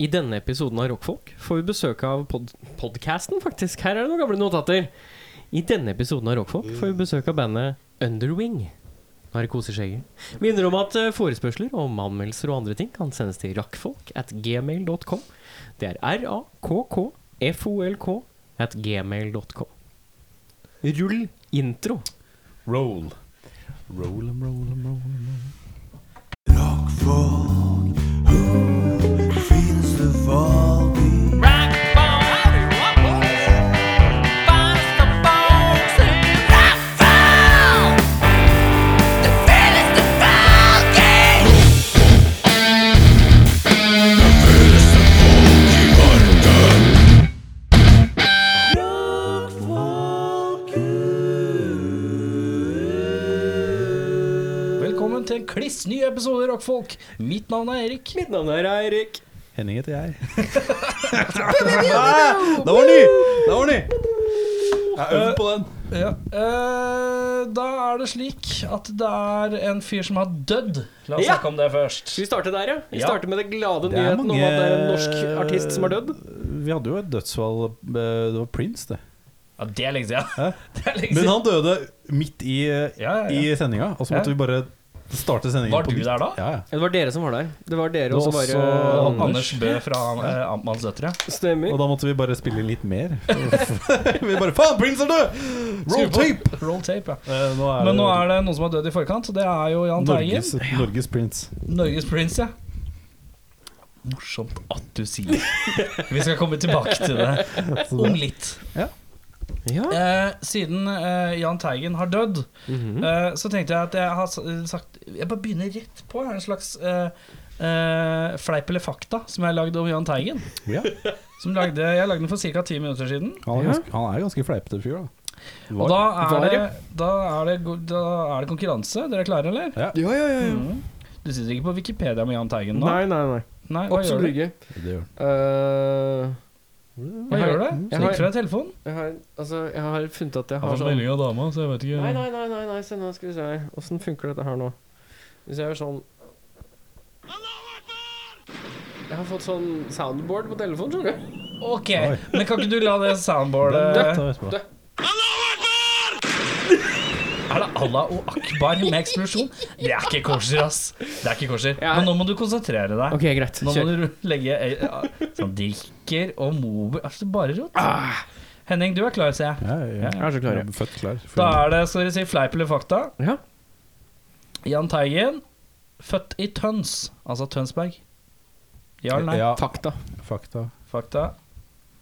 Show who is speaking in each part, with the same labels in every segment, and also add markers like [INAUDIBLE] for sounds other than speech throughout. Speaker 1: I denne episoden av Rockfolk får vi besøk av pod podcasten, faktisk. Her er det noen gamle notater. I denne episoden av Rockfolk får vi besøk av bandet Underwing. Narkoseskjegget. Minner om at eh, forespørsler om anmeldelser og andre ting kan sendes til rakkfolk at gmail.com. Det er r-a-k-k-f-o-l-k at gmail.com. Rull intro.
Speaker 2: Roll. Roll em, roll em, roll em, roll. Velkommen til en kliss ny episode Rockfolk. Mitt navn er Erik.
Speaker 1: Mitt navn er Eirik.
Speaker 2: Henning heter jeg. Da var den ny! Da var den ny! Jeg øvde på den.
Speaker 3: Ja. eh, da er det slik at det er en fyr som har dødd. La oss
Speaker 1: Ja.
Speaker 3: snakke om det først.
Speaker 1: Skal vi starte der, ja? Vi
Speaker 3: Ja.
Speaker 1: starter med det glade nyheten om at det er en norsk artist som har dødd.
Speaker 2: Vi hadde jo et dødsfall eh, Det var Prince, det.
Speaker 3: Ja, det er lenge siden. [LAUGHS]
Speaker 2: Hæ?
Speaker 3: Det er lenge
Speaker 2: Men
Speaker 3: siden.
Speaker 2: han døde midt i, eh,
Speaker 3: Ja, ja, ja.
Speaker 2: i sendinga, og så
Speaker 3: Ja.
Speaker 2: måtte vi bare starte sendinga
Speaker 3: Var
Speaker 2: på
Speaker 3: du
Speaker 2: nytt.
Speaker 3: der da?
Speaker 2: Ja, ja.
Speaker 1: Ja, Det var dere som var der. Det var dere og
Speaker 2: Det
Speaker 1: så
Speaker 2: var
Speaker 1: var
Speaker 2: også
Speaker 1: det
Speaker 2: Anders.
Speaker 3: Anders Bø fra eh, Amtmannens døtre.
Speaker 1: Stemmer.
Speaker 2: Og da måtte vi bare spille
Speaker 3: [LAUGHS]
Speaker 2: litt mer. vi bare Faen, Prince er død!
Speaker 3: Skru
Speaker 2: Roll
Speaker 3: på.
Speaker 2: tape!
Speaker 3: Roll tape, ja.
Speaker 2: Eh, nå
Speaker 3: Men nå er det noen som har dødd i forkant. og Det er jo Jahn Teigen.
Speaker 2: Norges, Norges Prince.
Speaker 3: Norges prince, ja. Morsomt at du sier. Vi skal komme tilbake til det om litt.
Speaker 1: Ja.
Speaker 3: Eh, siden eh, Jahn Teigen har dødd,
Speaker 1: Mhm.
Speaker 3: Eh, Så tenkte jeg at jeg har s- sagt Jeg bare begynner rett på. Jeg har en slags eh, eh, fleip eller fakta som jeg lagde om Jahn Teigen.
Speaker 2: Ja.
Speaker 3: Som lagde, jeg lagde den for ca. ti minutter siden.
Speaker 2: Han er
Speaker 1: Ja.
Speaker 2: ganske, han er ganske fleipete fyr, da.
Speaker 3: Og da er,
Speaker 1: Var,
Speaker 3: det,
Speaker 1: ja.
Speaker 3: da, er det, go- da er det konkurranse. Dere er klare, eller?
Speaker 2: Ja.
Speaker 1: Ja, ja, ja. ja.
Speaker 3: Mhm. Du sitter ikke på Wikipedia med Jahn Teigen nå?
Speaker 1: Nei, nei, nei.
Speaker 3: Nei, hva gjør
Speaker 1: Absolutt
Speaker 3: du?
Speaker 1: ikke.
Speaker 2: det gjør han.
Speaker 1: Eh,
Speaker 3: Hva
Speaker 1: Jeg
Speaker 3: gjør du?
Speaker 1: har- jeg
Speaker 3: Trykker
Speaker 1: har-
Speaker 3: fra telefonen?
Speaker 1: jeg, har, altså, jeg har funnet at jeg har sånn
Speaker 3: av dama, så jeg vet ikke
Speaker 1: Nei, nei, nei, nei, nei. se nå skal vi se her. Åssen funker dette her nå? Hvis jeg gjør sånn Jeg har fått sånn soundboard på telefonen, skjønner du.
Speaker 3: Ok,
Speaker 2: Oi.
Speaker 3: men kan ikke du la det soundboardet
Speaker 2: Da vet vi det.
Speaker 3: Er det Allah og Akbar med eksplosjon? Det er ikke kosher, ass. Det er ikke kosher.
Speaker 1: Ja.
Speaker 3: Men nå må du konsentrere deg.
Speaker 1: Ok, greit.
Speaker 3: Nå må
Speaker 1: Kjør.
Speaker 3: du legge ja, Sånn drikker og mobil Altså, bare rot.
Speaker 1: Ah.
Speaker 3: Henning, du er klar, ser jeg.
Speaker 2: Ja, ja, ja.
Speaker 1: Jeg er så klar.
Speaker 2: Jeg
Speaker 1: ja.
Speaker 2: er født klar.
Speaker 3: Da er det skal dere si fleip eller fakta.
Speaker 1: Ja.
Speaker 3: Jahn Teigen, født i Tøns, altså Tønsberg. Ja eller nei?
Speaker 2: Ja,
Speaker 1: Fakta.
Speaker 2: fakta.
Speaker 3: Fakta.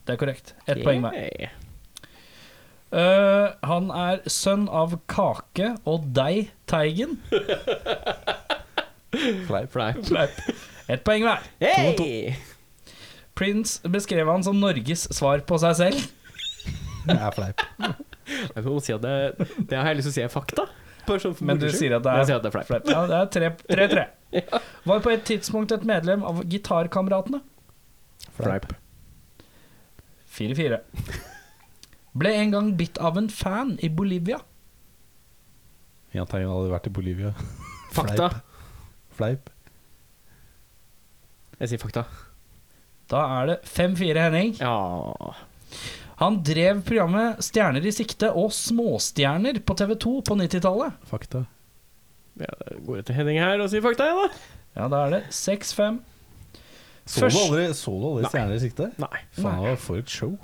Speaker 3: Det er korrekt. Ett poeng hver.
Speaker 1: Yeah.
Speaker 3: Eh, han er sønn av Kake og deg, Teigen.
Speaker 2: Fleip.
Speaker 1: Fleip.
Speaker 3: Fleip. Ett poeng hver.
Speaker 1: Hey!
Speaker 3: Prince beskrev han som Norges svar på seg selv.
Speaker 2: Jeg er fleip.
Speaker 1: Jeg må si at det, det har jeg lyst til å si er fakta. Bare sånn for
Speaker 3: Men du
Speaker 1: moro skyld.
Speaker 3: sier at det
Speaker 1: Men
Speaker 3: er
Speaker 1: jeg sier at det er fleip.
Speaker 3: Ja, det er tre- tre-tre. Var på et tidspunkt et medlem av Gitarkameratene.
Speaker 2: Fleip.
Speaker 3: Fire-fire. Ble en gang bitt av en fan i Bolivia.
Speaker 2: Jahn Teigen hadde vært i Bolivia.
Speaker 1: Fakta.
Speaker 2: Fleip.
Speaker 1: Jeg sier fakta.
Speaker 3: Da er det fem-fire, Henning.
Speaker 1: Ja
Speaker 3: Han drev programmet Stjerner i sikte og Småstjerner på TV2 på 90-tallet.
Speaker 2: Fakta.
Speaker 1: Jeg går etter Henning her og sier fakta, jeg, da.
Speaker 3: Ja, da er det seks-fem.
Speaker 2: Så
Speaker 3: Først-
Speaker 2: du aldri, så du aldri
Speaker 1: Nei.
Speaker 2: Stjerner i sikte?
Speaker 1: Nei.
Speaker 2: Faen, det var for et show.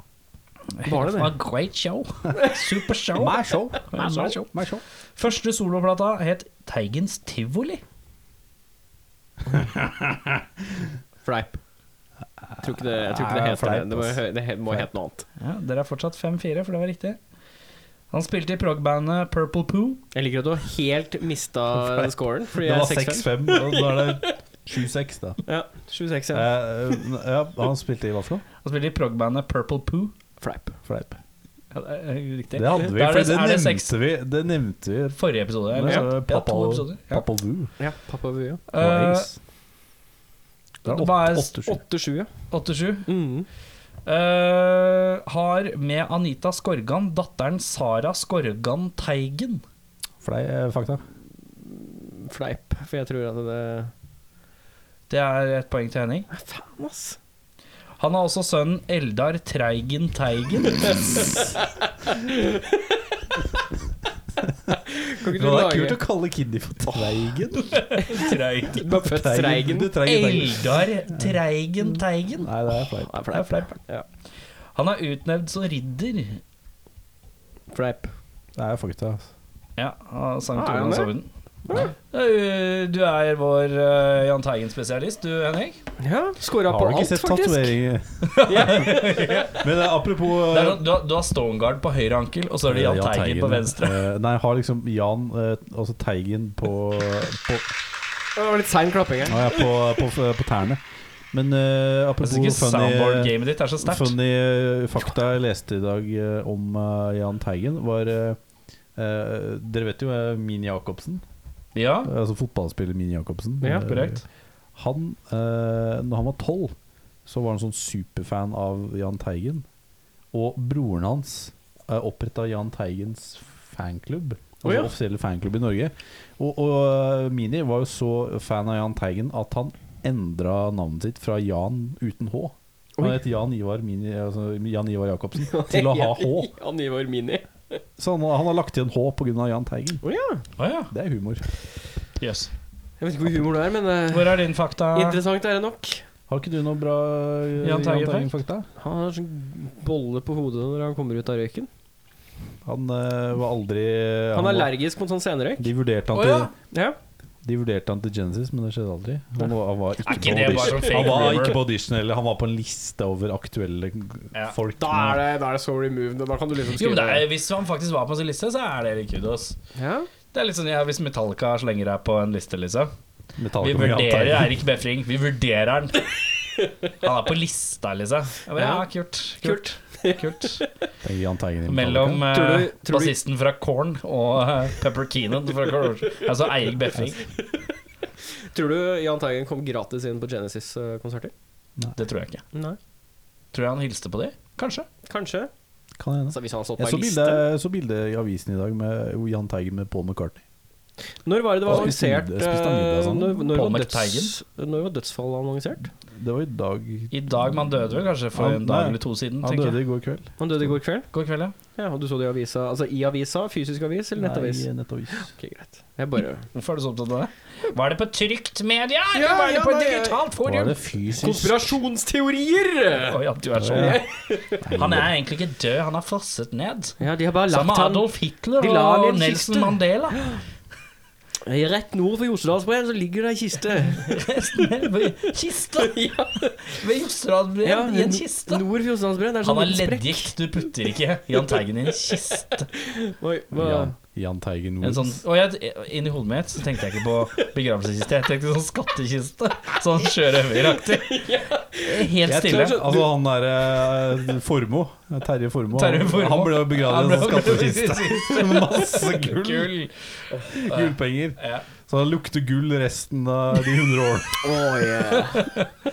Speaker 1: Var det det?
Speaker 3: var great show. [LAUGHS] Super show.
Speaker 2: My show.
Speaker 3: My show.
Speaker 2: My show.
Speaker 3: Første soloplata het Teigens Tivoli.
Speaker 1: Fleip. Jeg tror ikke det, jeg tror ikke det
Speaker 2: Nei,
Speaker 1: heter
Speaker 2: fleip,
Speaker 1: det. Det må,
Speaker 2: ass.
Speaker 1: hø- det he- må
Speaker 2: Fleip.
Speaker 1: hete noe annet.
Speaker 3: Ja, Dere er fortsatt 5-4, for det var riktig. Han spilte i prog-bandet Purple Poo.
Speaker 1: Jeg liker at du har helt mista
Speaker 2: Fleip.
Speaker 1: scoren, fordi
Speaker 2: Det
Speaker 1: jeg
Speaker 2: var
Speaker 1: er 6-5.
Speaker 2: 6-5, og da er det 7-6, da.
Speaker 1: Ja, 7-6, ja.
Speaker 2: Eh, ja, han spilte i hva for noe?
Speaker 3: Han spilte i prog-bandet Purple Poo.
Speaker 1: Fleip.
Speaker 2: Fleip.
Speaker 3: Ja, det er eh, riktig.
Speaker 2: Det hadde vi,
Speaker 3: Da er
Speaker 2: for
Speaker 3: det-
Speaker 2: det
Speaker 3: er det seks?
Speaker 2: nevnte vi. Det nevnte vi.
Speaker 3: Forrige episode. Eller?
Speaker 2: Ja,
Speaker 3: Ja,
Speaker 2: så
Speaker 3: ja, to
Speaker 2: Pappa-
Speaker 3: episoder. Ja.
Speaker 2: Papa Vu.
Speaker 1: Ja, pappa Vu, ja.
Speaker 3: Eh,
Speaker 2: Det er
Speaker 3: hva er-
Speaker 2: 8-7.
Speaker 1: 8-7, ja.
Speaker 3: 87.
Speaker 1: Mm.
Speaker 3: Eh, har med Anita Skorgan datteren Sara Skorgan Teigen.
Speaker 2: Flei, eh, fakta.
Speaker 1: Fleip. For jeg tror at det
Speaker 3: Det er et poeng til Henning.
Speaker 1: Faen, ass.
Speaker 3: Han har også sønnen Eldar Treigen Teigen.
Speaker 1: Kan
Speaker 2: Det er kult å kalle Kiddy
Speaker 3: [LAUGHS]
Speaker 2: for Treigen.
Speaker 3: Treigen.
Speaker 1: Du er født Streigen.
Speaker 2: Du Treigen, Treigen.
Speaker 3: Eldar Treigen Teigen.
Speaker 2: Nei, det er fleip.
Speaker 3: Det er fleip.
Speaker 1: Ja.
Speaker 3: Han er utnevnt som ridder.
Speaker 1: Fleip.
Speaker 2: Det er fakta. altså.
Speaker 3: Ja, av St.
Speaker 1: Ah, er han
Speaker 3: Olavs
Speaker 1: det?
Speaker 3: orden. Eh, Du er vår eh, Jahn Teigen-spesialist, du Henrik.
Speaker 1: Ja, Skåra
Speaker 2: Har
Speaker 1: på
Speaker 2: du ikke
Speaker 1: alt, [LAUGHS]
Speaker 2: sett
Speaker 1: faktisk.
Speaker 2: tatoveringer? Men eh, apropos
Speaker 3: Det er
Speaker 2: eh,
Speaker 3: sånn, du, har, du har Stoneguard på høyre ankel, og så er det Jahn Teigen på venstre.
Speaker 2: eh, Nei, jeg har liksom Jan, eh, altså Teigen, på, på,
Speaker 1: Det var litt sein klapping her.
Speaker 2: ja, ja, på, på, på tærne. Men eh,
Speaker 3: Jeg
Speaker 2: apropos
Speaker 3: syns ikke
Speaker 2: funny,
Speaker 3: soundboard-gamet ditt er så sterkt.
Speaker 2: funny eh, fakta jeg leste i dag eh, om eh, Jan Teigen, var eh, eh, Dere vet jo eh, Min Jacobsen?
Speaker 3: Ja,
Speaker 2: Altså fotballspiller Min Jacobsen.
Speaker 1: Ja,
Speaker 2: Eh,
Speaker 3: korrekt.
Speaker 2: Han, eh, når han var tolv, så var han sånn superfan av Jahn Teigen. Og broren hans eh, oppretta Jahn Teigens fanklubb. Altså
Speaker 1: Å ja.
Speaker 2: offisielle fanklubb i Norge. Og, og eh, Mini var jo så fan av Jahn Teigen at han endra navnet sitt fra Jan uten H. Han
Speaker 1: Oi.
Speaker 2: het Jan Ivar, Mini, altså Jan Ivar
Speaker 1: [LAUGHS]
Speaker 2: Jacobsen til å ha H.
Speaker 1: Han Ivar Mini.
Speaker 2: Så han, han har lagt igjen H pga. Jahn Teigen.
Speaker 1: Å ja.
Speaker 3: Å ja.
Speaker 2: Det er humor.
Speaker 3: Yes.
Speaker 1: Jeg vet ikke hvor humor det er, men eh,
Speaker 3: Hvor er din fakta?
Speaker 1: interessant er det nok.
Speaker 2: Har ikke du noe bra eh,
Speaker 3: Jahn
Speaker 2: Jahn
Speaker 3: Teigen-fakt?
Speaker 2: Teigen-fakta?
Speaker 1: Han har sånn bolle på hodet når han kommer ut av røyken.
Speaker 2: Han eh, var aldri
Speaker 1: Han
Speaker 2: var-
Speaker 1: er allergisk mot sånn senrøyk.
Speaker 2: De vurderte
Speaker 3: Å
Speaker 2: han til
Speaker 3: ja.
Speaker 1: Ja.
Speaker 2: De vurderte han til Genesis, men det skjedde aldri. Han var, han var, ikke,
Speaker 3: Er ikke det bare
Speaker 2: på
Speaker 3: sånn
Speaker 2: audition.
Speaker 3: fake
Speaker 2: han var
Speaker 3: rumor?
Speaker 2: ikke på audition eller Han var på en liste over aktuelle
Speaker 3: Ja.
Speaker 2: folk.
Speaker 1: Da er, det, da er det so removed. og Da kan du liksom
Speaker 3: Jo, men det er,
Speaker 1: skrive
Speaker 3: hvis han faktisk var på en liste, så er det litt kudos.
Speaker 1: ja.
Speaker 3: Det er litt sånn, ja, Hvis Metallica slenger deg på en liste, liksom.
Speaker 2: Metallica
Speaker 3: Vi
Speaker 2: med Jahn
Speaker 3: vurderer
Speaker 2: Teigen.
Speaker 3: Eirik Befring. Vi vurderer han. Han er på lista, liksom. Jeg bare,
Speaker 1: Ja.
Speaker 3: ja, kult. Kult. [LAUGHS] kult.
Speaker 2: Det er Jahn Teigen i Metallica.
Speaker 3: Mellom eh,
Speaker 1: Tror du- tror du-
Speaker 3: bassisten fra Korn og eh, Pepper Keenan fra Korn. Altså Eirik Befring.
Speaker 1: Tror du Jahn Teigen kom gratis inn på Genesis-konserter?
Speaker 3: Det tror jeg ikke.
Speaker 1: Nei.
Speaker 3: Tror jeg han hilste på de? Kanskje.
Speaker 1: Kanskje.
Speaker 3: eh,
Speaker 2: Kan hende.
Speaker 1: Altså, hvis han har stått på
Speaker 2: Jeg så
Speaker 1: ei
Speaker 2: bilde,
Speaker 1: liste
Speaker 2: jeg så bilde i avisen i dag med Jahn Teigen med Paul McCartney.
Speaker 1: Når var det det var
Speaker 2: Og spiste
Speaker 1: annonsert
Speaker 2: middag- spiste han middag
Speaker 1: eh,
Speaker 2: sammen?
Speaker 1: Når, når,
Speaker 3: Paul
Speaker 1: var døds,
Speaker 3: McTeigen?
Speaker 1: når var dødsfallet annonsert?
Speaker 2: Det var i dag
Speaker 3: I dag Man døde vel kanskje for
Speaker 2: Han-
Speaker 3: en dag
Speaker 2: nei,
Speaker 3: eller to siden.
Speaker 2: Han
Speaker 3: tenker
Speaker 2: døde
Speaker 3: jeg.
Speaker 2: i går kveld.
Speaker 1: Han døde i går kveld?
Speaker 3: God kveld, ja.
Speaker 1: Ja, og du så det i avisa? Altså i avisa? Fysisk avis eller nettavis?
Speaker 2: Nei, nettavis.
Speaker 1: Ok, greit. Jeg bare
Speaker 3: Hvorfor er du så opptatt av det? Var det på trygt media? eller
Speaker 1: Ja,
Speaker 3: var det
Speaker 1: ja,
Speaker 3: på
Speaker 1: nei, jeg-
Speaker 3: digitalt
Speaker 2: Var
Speaker 3: forum?
Speaker 2: det fysisk?
Speaker 1: Konspirasjonsteorier!
Speaker 3: Å ja, du er sånn.
Speaker 2: Ja.
Speaker 3: Han er egentlig ikke død, han har frosset ned.
Speaker 1: Ja, de har bare lagt
Speaker 3: Sammen med
Speaker 1: han
Speaker 3: Adolf Hitler
Speaker 1: De la han i
Speaker 3: og
Speaker 1: en
Speaker 3: Nelson
Speaker 1: kiste.
Speaker 2: [LAUGHS]
Speaker 3: Mandela. [LAUGHS]
Speaker 1: Rett nord for Jostedalsbreen så ligger det ei
Speaker 3: [LAUGHS]
Speaker 1: kiste.
Speaker 3: Kiste!
Speaker 1: ja,
Speaker 3: Ved Jostedalsbreen, i en kiste.
Speaker 1: Nord for Jostedalsbreen. Det er
Speaker 3: Han
Speaker 1: sånn
Speaker 3: er
Speaker 1: liten sprekk.
Speaker 3: leddgikt, du putter ikke Jahn Teigen i en kiste.
Speaker 1: Oi, hva?
Speaker 2: Jahn- Jahn Teigen
Speaker 3: En
Speaker 2: Woods.
Speaker 3: sånn, og jeg, inni hodet mitt så tenkte jeg ikke på begravelseskiste, jeg tenkte sånn skattekiste. Sånn sjørøveraktig. Helt
Speaker 2: Jeg
Speaker 3: stille.
Speaker 2: tror- Altså han derre Formoe. Terje Formoe.
Speaker 3: Terje
Speaker 2: han-
Speaker 3: Formoe.
Speaker 2: Han ble jo
Speaker 3: Han
Speaker 2: begravd
Speaker 3: ble
Speaker 2: i en
Speaker 3: [LAUGHS]
Speaker 2: sånn skattkiste. Med
Speaker 4: [LAUGHS]
Speaker 2: Masse gull.
Speaker 3: Gull.
Speaker 2: Gullpenger.
Speaker 3: Ja.
Speaker 2: Så han lukter gull resten av de hundre årene.
Speaker 1: Å, yeah.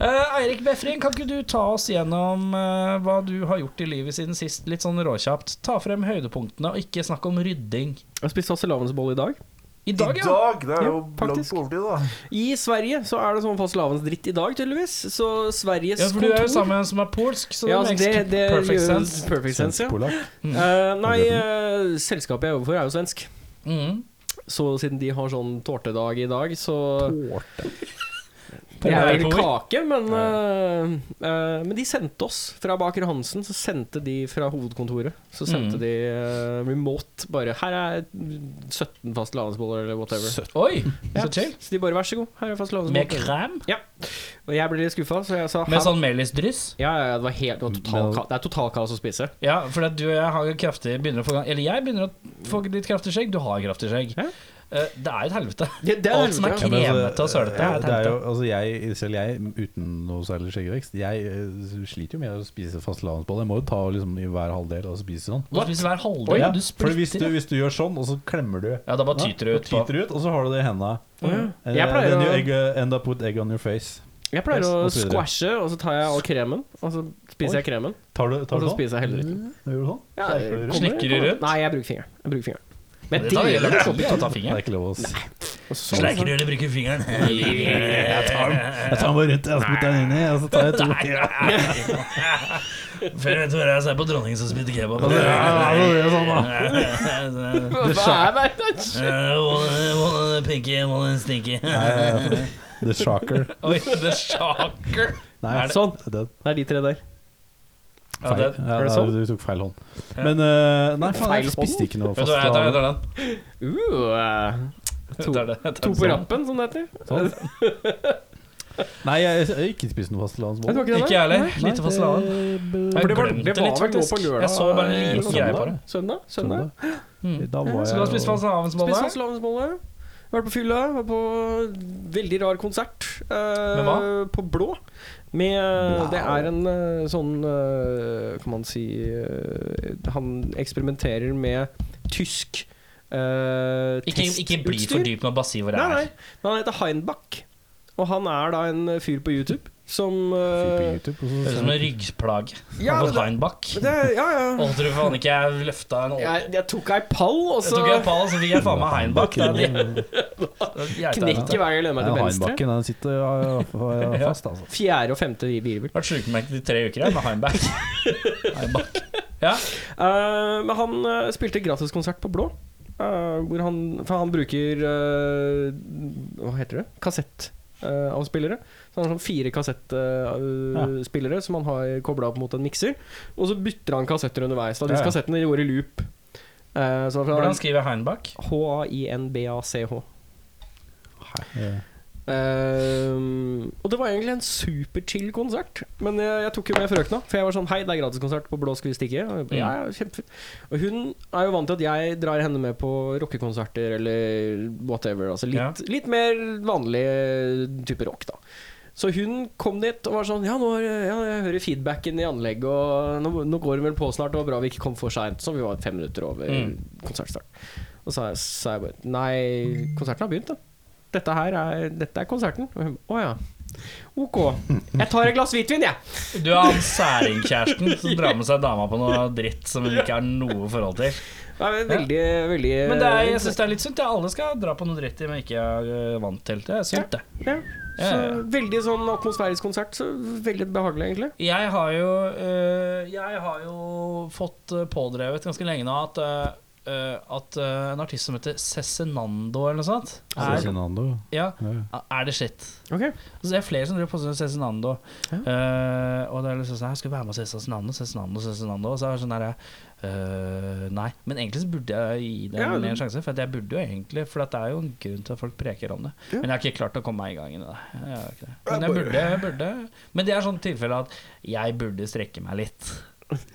Speaker 3: Eh, Eirik Befring, kan ikke du ta oss gjennom eh, hva du har gjort i livet siden sist? Litt sånn råkjapt. Ta frem høydepunktene, og ikke snakk om rydding.
Speaker 1: Jeg spiste fastelavnsbolle i dag.
Speaker 3: [LAUGHS] I dag,
Speaker 4: I
Speaker 3: ja.
Speaker 4: dag? Det er
Speaker 1: Ja,
Speaker 4: jo langt
Speaker 1: faktisk.
Speaker 4: på overtid, da.
Speaker 1: I Sverige så er det sånn fastelavnsdritt i dag, tydeligvis. Så Sveriges
Speaker 3: ja for du er jo sammen med en som er polsk, så
Speaker 1: Ja,
Speaker 3: det
Speaker 1: altså,
Speaker 3: makes
Speaker 1: det, det
Speaker 3: perfect
Speaker 1: gjør
Speaker 3: sense.
Speaker 1: Perfect sense, ja.
Speaker 2: Polak.
Speaker 1: Eh, nei, eh, selskapet jeg jobber for, er jo svensk.
Speaker 3: Mm.
Speaker 1: Så siden de har sånn tårtedag i dag, så
Speaker 2: Tårte.
Speaker 1: Det er jo en
Speaker 3: Tårtedag.
Speaker 1: kake, men eh, eh, Men de sendte oss fra Baker Hansen. Så sendte de fra hovedkontoret. Så sendte
Speaker 3: Mm.
Speaker 1: de eh, remote bare Her er 17 fastelavnsboller, eller whatever.
Speaker 3: Oi,
Speaker 1: Ja. Sånn
Speaker 3: så chill.
Speaker 1: Så de bare vær så god, her er
Speaker 3: Med
Speaker 1: fastelavnsboller.
Speaker 3: krem?
Speaker 1: Og jeg ble litt skuffa, så jeg sa
Speaker 3: Med
Speaker 1: «Hæ?»
Speaker 3: sånn melisdryss?
Speaker 1: Ja, ja, ja, det var helt det var total,
Speaker 2: Men-
Speaker 1: ka- Det er total kaos å spise.
Speaker 3: Ja, for at du og jeg har jo kraftig begynner å få gang Eller jeg begynner å få litt kraftig skjegg. Du har kraftig skjegg.
Speaker 1: Ja.
Speaker 3: Eh, det er jo et helvete.
Speaker 1: Det, det
Speaker 3: Alt som er
Speaker 1: helvete,
Speaker 2: Ja, men altså,
Speaker 3: Kremete og sølete,
Speaker 2: ja,
Speaker 3: jeg
Speaker 2: Det er
Speaker 3: tenkte.
Speaker 2: jo, altså jeg, selv jeg, uten noe særlig skjeggvekst, jeg eh, sliter jo med å spise fastelavnsbolle. Jeg må jo ta liksom i hver halvdel og så spise sånn.
Speaker 3: Du spiser hver halvdel.
Speaker 2: Ja,
Speaker 3: du
Speaker 2: for hvis du,
Speaker 3: splitter.
Speaker 2: hvis du gjør sånn, og så klemmer du
Speaker 3: Ja, da bare tyter du
Speaker 2: Ja,
Speaker 3: ut. på-
Speaker 2: tyter du ut, og så har du det i henda.
Speaker 1: ja.
Speaker 2: And
Speaker 1: Jeg pleier
Speaker 2: then you
Speaker 1: å-
Speaker 2: egg, uh, end up with egg on your face.
Speaker 1: ja. Jeg pleier å
Speaker 2: Og så videre.
Speaker 1: squashe, og så tar jeg all kremen. Og så spiser
Speaker 2: Oi.
Speaker 1: jeg kremen,
Speaker 2: Tar du, tar
Speaker 1: og
Speaker 2: du
Speaker 1: så
Speaker 2: sånn?
Speaker 1: spiser jeg heller ikke.
Speaker 2: Gjør du sånn?
Speaker 1: Ja, det
Speaker 2: Så er det-
Speaker 1: kommer-
Speaker 3: Slikker du rundt?
Speaker 1: Nei, jeg bruker fingeren. Jeg bruker fingeren. Men
Speaker 3: Da
Speaker 1: det- sånn.
Speaker 3: gjelder det aldri å ta
Speaker 2: Det er
Speaker 3: fingeren.
Speaker 2: ikke lov å si.
Speaker 3: Sleiker du eller bruker fingeren? Jeg tar den.
Speaker 2: Jeg tar meg rundt, jeg spytter den inni, og så tar jeg to.
Speaker 3: Før jeg vet ordet av, så er jeg på dronningen som spytter kebab.
Speaker 2: Ja, ja, ja, det er sånn, da.
Speaker 1: Hva er det?
Speaker 3: One pinky, one stinky.
Speaker 2: The Shocker.
Speaker 3: Oi, the shocker.
Speaker 2: Nei,
Speaker 3: Er det-
Speaker 1: Sånn.
Speaker 2: det
Speaker 1: Det er de tre der.
Speaker 3: Ja,
Speaker 2: feil.
Speaker 3: det,
Speaker 2: Ja,
Speaker 1: er det sånn?
Speaker 2: Du tok feil hånd. Men eh, nei, faen,
Speaker 1: Feil
Speaker 2: jeg spiste ikke noe
Speaker 3: vet du hva, jeg tar, jeg
Speaker 2: fast.
Speaker 3: tar den.
Speaker 1: Uh, eh,
Speaker 3: Jeg tar det. Jeg tar
Speaker 1: to
Speaker 3: det.
Speaker 1: på rappen, som det heter.
Speaker 2: Sånn. Nei, jeg jeg har ikke spist
Speaker 1: Nei,
Speaker 2: noe
Speaker 1: det
Speaker 2: fastelavnsbolle.
Speaker 1: var ikke det der.
Speaker 3: Ikke jeg heller.
Speaker 1: Nei.
Speaker 2: Nei,
Speaker 3: Lite fastelavn.
Speaker 2: det-
Speaker 3: Jeg
Speaker 1: For det var,
Speaker 3: glemte
Speaker 1: det var
Speaker 3: litt,
Speaker 1: vel nå på
Speaker 3: faktisk.
Speaker 1: lørdag?
Speaker 3: Jeg så bare like
Speaker 1: eller
Speaker 3: greier
Speaker 1: søndag?
Speaker 3: på det.
Speaker 1: Søndag? søndag.
Speaker 2: Søndag. Da var jeg
Speaker 3: Skulle Mm. ha spist
Speaker 2: og-
Speaker 3: fastelavnsbolle.
Speaker 1: Spist fastelavnsbolle. Vært på fylla. Var på veldig rar konsert. eh,
Speaker 3: Med hva?
Speaker 1: På Blå. Med
Speaker 2: Wow.
Speaker 1: Det er en eh, sånn eh, Kan man si eh, Han eksperimenterer med tysk eh,
Speaker 3: Ikke, ikke bli
Speaker 1: testutstyr.
Speaker 3: for dyp med å bare si hvor det
Speaker 1: Nei, nei.
Speaker 3: er.
Speaker 1: Men han heter Heinbach. Og han er da en fyr på YouTube som
Speaker 2: Fyr på
Speaker 1: eh,
Speaker 2: YouTube,
Speaker 3: Det
Speaker 2: og
Speaker 3: Høres ut
Speaker 2: så
Speaker 3: som en ryggplage.
Speaker 1: Ja,
Speaker 3: Har
Speaker 1: men
Speaker 3: fått
Speaker 1: det-
Speaker 3: Heinbach.
Speaker 1: det, Ja,
Speaker 3: [LAUGHS]
Speaker 1: ja.
Speaker 3: Holdt du faen ikke jeg løfta en ål?
Speaker 1: Jeg, jeg tok ei pall, og
Speaker 3: Jeg
Speaker 1: så
Speaker 3: tok en pall, så fikk jeg faen meg Heinbach. Det er det.
Speaker 2: Ja,
Speaker 1: knekker hver gang jeg lener meg til venstre.
Speaker 2: Heinbacken den sitter ja, ja, fast, altså.
Speaker 1: Fjerde og femte virvel.
Speaker 3: Vært sjukmeldt i tre uker jeg, med Heinbach. Heinbach. Ja.
Speaker 1: Eh, men han eh, spilte gratiskonsert på Blå. eh, hvor han, for han bruker eh, Hva heter det? Kassettavspillere. så han har sånn fire kassettspillere eh, som han har kobla opp mot en mikser. Og så bytter han kassetter underveis. Da.
Speaker 2: Ja,
Speaker 1: Disse
Speaker 2: ja.
Speaker 1: kassettene går i loop. Eh, så fra
Speaker 3: Hvordan skriver jeg Heinbach?
Speaker 1: H-a-i-n-b-a-c-h.
Speaker 2: Ja.
Speaker 1: Ehm, og det var egentlig en superchill konsert. Men jeg, jeg tok jo med frøkna. For jeg var sånn Hei, det er gratiskonsert på Blå, skal vi stikke? Og, jeg bare, ja, ja, kjempefint. og hun er jo vant til at jeg drar henne med på rockekonserter eller whatever. Altså litt,
Speaker 3: Ja.
Speaker 1: litt mer vanlig type rock, da. Så hun kom dit og var sånn Ja, nå er, ja, jeg hører feedbacken i anlegget, og nå, nå går hun vel på snart. Det var bra vi ikke kom for seint, så vi var fem minutter over
Speaker 3: Mm.
Speaker 1: konsertstart. Og så sa jeg- sa jeg bare Nei, konserten har begynt, da. Dette her er, dette er konserten. Og hun Å ja. Ok. Jeg tar et glass hvitvin, jeg.
Speaker 3: Du er han særingkjæresten som drar med seg dama på noe dritt som hun ikke har noe forhold til.
Speaker 1: Det er veldig, veldig
Speaker 3: Men det er, jeg syns det er litt sunt. Ja. Alle skal dra på noe dritt de ikke er eh, vant til. Det er sunt, det.
Speaker 1: ja. Så
Speaker 3: Ja, ja.
Speaker 1: veldig sånn atmosfærisk konsert. Så veldig behagelig, egentlig.
Speaker 3: Jeg har jo, eh, jeg har jo fått eh, pådrevet ganske lenge nå at eh, eh, at eh, en artist som heter Cezinando eller noe sånt er,
Speaker 2: Cezinando.
Speaker 3: ja,
Speaker 2: Ja.
Speaker 3: er det shit.
Speaker 1: Ok
Speaker 3: Så det er flere som driver på sånn Cezinando.
Speaker 1: Ja.
Speaker 3: Eh, og det er liksom sånn her, skal vi være med og se Cezinando, Cezinando, Cezinando. Og så er det sånn der eh, Nei. Men egentlig så burde jeg gi det
Speaker 1: Ja,
Speaker 3: en
Speaker 1: men-
Speaker 3: en sjanse. For at jeg burde jo egentlig For at det er jo en grunn til at folk preker om det.
Speaker 1: Ja.
Speaker 3: Men jeg har ikke klart å komme meg i gang i det. Jeg har ikke det. Men jeg burde, jeg burde Men det er sånn tilfelle at jeg burde strekke meg litt.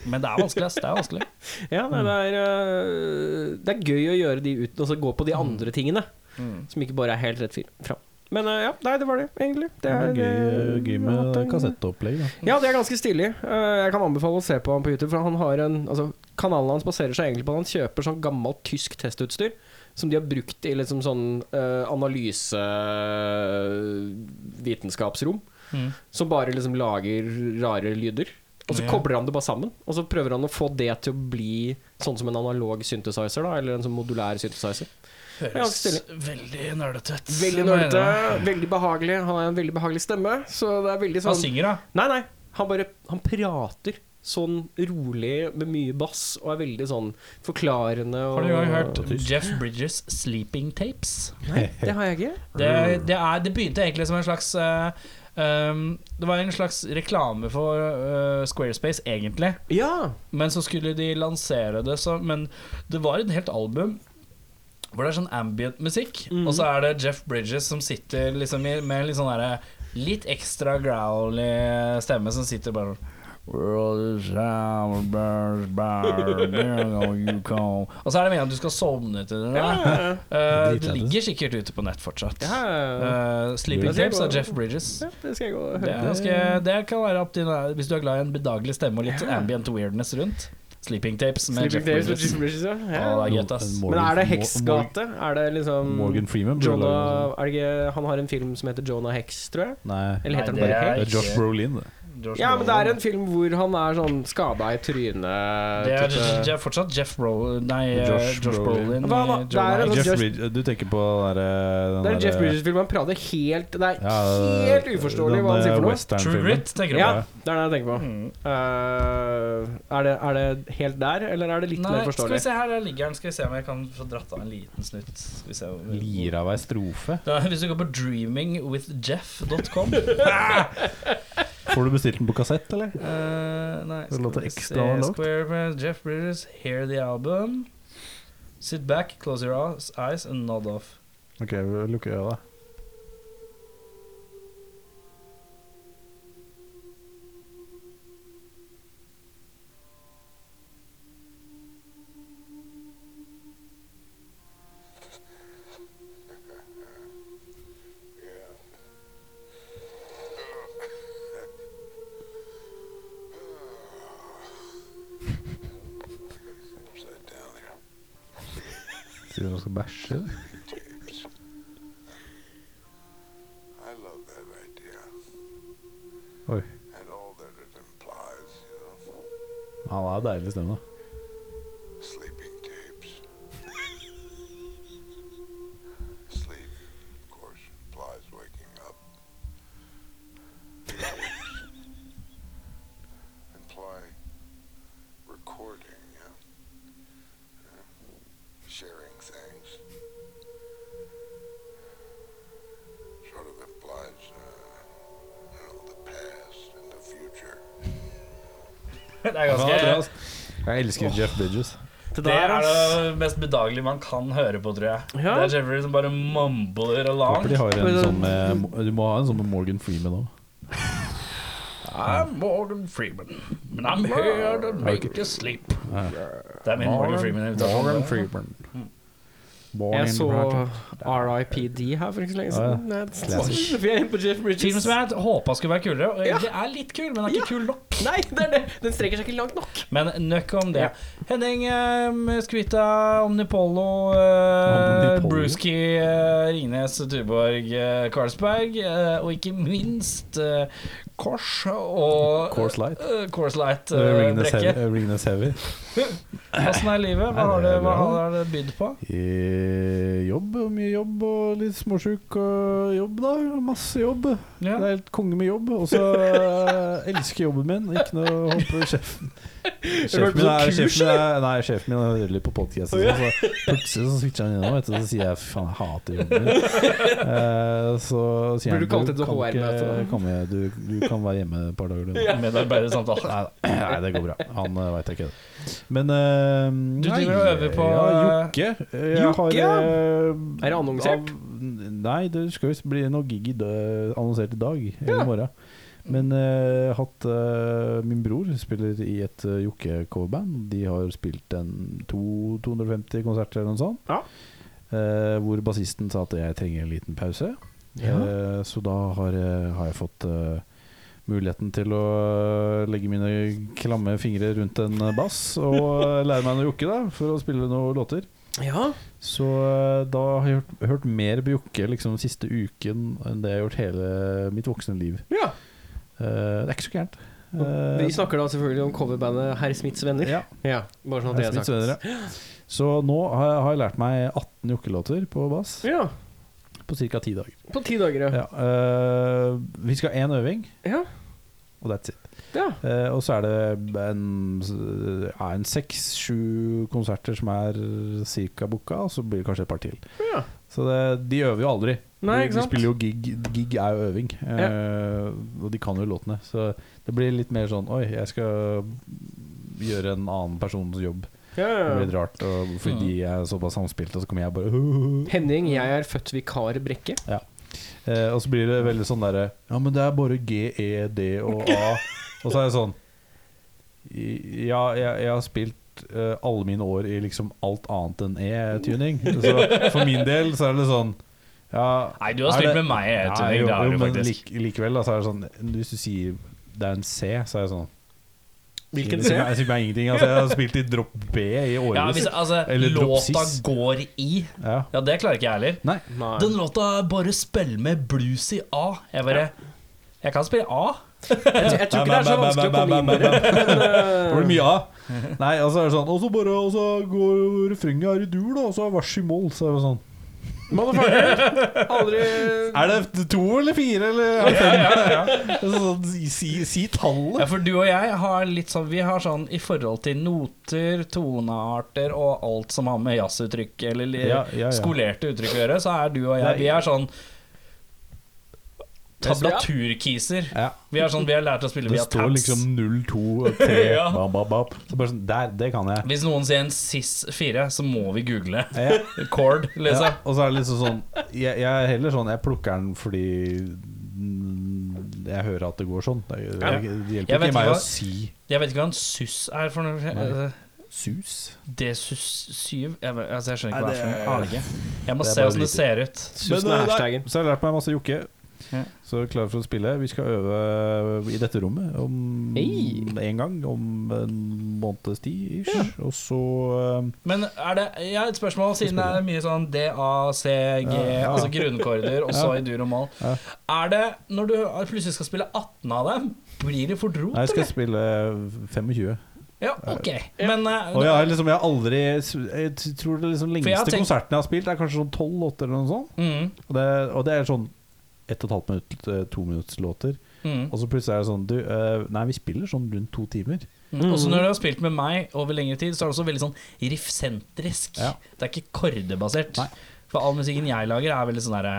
Speaker 3: Men det er vanskelig, ass. Det er vanskelig.
Speaker 1: Ja,
Speaker 3: Mm.
Speaker 1: nei, det, er, øh, det er gøy å gjøre de uten og så gå på de andre tingene.
Speaker 3: Mm.
Speaker 1: Som ikke bare er helt rett fri- fram. Men øh, ja, nei, det var det, egentlig.
Speaker 2: Det
Speaker 1: er,
Speaker 2: er gøy,
Speaker 1: øh,
Speaker 2: gøy
Speaker 1: hatt
Speaker 2: med
Speaker 1: en-
Speaker 2: kassetteopplegg. da.
Speaker 1: Ja, det er ganske stilig. Eh, Jeg kan anbefale å se på han på YouTube. For han har en, altså, Kanalen hans baserer seg egentlig på at han kjøper sånn gammelt tysk testutstyr. Som de har brukt i liksom sånn eh, analysevitenskapsrom.
Speaker 3: Mm.
Speaker 1: Som bare liksom lager rare lyder. Og så
Speaker 3: Ja.
Speaker 1: kobler han det bare sammen. Og så prøver han å få det til å bli sånn som en analog synthesizer. da Eller en sånn modulær synthesizer.
Speaker 3: Høres
Speaker 1: Ja,
Speaker 3: veldig nerdete ut.
Speaker 1: Veldig nerdete, veldig behagelig. Han har en veldig behagelig stemme. Så det er veldig
Speaker 3: Han
Speaker 1: sånn
Speaker 3: synger, da.
Speaker 1: Nei, nei. Han bare Han prater sånn rolig med mye bass og er veldig sånn forklarende. Og,
Speaker 3: Har du gang hørt Jeff Bridges Sleeping Tapes?
Speaker 1: Nei, det
Speaker 2: [LAUGHS]
Speaker 1: har jeg ikke.
Speaker 3: Det,
Speaker 1: Mm.
Speaker 3: det, er, det begynte egentlig som en slags eh, um, Det var en slags reklame for eh, Squarespace, egentlig.
Speaker 1: Ja.
Speaker 3: Men så skulle de lansere det så, Men det var et helt album hvor det er sånn ambient musikk,
Speaker 1: Mhm.
Speaker 3: og så er det Jeff Bridges som sitter liksom i, med litt sånn derre Litt ekstra growly stemme som sitter bare sånn, World is our
Speaker 1: [LAUGHS]
Speaker 3: best bar, there you go. Og så er det meningen at du skal sovne til det
Speaker 1: ja,
Speaker 3: der.
Speaker 1: ja, ja.
Speaker 3: Eh, det
Speaker 2: Dritlættis.
Speaker 3: ligger sikkert ute på nett fortsatt.
Speaker 1: ja.
Speaker 3: Eh, Sleeping
Speaker 1: Det er
Speaker 3: Tapes av
Speaker 1: bra.
Speaker 3: Jeff Bridges.
Speaker 1: ja det skal jeg gå og
Speaker 3: Det,
Speaker 1: høre.
Speaker 3: er ganske, det kan være opp til deg hvis du er glad i en bedagelig stemme og litt ambient weirdness rundt. Sleeping Tapes med
Speaker 1: Sleeping Days
Speaker 3: Jeff
Speaker 1: med
Speaker 3: Bridges.
Speaker 1: Jeff Bridges, ja. ja.
Speaker 3: Å, det er gøy, ass.
Speaker 2: En
Speaker 1: Men er det
Speaker 2: Morgan-
Speaker 1: heksgate? Er det liksom
Speaker 2: Morgan Freeman burde lage sånn.
Speaker 1: Jonah, er det ikke, Han har en film som heter Jonah Hex, tror jeg.
Speaker 2: Nei,
Speaker 1: Eller heter den
Speaker 3: Nei, det
Speaker 1: bare
Speaker 3: er-
Speaker 1: Hex?
Speaker 2: det er Josh Brolin, det.
Speaker 3: George
Speaker 1: Ja, men det er
Speaker 3: Brolin.
Speaker 1: en film hvor han er sånn skada i trynet
Speaker 3: Det er,
Speaker 1: type-
Speaker 3: det er fortsatt Jeff Brolin Nei, eh,
Speaker 2: Josh
Speaker 3: Josh,
Speaker 1: Brolin.
Speaker 3: Brolin.
Speaker 1: Hva da?
Speaker 3: i
Speaker 1: Det er
Speaker 3: Jonah
Speaker 1: en-
Speaker 3: Hex.
Speaker 2: Jeff
Speaker 1: Josh-
Speaker 2: Bridges, du tenker på den derre den
Speaker 1: Det er en Jeff
Speaker 2: derre-
Speaker 1: Bridges-film. Han prater helt Det er
Speaker 2: Ja,
Speaker 1: helt uforståelig hva han
Speaker 2: eh,
Speaker 1: sier for noe.
Speaker 3: True Grit, tenker du
Speaker 1: Ja,
Speaker 3: på?
Speaker 1: det er det jeg tenker på.
Speaker 3: Mm.
Speaker 1: Eh, er, det, er det helt der, eller er det litt
Speaker 3: Nei,
Speaker 1: mer
Speaker 3: skal vi
Speaker 1: forståelig?
Speaker 3: se her, der ligger den. Skal vi se om jeg kan få dratt av en liten snutt. Skal vi se hvor-
Speaker 2: Lir av ei strofe.
Speaker 3: Da, hvis du går på dreamingwithjeff.com
Speaker 2: Får du bestilt den på kassett, eller?
Speaker 3: Eh, Nei,
Speaker 2: Det låter
Speaker 3: skal vi
Speaker 2: ekstra langt.
Speaker 3: se Square Brand, Jeff Bridges, Hear the Album. Sit back, close your eyes- eyes and nod off.
Speaker 2: Ok, vi lukker øya. Sier du han skal bæsje?
Speaker 4: I love that idea
Speaker 2: Oi.
Speaker 4: and all that it implies, you know.
Speaker 2: Han er deilig stemme.
Speaker 4: Sleeping tapes. Sleep, of course, implies waking up. Tapes imply recording, yeah. Yeah. Sharing things. Sort of implies, uh, you know, the past and the future.
Speaker 3: Det er
Speaker 2: Ja, det er
Speaker 3: ganske
Speaker 2: altså- Jeg elsker Jeff Bridges.
Speaker 1: Det
Speaker 3: det
Speaker 1: der,
Speaker 3: er
Speaker 1: ass.
Speaker 3: det mest bedagelige man kan høre på, tror jeg.
Speaker 1: Ja.
Speaker 3: Det er Jeffrey som bare mumbler along.
Speaker 2: Håper de har en
Speaker 1: Men-
Speaker 2: sånn med Du må ha en sånn med Morgan Freeman òg.
Speaker 3: I'm Morgan Freeman, and I'm here to make you sleep. Det er min Morgan Freeman-invitasjon.
Speaker 2: Freeman.
Speaker 1: Jeg så RIPD her for ikke så lenge
Speaker 2: Ja, ja.
Speaker 1: siden. Det er
Speaker 2: Classic.
Speaker 1: Vi er inne på Jeff
Speaker 3: Film
Speaker 1: Bridges.
Speaker 3: som jeg håpa skulle være kulere, og egentlig er litt kul, men er ikke
Speaker 1: Ja.
Speaker 3: kul nok.
Speaker 1: Nei, det er det. den strekker seg ikke langt nok.
Speaker 3: Men nok om det.
Speaker 1: Ja.
Speaker 3: Henning eh, Skvita, Omnipollo, eh,
Speaker 2: Omnipollo?
Speaker 3: Bruski, eh, Ringnes, Tuborg, eh, Karlsberg, eh, og ikke minst eh, Kors og
Speaker 2: Coors Light.
Speaker 3: eh, Coors Light eh,
Speaker 2: Ringnes Heavy.
Speaker 3: brekke.
Speaker 2: eh, Ringnes Heavy.
Speaker 3: Åssen er livet? Hva
Speaker 2: Nei,
Speaker 3: har
Speaker 2: det
Speaker 3: det,
Speaker 2: er
Speaker 3: hva
Speaker 2: bra.
Speaker 3: har det bydd på?
Speaker 2: Eh, Jobb, og mye jobb og litt småsjuk og jobb, da. Masse jobb.
Speaker 3: Ja.
Speaker 2: Det er helt konge med jobb. Og så eh, elsker jeg jobben min. Ikke noe å håpe
Speaker 1: [LAUGHS]
Speaker 2: sjefen
Speaker 1: vært
Speaker 2: Sjefen
Speaker 1: på sånn
Speaker 2: min er
Speaker 1: kurs,
Speaker 2: sjefen min er, Nei, sjefen min hører litt på podkasten, så plutselig så switcher han innom, vet du, og så sier jeg faen, jeg hater
Speaker 1: [LAUGHS]
Speaker 2: jobben min. Eh, så
Speaker 1: Burde
Speaker 2: sier han
Speaker 1: du kalt det et
Speaker 2: kan ikke
Speaker 1: HR-møte, da?
Speaker 2: komme, du, du kan være hjemme et par dager, du.
Speaker 3: Medarbeidersamtale.
Speaker 2: Nei, [CLEARS THROAT] nei, det går bra. Han uh, veit jeg ikke. det. Men eh,
Speaker 3: Du
Speaker 2: nei,
Speaker 3: driver og øver på,
Speaker 2: Ja,
Speaker 3: eh,
Speaker 2: jokke. Jeg har eh,
Speaker 1: Er det annonsert?
Speaker 2: Av, nei, det skal visst bli noe gig i dø- annonsert i dag. Eller
Speaker 1: Ja.
Speaker 2: i morgen. Men eh, hatt eh, Min bror spiller i et uh, jokke-coverband. De har spilt en to, 250 konserter eller noe sånt.
Speaker 1: Ja.
Speaker 2: Eh, hvor bassisten sa at jeg trenger en liten pause. Eh, Så da har, jeg- har jeg fått eh, muligheten til å eh, legge mine klamme fingre rundt en bass og eh, lære meg noe jokke, da, for å spille noen låter.
Speaker 1: Ja.
Speaker 2: Så eh, da har jeg hørt, hørt mer på jokke liksom siste uken enn det jeg har gjort hele mitt voksne liv.
Speaker 1: ja.
Speaker 2: Eh, Det er ikke så gærent. Eh,
Speaker 1: Vi snakker da selvfølgelig om coverbandet Herr Smiths venner.
Speaker 2: ja,
Speaker 1: Ja, bare sånn at det
Speaker 2: jeg
Speaker 1: er
Speaker 2: er
Speaker 1: sagt.
Speaker 2: smittsvenner, ja. Så nå har jeg, har jeg lært meg 18 jokkelåter på bass
Speaker 1: Ja,
Speaker 2: på ca. 10 dager.
Speaker 1: på ti dager, ja.
Speaker 2: Ja, eh, vi skal ha én øving,
Speaker 1: Ja,
Speaker 2: og that's it.
Speaker 1: ja.
Speaker 2: Eh, og så er det en, ja, en seks-sju konserter som er cirka booka, og så blir det kanskje et par til.
Speaker 1: Ja.
Speaker 2: Så det, de øver jo aldri.
Speaker 1: Nei,
Speaker 2: de,
Speaker 1: ikke
Speaker 2: de
Speaker 1: sant?
Speaker 2: spiller jo gig. Gig er jo øving, eh, og de kan jo låtene. Så det blir litt mer sånn Oi, jeg skal gjøre en annen persons jobb.
Speaker 1: Ja,
Speaker 2: Det
Speaker 1: ja,
Speaker 2: blir
Speaker 1: ja.
Speaker 2: litt rart, og
Speaker 1: Mm.
Speaker 2: fordi de er såpass samspilte, og så kommer jeg bare [LAUGHS]
Speaker 1: Henning, jeg er født vikar Brekke.
Speaker 2: Eh, og så blir det veldig sånn derre Ja, men det er bare G, E, D og A. Og så er jeg sånn i- Ja, jeg, jeg har spilt eh, alle mine år i liksom alt annet enn E-tuning. Så for min del så er det sånn ja,
Speaker 3: Nei, du har
Speaker 2: er
Speaker 3: spilt
Speaker 2: det-
Speaker 3: med meg, jeg,
Speaker 2: Ja,
Speaker 3: Tuning,
Speaker 2: jo,
Speaker 3: det har
Speaker 2: jo,
Speaker 3: du
Speaker 2: men
Speaker 3: faktisk.
Speaker 2: lik, likevel, da, så er det sånn Hvis du sier det er en C, så er jeg sånn
Speaker 1: Hvilken
Speaker 2: Det
Speaker 1: C?
Speaker 2: sier meg- sier meg ingenting. Altså, jeg har spilt i drop B i årevis.
Speaker 3: Ja, hvis, altså,
Speaker 2: Eller drop
Speaker 3: låta
Speaker 2: sys.
Speaker 3: går i.
Speaker 2: Ja.
Speaker 3: Ja, det klarer ikke jeg heller.
Speaker 2: Nei.
Speaker 1: Nei.
Speaker 3: Den låta bare spiller med blues i A. Jeg bare Jeg kan spille A.
Speaker 1: Jeg tror ikke det er så vanskelig å komme eh, inn i det.
Speaker 2: Det blir mye av. [LAUGHS] Nei, altså er det sånn Og så bare Og så går jo refrenget her i dur, da, og så er vers i mål. Så er det sånn
Speaker 1: Motherfucker! Aldri
Speaker 2: Er det to eller fire eller er [LAUGHS] det fem? Altså, sånn, si, si, si tallet.
Speaker 3: Ja, for du og jeg har litt sånn Vi har sånn i forhold til noter, tonearter og alt som har med jazzuttrykk eller li-
Speaker 2: Ja, ja, ja.
Speaker 3: skolerte uttrykk å gjøre, så er du og jeg Vi er sånn Tablaturkiser.
Speaker 2: Ja.
Speaker 3: Vi er sånn Vi har lært å spille
Speaker 2: Det
Speaker 3: via
Speaker 2: står
Speaker 3: tabs.
Speaker 2: liksom 0, 2 og 3
Speaker 3: [LAUGHS] Ja.
Speaker 2: bap, bap, bap. Så bare sånn, Der, det kan
Speaker 3: [LAUGHS]
Speaker 2: jeg.
Speaker 3: Hvis noen sier en SIS4, så må vi google.
Speaker 2: [LAUGHS] Ja.
Speaker 3: Chord,
Speaker 2: Ja,
Speaker 3: liksom.
Speaker 2: og så er det liksom sånn jeg, jeg er heller sånn Jeg plukker den fordi mm, jeg hører at det går sånn. Det, det,
Speaker 3: Ja.
Speaker 2: det
Speaker 3: Jeg
Speaker 2: hjelper
Speaker 3: vet
Speaker 2: ikke meg
Speaker 3: hva-
Speaker 2: å si
Speaker 3: Jeg vet ikke hva en SUS er for noe.
Speaker 2: Nei. sus.
Speaker 3: D-SUS7 jeg, vet- altså, jeg skjønner ikke hva
Speaker 2: Nei,
Speaker 3: det er for
Speaker 2: det
Speaker 3: noe. Aner ikke. Jeg må
Speaker 2: det er
Speaker 3: se
Speaker 2: bare
Speaker 3: åssen det ser ut.
Speaker 1: Susen
Speaker 2: Men,
Speaker 1: er
Speaker 2: eh, der-
Speaker 1: hashtagen.
Speaker 2: Så har jeg lært meg masse jokke.
Speaker 3: Ja.
Speaker 2: Så klar for å spille. Vi skal øve i dette rommet om
Speaker 1: Hei.
Speaker 2: en gang. Om en måneds tid. ish. Og så eh,
Speaker 3: Men er det Jeg har et spørsmål, siden det er mye sånn D, A, C, G, [LAUGHS] altså grunnkorder, og så i dur og mål.
Speaker 2: Ja.
Speaker 3: Er det, når du plutselig skal spille 18 av dem, blir det fort rot,
Speaker 2: Nei, jeg skal
Speaker 3: eller?
Speaker 2: spille 25.
Speaker 3: Ja, ok. Men eh,
Speaker 2: Og jeg, har liksom, jeg har aldri Jeg tror det liksom
Speaker 3: For jeg har
Speaker 2: lengste
Speaker 3: tenkt-
Speaker 2: konserten jeg har spilt, er kanskje sånn 12 låter eller noe sånt.
Speaker 3: mm,
Speaker 2: Og det, og det er sånn 1 12 minutt, eh, to minutts låter.
Speaker 3: mm.
Speaker 2: Og så plutselig er det sånn du, eh, Nei, vi spiller sånn rundt to timer.
Speaker 3: Mm. Også når du har spilt med meg over lengre tid, så er det også veldig sånn riffsentrisk.
Speaker 2: Ja.
Speaker 3: Det er ikke kordebasert.
Speaker 2: Nei.
Speaker 3: For all musikken jeg lager, er veldig sånn derre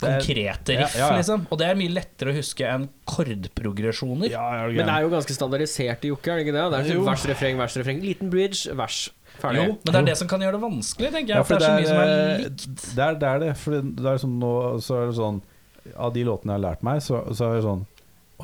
Speaker 3: Konkrete
Speaker 2: ja,
Speaker 3: riff,
Speaker 2: ja, ja.
Speaker 3: liksom. Og det er mye lettere å huske enn kordprogresjoner.
Speaker 2: Ja,
Speaker 1: Men det er jo ganske standardisert i jokke, er det ikke det? Det er
Speaker 2: Jo.
Speaker 1: typ vers, refreng, vers, refreng. Liten bridge, vers. Ferdig.
Speaker 3: Jo, men det er det som kan gjøre det vanskelig, tenker jeg.
Speaker 2: Ja,
Speaker 3: for det er så mye som er
Speaker 2: eh,
Speaker 3: likt.
Speaker 2: Det er det. Er det for det det er sånn, nå, så er det sånn Av de låtene jeg har lært meg, så, så er det sånn Å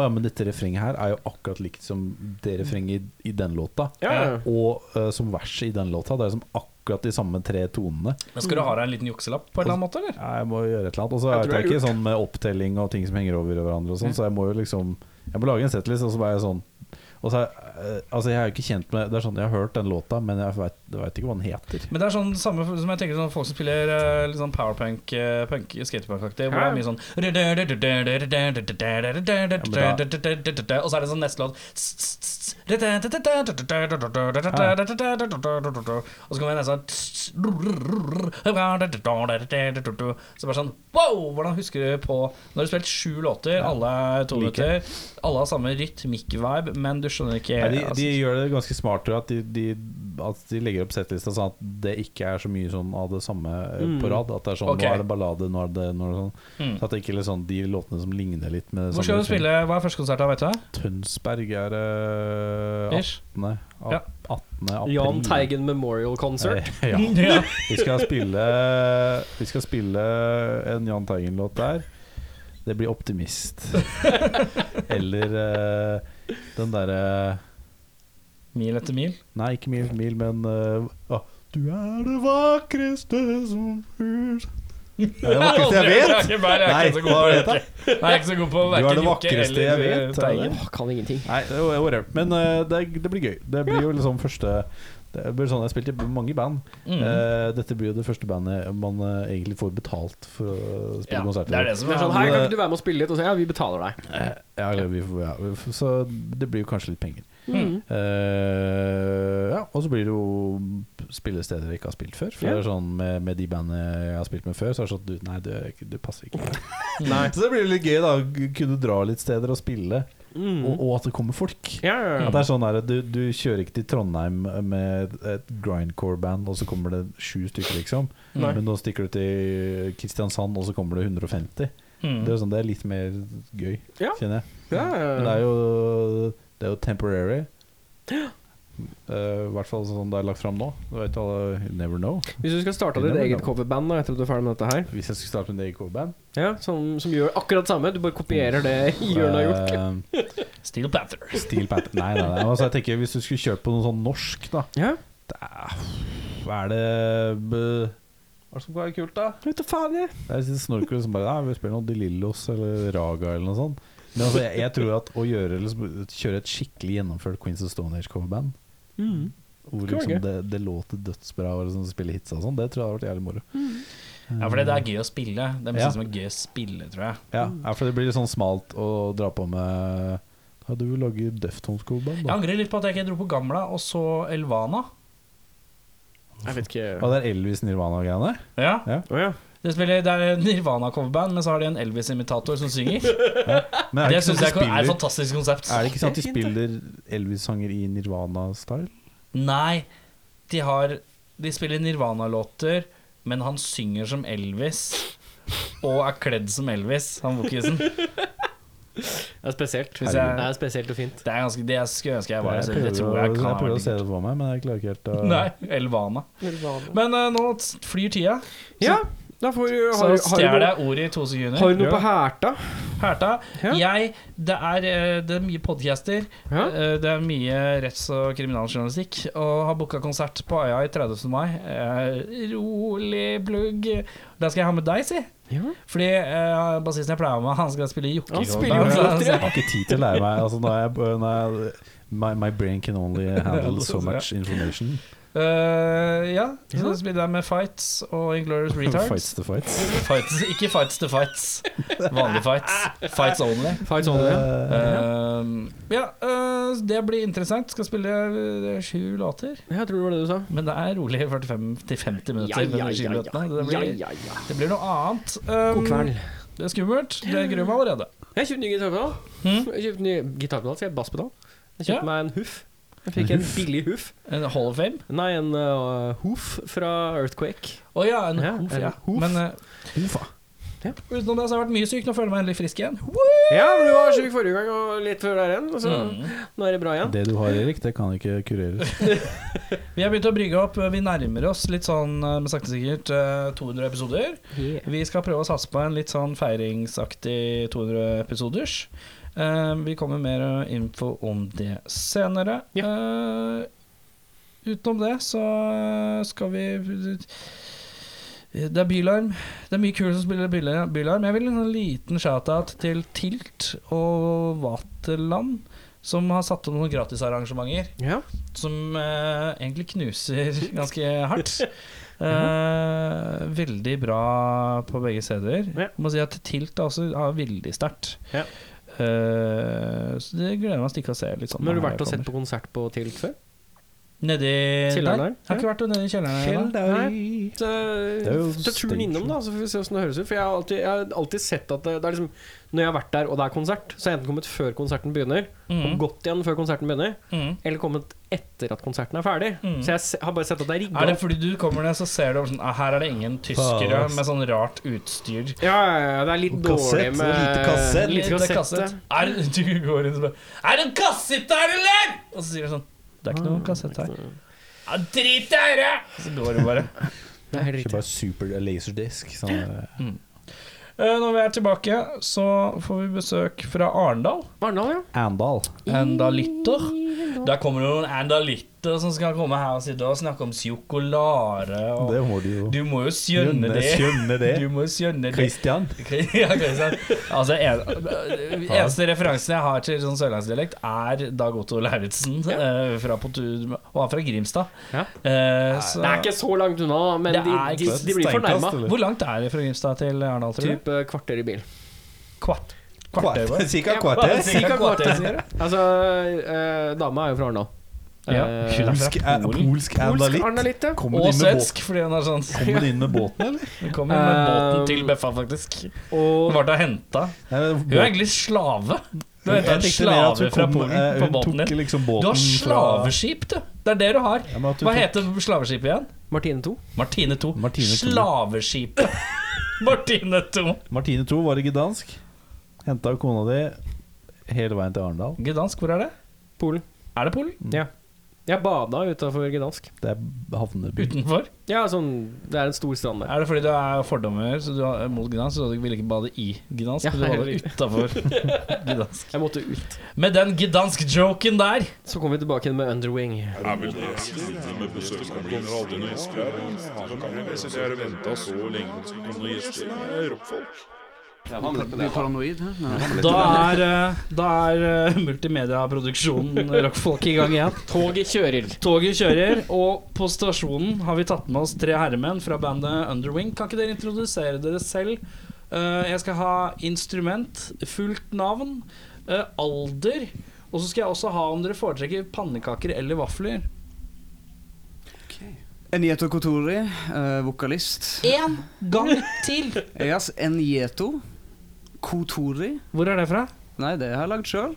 Speaker 2: ja, men dette refrenget her er jo akkurat likt som det refrenget i, i den låta.
Speaker 1: Ja, ja.
Speaker 2: Og eh, som verset i den låta. Det er som akkurat de samme tre tonene.
Speaker 3: Men skal du ha deg en liten jukselapp på en eller annen måte, eller?
Speaker 2: Ja, jeg må gjøre et eller annet. Og så
Speaker 1: Jeg
Speaker 2: vet
Speaker 1: tror
Speaker 2: jeg
Speaker 1: det er
Speaker 2: ikke sånn med opptelling og ting som henger over hverandre og sånn, så jeg må jo liksom Jeg må lage en settlist, og så bare sånn og så, er- eh, altså Jeg er jo ikke kjent med Det er sånn, jeg har hørt den låta, men jeg vet, jeg vet ikke hva den heter.
Speaker 3: Men det er sånn samme som jeg tenker sånn folk som spiller eh, litt sånn powerpunk, eh, punk, skatepunk-aktig, hvor det er mye sånn Og så er det sånn neste låt Og så kommer det nesten sånn Så bare sånn Wow! Hvordan husker du på Nå har du spilt sju låter, alle er to
Speaker 2: Like.
Speaker 3: minutter, alle har samme rytmikk-vibe, men du skjønner ikke
Speaker 2: Nei, de,
Speaker 3: altså-
Speaker 2: de gjør det ganske smart tror jeg, at de, de, at de legger opp settlista sånn at det ikke er så mye sånn av det samme eh, på rad. At det er sånn
Speaker 3: Mm. Ok.
Speaker 2: Nå er det ballade, nå er det, nå er det sånn.
Speaker 3: Mm.
Speaker 2: Så at det ikke er litt sånn de låtene som ligner litt med det
Speaker 3: Hvor
Speaker 2: samme
Speaker 3: skal du
Speaker 2: refrenget.
Speaker 3: spille? Hva er første konsert da, vet du? det?
Speaker 2: Tønsberg er eh,
Speaker 3: Ish.
Speaker 2: 18.
Speaker 3: Ja.
Speaker 2: ap- 18. april.
Speaker 1: Jahn Teigen Memorial Concert.
Speaker 3: [LAUGHS]
Speaker 2: Eh, [LAUGHS] ja. Vi skal spille Vi skal spille en Jahn Teigen-låt der. Det blir 'Optimist'.
Speaker 3: [LAUGHS]
Speaker 2: Eller eh, den derre
Speaker 3: Mil etter mil.
Speaker 2: Nei, ikke mil, mil men eh, ah, Du er det vakreste som hus Det er det vakreste jeg vet!
Speaker 3: Jeg er
Speaker 2: Nei,
Speaker 3: ikke så
Speaker 2: hva
Speaker 3: god på
Speaker 2: vet
Speaker 3: det.
Speaker 2: jeg?
Speaker 3: Nei, jeg er ikke så god på
Speaker 2: Du er
Speaker 3: hverken
Speaker 2: det
Speaker 3: Jokke
Speaker 2: vakreste jeg
Speaker 3: eller eh,
Speaker 2: vet. er det
Speaker 3: Teigen.
Speaker 2: det?
Speaker 1: Åh, kan ingenting.
Speaker 2: Nei, det var- whatever. Men eh, det, er- det blir gøy. Det blir jo liksom første det blir sånn, Jeg har spilt i mange band.
Speaker 3: Mm.
Speaker 2: Eh, dette blir jo det første bandet man eh, egentlig får betalt for å spille
Speaker 3: Ja,
Speaker 2: konsert
Speaker 3: det er det som
Speaker 1: Det
Speaker 3: er
Speaker 1: er sånn,
Speaker 3: sånn
Speaker 1: her kan ikke du være med og spille litt? Og så, ja, vi betaler deg.
Speaker 2: Eh, ja, eller vi får, ja, vi får- så det blir jo kanskje litt penger.
Speaker 1: Mm.
Speaker 2: Eh, ja, og så blir det jo spillesteder jeg ikke har spilt før. For
Speaker 1: Ja.
Speaker 2: det er sånn med, med de bandene jeg har spilt med før, så er det sånn du, Nei, det, er ikke- det passer ikke.
Speaker 1: Nei.
Speaker 2: Så det blir jo litt gøy, da. å Kunne dra litt steder og spille,
Speaker 1: Mm.
Speaker 2: og, og at det kommer folk.
Speaker 1: Ja, ja, ja.
Speaker 2: At det er sånn der, at du, du kjører ikke til Trondheim med et grindcore-band, og så kommer det sju stykker, liksom.
Speaker 1: Nei.
Speaker 2: Men nå stikker du til Kristiansand, og så kommer det 150.
Speaker 3: Mm.
Speaker 2: Det er, sånn, det er litt mer gøy,
Speaker 1: Ja.
Speaker 2: kjenner jeg.
Speaker 1: Ja, ja,
Speaker 2: Men det
Speaker 1: ja.
Speaker 2: er jo, det er jo temporary. Eh, I hvert fall sånn det er lagt fram nå. Du vet alle you Never know.
Speaker 1: Hvis du skal starte ditt eget coverband da, etter at du er ferdig med dette her,
Speaker 2: Hvis jeg skulle starte med et eget coverband
Speaker 1: ja, som, som gjør akkurat samme, du bare kopierer det Jørn har gjort.
Speaker 2: eh,
Speaker 3: Steel Panther.
Speaker 2: Steel Panther Nei, nei, nei. Altså, jeg tenker, hvis du skulle kjørt på noe sånn norsk, da
Speaker 1: Ja,
Speaker 2: Hva er det b- Hva er det som kan være kult, da?
Speaker 1: vet du faen jeg.
Speaker 2: Det er snorkere som bare Nei, vi spiller noe De Lillos eller Raga eller noe sånt. Men altså, jeg, jeg tror at å gjøre, liksom, kjøre et skikkelig gjennomført Queens of Stone Age-coverband
Speaker 1: Mm.
Speaker 2: hvor
Speaker 1: Kan være gøy.
Speaker 2: liksom det, det låter dødsbra og liksom spille hits og sånn, det tror jeg hadde vært jævlig moro.
Speaker 3: Ja, for det er gøy å spille. Det er mye
Speaker 2: Ja.
Speaker 3: som er gøy å spille, tror jeg.
Speaker 2: Ja,
Speaker 1: Mm.
Speaker 2: ja, for det blir litt sånn smalt å dra på med Da du lager Deftones-coverband,
Speaker 3: Jeg
Speaker 2: da.
Speaker 3: angrer litt på at jeg ikke dro på Gamla og så Elvana.
Speaker 1: Jeg vet ikke
Speaker 2: Ja, det er Elvis Nirvana-greiene?
Speaker 3: Ja,
Speaker 1: Å ja.
Speaker 3: Det, spiller, det er Nirvana-coverband, men så har de en Elvis-imitator som
Speaker 2: [LAUGHS]
Speaker 3: synger.
Speaker 2: Men
Speaker 3: Det
Speaker 2: ikke sånn
Speaker 3: syns jeg
Speaker 2: at de
Speaker 3: er et
Speaker 2: spiller-
Speaker 3: fantastisk konsept.
Speaker 2: er det ikke sånn at de
Speaker 1: Det er fint,
Speaker 2: spiller Elvis-sanger i Nirvana-style?
Speaker 3: Nei, de har De spiller Nirvana-låter, men han synger som Elvis. Og er kledd som Elvis, han vokisen. Det
Speaker 1: Det er spesielt.
Speaker 3: Hvis jeg-
Speaker 1: Det er spesielt og fint.
Speaker 3: er ganske Det jeg skulle ønske jeg var.
Speaker 2: Jeg
Speaker 3: Jeg,
Speaker 2: prøver,
Speaker 3: det tror jeg
Speaker 2: å-
Speaker 3: kan
Speaker 2: jeg
Speaker 3: ha
Speaker 2: prøver å
Speaker 3: vært
Speaker 2: se det for meg, men jeg klarer ikke helt
Speaker 3: [LAUGHS]
Speaker 2: å
Speaker 3: Nei, Elvana. Men eh, nå t- flyr tida,
Speaker 1: Ja, da får du
Speaker 3: så stjeler jeg ordet i to sekunder.
Speaker 1: du noe på herta?
Speaker 3: Herta,
Speaker 1: Ja.
Speaker 3: jeg Det er, eh, det er mye podcaster.
Speaker 1: Ja.
Speaker 3: Eh, Det er mye retts- og kriminaljournalistikk. Og har booka konsert på Øya i 30. mai. Eh, Rolig plugg. Der skal jeg ha med deg, si.
Speaker 1: Ja.
Speaker 3: Fordi eh, bassisten jeg pleier å ha med, han skal spille jokker.
Speaker 1: Han
Speaker 3: og-
Speaker 1: spiller jo
Speaker 3: [LAUGHS] Så-
Speaker 1: flauter, ja.
Speaker 2: Jeg har ikke tid til å lære meg. Altså, når jeg, når jeg, my, my brain
Speaker 3: [LAUGHS]
Speaker 2: can only handle so much information.
Speaker 3: Eh, ja, så spiller jeg med Fights og Inglorious
Speaker 2: [LAUGHS] Fights
Speaker 3: Retards.
Speaker 2: to fights.
Speaker 3: fights. Ikke Fights to Fights. Vanlige fights. Fights only.
Speaker 1: Fight sånn, ja.
Speaker 3: Eh, ja, eh, det blir interessant. Skal spille eh, sju låter.
Speaker 1: Jeg tror det var det du sa.
Speaker 3: Men det er rolig 45-50 minutter.
Speaker 1: Ja, ja,
Speaker 3: mellom de sju
Speaker 1: ja, ja.
Speaker 3: minuttene. Det, blir,
Speaker 1: Ja, ja, ja.
Speaker 3: det blir noe annet. Um,
Speaker 1: God kveld.
Speaker 3: Det er skummelt. Det gruer meg allerede.
Speaker 1: Mm. Jeg kjøpte ny gitarpedal.
Speaker 3: Hmm?
Speaker 1: Jeg kjøpte ny gitarpedal, sier jeg basspedal. Jeg
Speaker 3: Ja.
Speaker 1: kjøpte meg en huff. Jeg fikk en billig huff.
Speaker 3: En Hall of Fame?
Speaker 1: Nei, en uh, hoof fra Earthquake.
Speaker 3: Å ja, en
Speaker 1: Ja,
Speaker 3: hof.
Speaker 1: en
Speaker 3: Ja.
Speaker 1: hof.
Speaker 3: Men eh,
Speaker 2: Uffa.
Speaker 3: utenom det så har jeg vært mye syk. Nå føler jeg meg endelig frisk igjen.
Speaker 1: Ja, for du var syk forrige gang og litt før der igjen. og Så
Speaker 3: Mm.
Speaker 1: nå er det bra igjen.
Speaker 2: Det du har, Erik, det kan ikke kureres.
Speaker 3: Vi har begynt å brygge opp. Vi nærmer oss litt sånn, eh, men sakte sikkert, eh, 200 episoder. Vi skal prøve å satse på en litt sånn feiringsaktig 200 episoders. Eh, vi kommer med mer eh, info om det senere.
Speaker 1: Ja.
Speaker 3: Eh, utenom det så eh, skal vi Det er Bylarm. Det er mye kule som spiller Byla- Bylarm. Jeg vil ha en liten shout-out til Tilt og Vaterland, som har satt opp noen gratisarrangementer
Speaker 1: Ja.
Speaker 3: som eh, egentlig
Speaker 1: [LAUGHS]
Speaker 3: knuser ganske hardt. Eh, veldig bra på begge steder.
Speaker 1: Ja.
Speaker 3: Må si at Tilt er også er veldig sterkt.
Speaker 1: Ja.
Speaker 3: Eh, så det gleder jeg meg til ikke å se. Litt sånn
Speaker 1: Men har du
Speaker 3: når
Speaker 1: vært og
Speaker 3: jeg
Speaker 1: sett
Speaker 3: kommer.
Speaker 1: på konsert på Tilt før?
Speaker 3: Nedi
Speaker 1: Kjelleren
Speaker 3: der?
Speaker 1: der?
Speaker 3: Jeg har ikke vært nedi kjelleren ennå.
Speaker 1: Nei. Så,
Speaker 2: Det er jo
Speaker 1: så turen
Speaker 2: stage.
Speaker 1: innom, da, så får vi se åssen det høres ut. For jeg har alltid, jeg har alltid sett at det, det er liksom Når jeg har vært der og det er konsert, så har jeg enten kommet før konserten begynner, og
Speaker 3: Mm,
Speaker 1: gått igjen før konserten begynner,
Speaker 3: mm.
Speaker 1: eller kommet etter at konserten er ferdig.
Speaker 3: Mm.
Speaker 1: Så jeg se- har bare sett at det er rigga.
Speaker 3: Er det fordi du kommer ned, så ser du over sånn ah, Her er det ingen
Speaker 1: Ah.
Speaker 3: tyskere
Speaker 2: Faen, ass.
Speaker 3: med sånn rart utstyr.
Speaker 1: Ja, ja, ja, det er litt
Speaker 2: Og
Speaker 1: dårlig
Speaker 2: kassett,
Speaker 1: med
Speaker 2: lite kassett.
Speaker 1: Lite kassett,
Speaker 3: kassett. Er, det- du går inn og bare Er det en kassett der, eller?! Og så sier du sånn Det er ikke noe kassett her. Ja, drit i det! Så går det bare.
Speaker 1: ja. Det er helt
Speaker 2: Ikke
Speaker 1: riktig.
Speaker 2: bare super laserdisk. Sånn, eh,
Speaker 3: [LAUGHS] Eh, Når vi er tilbake, så får vi besøk fra Arendal.
Speaker 1: Arendal, ja.
Speaker 2: Andal.
Speaker 3: Andalitter. Der kommer det noen andalitter som skal komme her og sitte og snakke om sjokolade. Og
Speaker 2: Det må du jo
Speaker 3: du må jo skjønne det.
Speaker 2: Skjønne det.
Speaker 3: [LAUGHS] Du må jo skjønne det.
Speaker 2: Christian.
Speaker 3: Ja, Kristian. Altså, en, eneste referansen jeg har til sånn sørlandsdialekt, er Dag Otto Lauritzen. eh, fra på tur- og han er fra Grimstad.
Speaker 1: Ja.
Speaker 3: Eh, så,
Speaker 1: Det er ikke så langt unna, men
Speaker 3: Det
Speaker 1: de,
Speaker 3: er
Speaker 1: de,
Speaker 3: ikke
Speaker 1: de blir
Speaker 2: Steinkast,
Speaker 1: fornærma.
Speaker 2: eller?
Speaker 3: hvor langt er det fra Grimstad til Arendal, tror du?
Speaker 1: Type kvarter i bil.
Speaker 3: Kvart, kvarter, bare.
Speaker 2: [LAUGHS] Cirka
Speaker 1: Ja,
Speaker 3: [LAUGHS]
Speaker 2: kvarter.
Speaker 1: cirka kvarter,
Speaker 3: sier
Speaker 1: sier
Speaker 3: jeg.
Speaker 1: jeg. Altså, eh, dama er jo fra Arendal.
Speaker 3: Ja.
Speaker 1: Eh,
Speaker 3: Hun er
Speaker 2: Polsk,
Speaker 3: fra
Speaker 2: eh,
Speaker 3: Polen.
Speaker 2: polsk
Speaker 1: Polsk
Speaker 2: andalitt.
Speaker 1: Arendalitt, ja.
Speaker 2: Kommer
Speaker 3: Og
Speaker 2: du inn med båt?
Speaker 3: svensk, fordi hun er sånn
Speaker 2: [LAUGHS] Kommer du inn med båten, eller?
Speaker 3: Hun kommer med båten
Speaker 1: Um,
Speaker 3: til Beffa, faktisk. Hun
Speaker 1: Og
Speaker 3: ble da henta. Hun er egentlig slave. Du er en slave fra Polen på båten din.
Speaker 2: liksom
Speaker 3: Du
Speaker 2: båten
Speaker 3: har slaveskip, du. Det er det du har.
Speaker 2: Ja, men at du
Speaker 3: Hva
Speaker 2: tok-
Speaker 3: heter slaveskipet igjen?
Speaker 1: Martine 2.
Speaker 3: Martine 2.
Speaker 2: Martine II.
Speaker 3: [LAUGHS] Slaveskipet. Martine 2.
Speaker 2: Martine 2 var i Gdansk. Henta kona di hele veien til Arendal.
Speaker 3: Gdansk, hvor er det? Mm.
Speaker 1: Polen.
Speaker 3: Er det Polen?
Speaker 5: Mm.
Speaker 1: Ja. Jeg bada utafor Gdansk.
Speaker 2: Det er havneby.
Speaker 3: Utenfor?
Speaker 1: Ja, sånn Det er en stor strand der.
Speaker 3: Er det fordi du er fordommer så du har, mot Gdansk, så du ville ikke bade i Gdansk?
Speaker 1: Ja,
Speaker 3: men du bader
Speaker 1: heller ikke.
Speaker 3: utafor [LAUGHS] Gdansk.
Speaker 1: Jeg måtte ut.
Speaker 3: Med den Gdansk-joken der
Speaker 1: Så kom vi tilbake igjen med Underwing.
Speaker 6: Sitter her og venter så lenge på å komme noen gjester. Det er rockfolk. Blir paranoid? hæ? Nei.
Speaker 3: Da er, eh, da er eh, multimediaproduksjonen eh, Rockfolk i gang igjen.
Speaker 1: Toget kjører.
Speaker 3: Toget kjører, og på stasjonen har vi tatt med oss tre herremenn fra bandet Underwing. Kan ikke dere introdusere dere selv? Eh, jeg skal ha instrument, fullt navn, eh, alder, og så skal jeg også ha om dere foretrekker pannekaker eller vafler.
Speaker 6: Enieto Kotori, eh, vokalist.
Speaker 3: Én gang til!
Speaker 6: Yes, Enieto Kotori.
Speaker 3: Hvor er det fra?
Speaker 6: Nei, det har jeg lagd sjøl.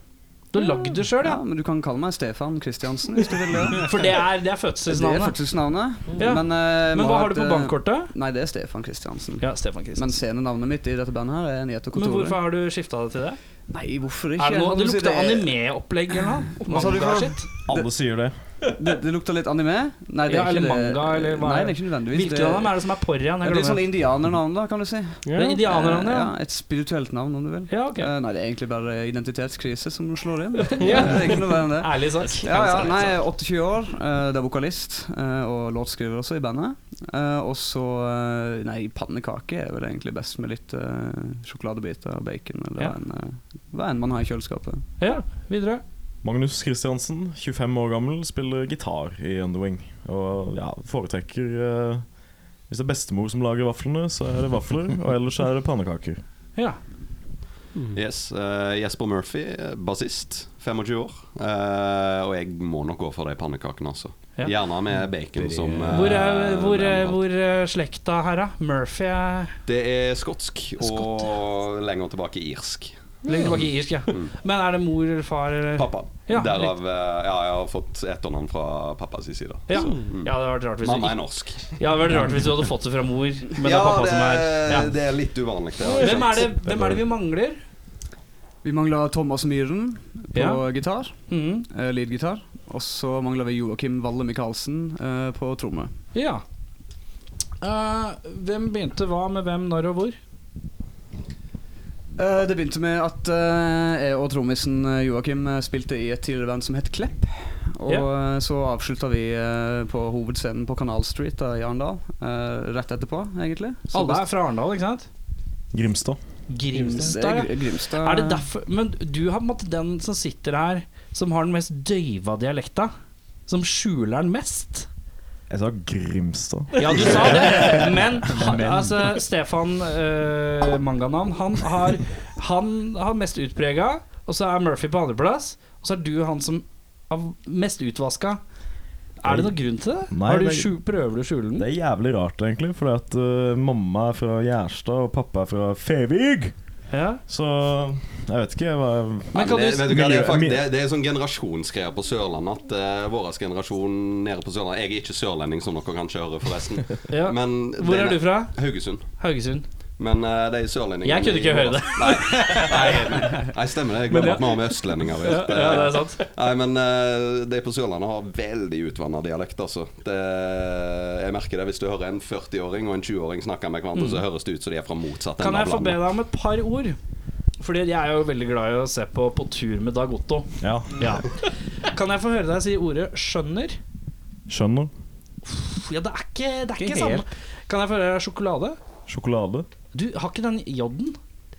Speaker 3: Du har lagd det sjøl,
Speaker 6: Ja,
Speaker 3: ja.
Speaker 6: men du kan kalle meg Stefan Kristiansen hvis du vil
Speaker 3: [LAUGHS]
Speaker 6: det.
Speaker 3: For det er, det er
Speaker 6: Det er
Speaker 3: fødselsnavnet.
Speaker 6: fødselsnavnet.
Speaker 3: Ja.
Speaker 6: Men, eh,
Speaker 3: Men
Speaker 6: må
Speaker 3: hva
Speaker 6: ha
Speaker 3: har
Speaker 6: et,
Speaker 3: du på
Speaker 6: eh,
Speaker 3: bankkortet?
Speaker 6: Nei, det er Stefan Kristiansen.
Speaker 3: Ja, Stefan Christensen.
Speaker 6: Men scenenavnet mitt i dette bandet her er Nieto
Speaker 3: Men
Speaker 6: Kotori.
Speaker 3: hvorfor har du skifta det til det?
Speaker 6: Nei, hvorfor
Speaker 3: Er
Speaker 6: ikke?
Speaker 3: det, noe,
Speaker 6: Holdt
Speaker 3: det
Speaker 6: på å si,
Speaker 3: lukter anime-opplegg eller noe?
Speaker 6: Hva sa du for
Speaker 3: Manga
Speaker 6: noe?
Speaker 3: shit?
Speaker 2: Alle sier det.
Speaker 6: [LAUGHS] Det, det lukter litt anime? Nei, det er
Speaker 3: Ja,
Speaker 6: ikke
Speaker 3: eller
Speaker 6: det.
Speaker 3: manga, eller hva
Speaker 6: Nei,
Speaker 3: er det?
Speaker 6: det er ikke nødvendigvis
Speaker 3: Hvilken av dem er det som er porrian?
Speaker 6: Ja,
Speaker 3: Jeg
Speaker 6: det er
Speaker 3: glemmer
Speaker 6: sånn
Speaker 3: det.
Speaker 6: indianernavn, da, kan du si.
Speaker 3: Det er indianerne,
Speaker 6: Eh,
Speaker 3: ja.
Speaker 6: Et spirituelt navn, om du vil.
Speaker 3: Ja, ok.
Speaker 6: Eh, Nei, det er egentlig bare identitetskrise som slår inn.
Speaker 1: Ja.
Speaker 6: Det er ikke noe verre enn det.
Speaker 3: Ærlig sak.
Speaker 6: Ja, ja, nei, jeg er 28 år. eh, det er vokalist eh, og låtskriver også i bandet. Eh, og så eh, Nei, pannekake er vel egentlig best med litt eh, sjokoladebiter og bacon. Eller
Speaker 3: Ja.
Speaker 6: hva enn, eh, hva enn man har i kjøleskapet.
Speaker 3: Ja, videre.
Speaker 7: Magnus Kristiansen, 25 år gammel, spiller gitar i Underwing. Og ja, foretrekker eh, Hvis det er bestemor som lager vaflene, så er det vafler. Og ellers er det pannekaker.
Speaker 3: Ja.
Speaker 8: Yes, eh, Jesper Murphy, eh, bassist, 25 år. Eh, og jeg må nok gå for de pannekakene, altså.
Speaker 3: Ja. Mm.
Speaker 8: Gjerne med bacon som eh,
Speaker 3: Hvor er, hvor er,
Speaker 8: mellomrett.
Speaker 3: hvor er slekta her, da? Murphy er
Speaker 8: Det er skotsk, og
Speaker 3: Skott,
Speaker 8: lenger tilbake irsk.
Speaker 3: Legger tilbake i irsk, ja. Men er det mor eller far eller
Speaker 8: Pappa.
Speaker 3: Ja,
Speaker 8: Derav eh, Ja, jeg har fått etternavn fra pappas side.
Speaker 3: ja. ja, det hadde vært rart hvis du,
Speaker 8: Mamma er
Speaker 3: ikke-
Speaker 8: norsk.
Speaker 3: ja, det hadde vært rart hvis du hadde fått det fra mor, men det
Speaker 8: ja,
Speaker 3: er pappa som er ja.
Speaker 8: det er litt uvanlig. Det, har jeg
Speaker 3: Hvem er det,
Speaker 8: skjønt.
Speaker 3: hvem er det vi mangler?
Speaker 6: Vi mangler Thomas Myhren på
Speaker 3: Ja.
Speaker 6: gitar.
Speaker 3: Mhm.
Speaker 6: Uh, Leadgitar. Og så mangler vi Joakim Valle Michaelsen eh, på tromme.
Speaker 3: Ja. Eh, hvem begynte hva med hvem, når og hvor?
Speaker 6: Eh, det begynte med at eh, jeg og trommisen eh, Joakim eh, spilte i et tidligere band som het Klepp. Og eh, så avslutta vi eh, på hovedscenen på Kanal Street da, i Arendal. eh, rett etterpå, egentlig. Så
Speaker 3: Alle er fra Arendal, ikke sant?
Speaker 7: Grimstad.
Speaker 3: Grimstad, ja.
Speaker 6: Gr- Grimstad.
Speaker 3: Er det derfor Men du har på en måte den som sitter her, som har den mest døyva dialekta. Som skjuler den mest.
Speaker 7: Jeg sa Grimstad.
Speaker 3: Ja, du sa
Speaker 7: [LAUGHS]
Speaker 3: det, men han, altså, Stefan eh, Manganavn, han har Han har mest utprega, og så er Murphy på andreplass. Og så er du han som er mest utvaska. Er det noen grunn til det?
Speaker 7: Nei,
Speaker 3: har du
Speaker 7: det-
Speaker 3: skju- prøver du å skjule den?
Speaker 7: Det er jævlig rart, egentlig, fordi at eh, mamma er fra Gjerstad, og pappa er fra Fevig.
Speaker 3: Ja.
Speaker 7: Så jeg vet ikke hva
Speaker 3: Men kan
Speaker 8: det,
Speaker 3: du
Speaker 8: vet du hva, det, er
Speaker 7: miljø-
Speaker 8: fakt,
Speaker 7: mi-
Speaker 8: det, er- det er sånn generasjonsgreier på Sørlandet at eh, vår generasjon nede på Sørlandet Jeg er ikke sørlending, som dere kanskje hører, forresten.
Speaker 3: Ja.
Speaker 8: Men det
Speaker 3: Hvor er du fra?
Speaker 8: Haugesund.
Speaker 3: Haugesund.
Speaker 8: Men eh, de sørlendingene
Speaker 3: Jeg kunne ikke
Speaker 8: i-
Speaker 3: høre det.
Speaker 8: Nei, nei, stemmer det. Jeg glemmer
Speaker 3: Men
Speaker 8: at vi har med østlendinger å
Speaker 3: Ja,
Speaker 8: gjøre.
Speaker 3: ja, det er sant.
Speaker 8: Nei, men eh, de på Sørlandet har veldig utvanna dialekt, altså. Det, eh, jeg merker det hvis du hører en 40-åring og en 20-åring snakke med hverandre, så høres det ut som de er fra motsatt
Speaker 3: Mm. Kan
Speaker 8: ende
Speaker 3: jeg
Speaker 8: av
Speaker 3: få be
Speaker 8: landet.
Speaker 3: deg om et par ord? Fordi jeg er jo veldig glad i å se på På tur med Dag Otto.
Speaker 7: Ja,
Speaker 3: Ja. Kan jeg få høre deg si ordet 'skjønner'?
Speaker 7: skjønner.
Speaker 3: Pff, Ja, det er ikke, det er ikke,
Speaker 7: Ikke helt.
Speaker 3: samme. Kan jeg få høre deg sjokolade?
Speaker 7: Sjokolade.
Speaker 3: Du har ikke den jodden?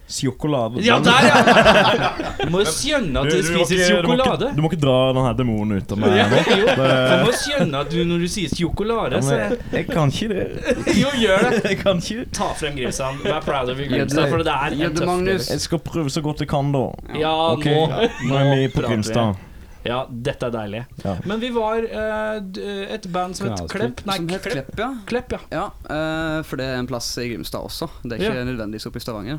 Speaker 7: Sjokolade.
Speaker 3: Ja,
Speaker 7: Den-
Speaker 3: der, ja! Du [LAUGHS] må jo skjønne at du,
Speaker 7: må
Speaker 3: spiser
Speaker 7: ikke- du må ikke-
Speaker 3: sjokolade.
Speaker 7: Du må ikke dra denne demonen ut av meg.
Speaker 3: Ja,
Speaker 7: nå.
Speaker 3: jo, du må
Speaker 7: Det-
Speaker 3: skjønne at du når du sier sjokolade,
Speaker 7: Ja,
Speaker 3: så
Speaker 7: men jeg- jeg kan ikke
Speaker 5: [LAUGHS]
Speaker 7: det.
Speaker 3: Jo, gjør det!
Speaker 7: Jeg kan ikke det.
Speaker 3: Ta frem Grimsand. Vær proud of you, Grimsand, for det er en
Speaker 6: Gjedde
Speaker 3: tøff
Speaker 6: Magnus.
Speaker 7: Jeg skal prøve så godt jeg kan, da.
Speaker 3: Ja,
Speaker 7: Ok,
Speaker 3: nå
Speaker 7: Nå er vi på
Speaker 3: prater vi.
Speaker 7: Grimstad.
Speaker 3: Ja, dette er deilig.
Speaker 7: Ja.
Speaker 3: Men vi var eh, d- et band som het
Speaker 2: Knallstort.
Speaker 3: Klepp. Nei,
Speaker 6: Som het
Speaker 3: Klepp.
Speaker 6: Klepp, ja.
Speaker 3: Klepp, ja.
Speaker 6: ja eh, for det er en plass i Grimstad også. Det er ikke
Speaker 3: Ja.
Speaker 6: nødvendigvis oppe i Stavanger.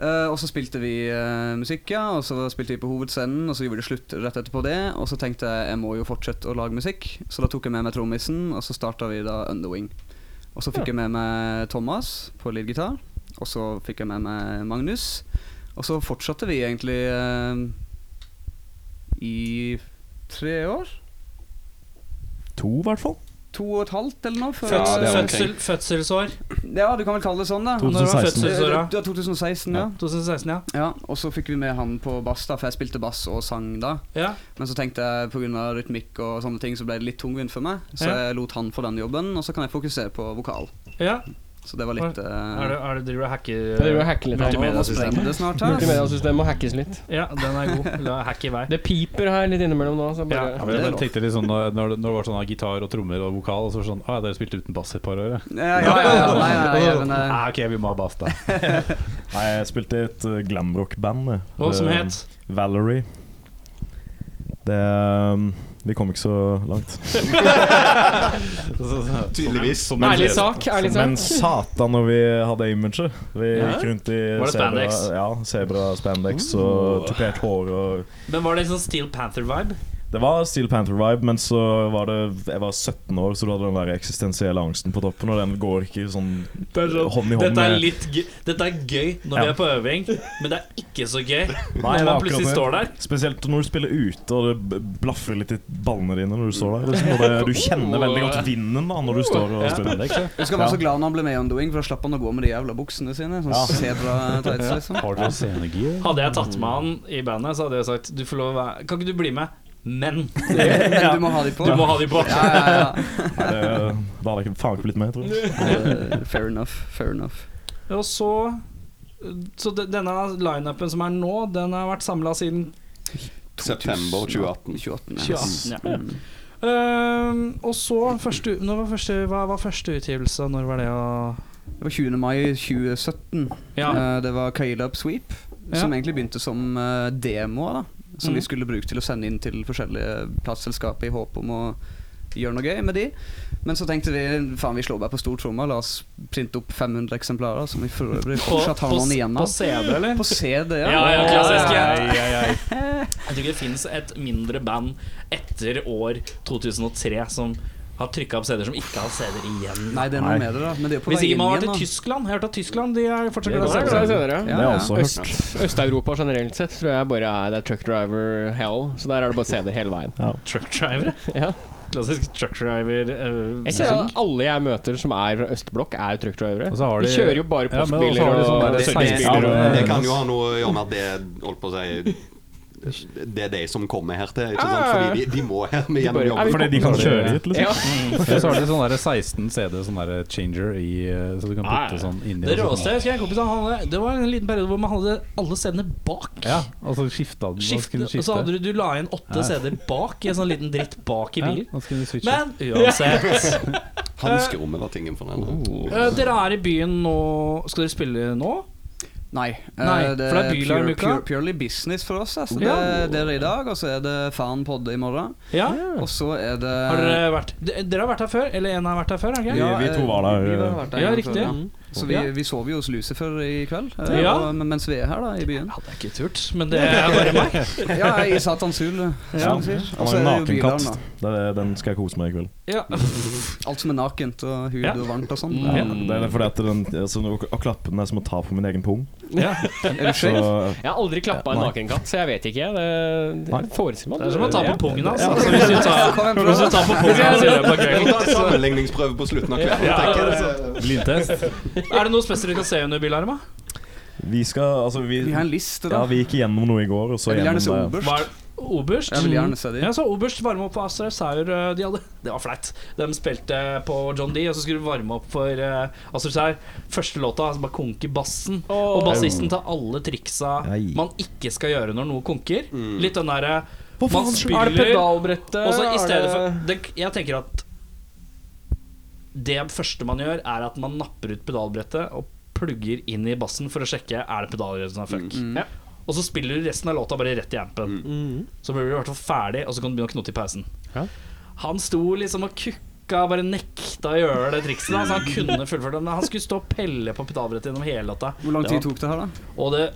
Speaker 6: Eh, og så spilte vi eh, musikk, ja. Og så spilte vi på hovedscenen, og så gjorde vi slutt rett etterpå det. Og så tenkte jeg jeg må jo fortsette å lage musikk, så da tok jeg med meg trommisen, og så starta vi da Underwing. Og så fikk jeg med meg Thomas på leadgitar, og så fikk jeg med meg Magnus. Og så fortsatte vi egentlig eh, i tre år.
Speaker 7: To, i hvert fall.
Speaker 6: To og et halvt eller noe. før-
Speaker 8: Ja,
Speaker 3: Fødsel,
Speaker 8: det er
Speaker 3: fødsel, fødselsår.
Speaker 6: Ja, du kan vel kalle det sånn, da.
Speaker 3: Når det var
Speaker 7: 2016.
Speaker 3: fødselsåra?
Speaker 6: Det var 2016, ja.
Speaker 3: 2016, ja.
Speaker 6: ja. Og så fikk vi med han på bass, da, for jeg spilte bass og sang da.
Speaker 3: ja.
Speaker 6: Men så tenkte jeg pga. rytmikk og sånne ting så ble det litt tungvint for meg, så
Speaker 3: Ja.
Speaker 6: jeg lot han få den jobben, og så kan jeg fokusere på vokal.
Speaker 3: Ja.
Speaker 6: Så det var litt eh,
Speaker 3: Er det, er det driver du og hacker
Speaker 1: Jeg
Speaker 3: eh,
Speaker 1: driver og hacker litt her
Speaker 6: Nå
Speaker 1: nå.
Speaker 6: nå sprenger det snart her. altså.
Speaker 1: Multimediasystemet må hackes litt.
Speaker 3: Ja, den er god. La hack i vei.
Speaker 1: Det piper her litt innimellom nå. Så bare,
Speaker 5: Ja,
Speaker 6: Ja,
Speaker 5: men jeg
Speaker 6: det er
Speaker 5: bare
Speaker 6: lov.
Speaker 5: tenkte litt sånn da- Når det, når det var sånn da, gitar og trommer og vokal, og så var det sånn Å ja, dere spilte uten bass i et par år, ja.
Speaker 6: Ja, ja, ja, ja. Nei, nei, nei, men, eh,
Speaker 5: Ah, ok, vi må ha bass, da.
Speaker 2: [LAUGHS] Nei, jeg spilte i et eh, glamrock-band. jeg.
Speaker 3: Hva som
Speaker 2: Eh,
Speaker 3: het
Speaker 2: Valerie. Det eh, Vi kom ikke så langt.
Speaker 8: Tydeligvis.
Speaker 1: Ærlig sak.
Speaker 3: liksom.
Speaker 1: ærlig sak
Speaker 2: Men satan når vi hadde imaget. Vi gikk rundt i
Speaker 3: Var det
Speaker 2: zebra-
Speaker 3: spandex?
Speaker 2: Ja, zebra spandex og tupert hår og
Speaker 3: Men var det en sånn Steel Panther-vibe?
Speaker 2: Det var Steel Panther-vibe, men så var det Jeg var 17 år, så du hadde den der eksistensielle angsten på toppen, og den går ikke sånn hånd i hånd
Speaker 3: Dette er,
Speaker 2: med-
Speaker 3: litt gøy. Dette er gøy når vi
Speaker 2: Ja.
Speaker 3: er på øving, men det er ikke så gøy når
Speaker 2: Nei, det er
Speaker 3: man
Speaker 2: akkurat
Speaker 3: plutselig
Speaker 2: det.
Speaker 3: står der.
Speaker 2: Spesielt når du spiller ute og det b- blaffer litt i ballene dine når du står der. Liksom, og det, du kjenner veldig godt vinden da når du står og spiller.
Speaker 6: Jeg husker han var så glad når han ble med i Undoing, for da slapp han å gå med de jævla buksene sine. Sånn zebra tights, [LAUGHS] liksom.
Speaker 5: Har dere scenegi?
Speaker 3: Hadde jeg tatt med han i bandet, så hadde jeg sagt Du får lov å være Kan ikke du bli med? Men
Speaker 6: Men du må ha de på.
Speaker 3: du må ha de på.
Speaker 6: Ja, ja, ja.
Speaker 2: Nei, det, da hadde jeg ikke- faen ikke blitt med, tror jeg.
Speaker 6: Eh, fair enough. Fair enough.
Speaker 3: Og så Så de- denne lineupen som er nå, den har vært samla siden
Speaker 8: September 2018.
Speaker 6: 2018 ja. Mm.
Speaker 3: 2018. Ja. Ehm, og så første, når var første, Hva var første utgivelse? Når var det? å-
Speaker 6: Det var 20. mai 2017.
Speaker 3: Ja.
Speaker 6: Eh, Det var Kailab Sweep, som
Speaker 3: Ja.
Speaker 6: egentlig begynte som eh, demoer, da. Som vi
Speaker 3: Mhm.
Speaker 6: skulle bruke til å sende inn til forskjellige plateselskaper i håp om å gjøre noe gøy med de. Men så tenkte vi faen vi slår bare på stortromma, la oss printe opp 500 eksemplarer, som vi for øvrig fortsatt har noen igjen
Speaker 3: på
Speaker 6: av.
Speaker 3: CD, eller?
Speaker 6: På CD, ja.
Speaker 3: Ja, ja, klassisk. Ja.
Speaker 6: Ja, ja, ja.
Speaker 3: [LAUGHS] Jeg tror ikke det finnes et mindre band etter år 2003 som har trykka opp CD-er som ikke har CD-er igjen.
Speaker 6: Nei, det er noe med det, da. Men det er jo på
Speaker 3: Hvis
Speaker 6: vei
Speaker 3: ikke
Speaker 6: inn
Speaker 3: man har vært
Speaker 6: igjen,
Speaker 3: i
Speaker 6: da.
Speaker 3: Tyskland. Jeg har hørt at Tyskland de er fortsatt glad i
Speaker 1: Det er glad i
Speaker 3: CD-er.
Speaker 1: senere.
Speaker 6: Ja,
Speaker 2: Det har
Speaker 6: ja.
Speaker 2: jeg også hørt.
Speaker 1: Øst- Øst-Europa generelt sett tror jeg bare er, det er truck driver hell. Så der er det bare CD-er hele veien.
Speaker 3: Truckdrivere.
Speaker 1: Ja.
Speaker 3: Klassisk truckdriver. eh,
Speaker 1: Jeg ser at Alle jeg møter som er fra østblokk, er truckdrivere.
Speaker 5: Og så har
Speaker 1: De
Speaker 5: de-
Speaker 1: kjører jo bare
Speaker 5: Ja, men også
Speaker 1: postbiler
Speaker 5: har de sånn
Speaker 1: og
Speaker 5: der-
Speaker 1: servicebiler.
Speaker 5: Ja,
Speaker 1: og-
Speaker 5: men-
Speaker 8: Det kan jo ha noe å gjøre med at det holdt på å si Det er de som kommer her til, ikke
Speaker 3: Ah.
Speaker 8: sant? Fordi de, de må her med gjennom
Speaker 1: bare-
Speaker 8: jobben.
Speaker 2: Fordi de kan kjøre hit,
Speaker 5: [LAUGHS]
Speaker 2: liksom.
Speaker 1: Ja.
Speaker 5: Ja, så har de sånn der 16 CD, sånn der changer i eh, Så du kan putte sånn inni
Speaker 3: Det
Speaker 5: og sånn.
Speaker 3: råeste jeg husker jeg en kompis han hadde, Det var en liten periode hvor man hadde alle CD-ene bak.
Speaker 5: Ja, og så skifta den. og så
Speaker 3: Skifte,
Speaker 5: kunne du
Speaker 3: og så hadde du, du la igjen åtte
Speaker 5: Ja.
Speaker 3: CD-er bak i en sånn liten dritt bak i
Speaker 5: ja,
Speaker 3: bilen.
Speaker 5: og så kunne du switche.
Speaker 3: Men uansett
Speaker 8: Hanskerommet var tingen for
Speaker 3: [LAUGHS]
Speaker 8: den.
Speaker 3: eh, Dere er i byen nå. Skal dere spille nå?
Speaker 6: Nei,
Speaker 3: Nei,
Speaker 6: eh, det
Speaker 3: for det er
Speaker 6: er
Speaker 3: bylarm i
Speaker 6: pure,
Speaker 3: uka.
Speaker 6: pure, purely business for oss. Altså.
Speaker 3: Ja.
Speaker 6: Det, det er det i dag, og så er det Fan podde i morgen.
Speaker 3: Ja?
Speaker 6: Og så er det
Speaker 3: Har dere vært D- Dere har vært her før? Eller en har vært her før? er det ikke?
Speaker 2: Ja. vi
Speaker 6: eh,
Speaker 2: to var der,
Speaker 6: vi
Speaker 2: eh,
Speaker 6: vært
Speaker 3: Ja,
Speaker 6: en gang
Speaker 3: riktig.
Speaker 6: før, Så vi,
Speaker 3: Ja.
Speaker 6: vi sover jo hos Lucifer i kveld, eh,
Speaker 3: Ja.
Speaker 6: og, men- mens vi er her da, i
Speaker 3: [LAUGHS]
Speaker 6: byen.
Speaker 3: Ja, det er ikke turt, men det er [LAUGHS] bare meg.
Speaker 6: Ja, i [LAUGHS] Satans hul, eh,
Speaker 2: Ja.
Speaker 6: som de sier.
Speaker 2: Han
Speaker 6: Og så
Speaker 2: har
Speaker 6: er
Speaker 2: en
Speaker 6: det jo bylarm,
Speaker 2: nakenkatt.
Speaker 6: da.
Speaker 2: Det er- Den skal jeg kose med i kveld.
Speaker 3: Ja.
Speaker 6: Alt som er nakent og hud
Speaker 3: Ja. Mm.
Speaker 6: og varmt og sånn.
Speaker 2: Ja, det er fordi at den, altså, når- å klappe den er som å ta på min egen pung.
Speaker 3: ja.
Speaker 6: Er du skjev?
Speaker 2: Så
Speaker 1: Jeg har aldri klappa en nakenkatt, så jeg vet ikke. Det, det
Speaker 2: Nei.
Speaker 1: forestiller meg
Speaker 3: Det er som å ta på
Speaker 1: Ja.
Speaker 3: pungen hans. Altså, [LAUGHS] hvis du tar,
Speaker 6: Kom igjen, prøv.
Speaker 3: hvis du tar på pungen hans i løpet av
Speaker 8: Vi
Speaker 3: kvelden.
Speaker 8: tar en sammenligningsprøve på slutten av kvelden. tenker jeg. altså.
Speaker 5: Blindtest.
Speaker 3: Er det noe spesielt du kan se under bilarma?
Speaker 2: vi skal Altså, vi,
Speaker 6: Vi har en liste, da.
Speaker 2: ja, vi gikk igjennom noe i går, og så
Speaker 6: jeg vil gjerne se
Speaker 2: gjennom det.
Speaker 6: Oberst.
Speaker 3: Var Oberst?
Speaker 6: Jeg vil gjerne se de.
Speaker 3: Ja, så Oberst varme opp for Astrid Saur. eh, De hadde, det var flaut. De spilte på John D, og så skulle de varme opp for uh, Astrid Saur. Første låta, altså bare konke bassen. Og bassisten tar alle triksa
Speaker 2: Nei.
Speaker 3: man ikke skal gjøre når noe konker.
Speaker 6: Mm.
Speaker 3: Litt den derre
Speaker 1: Faen,
Speaker 3: Man
Speaker 1: Er det
Speaker 3: spyler,
Speaker 1: pedalbrettet?
Speaker 3: og så
Speaker 1: Er
Speaker 3: i stedet
Speaker 1: det-
Speaker 3: for det, Jeg tenker at det første man gjør, er at man napper ut pedalbrettet og plugger inn i bassen for å sjekke Er det pedalbrettet som er fuck.
Speaker 6: Mm.
Speaker 3: Ja. Og så spiller du resten av låta bare rett i ampen. Så blir du i hvert fall ferdig, og så kan du begynne å knote i pausen. Han sto liksom og kukka, bare nekta å gjøre det trikset. da, Så han kunne fullført det, men han skulle stå og pelle på pedalbrettet gjennom hele låta.
Speaker 6: Hvor lang
Speaker 3: Det
Speaker 6: tid
Speaker 3: var-
Speaker 6: tok det her, da?
Speaker 3: Og det,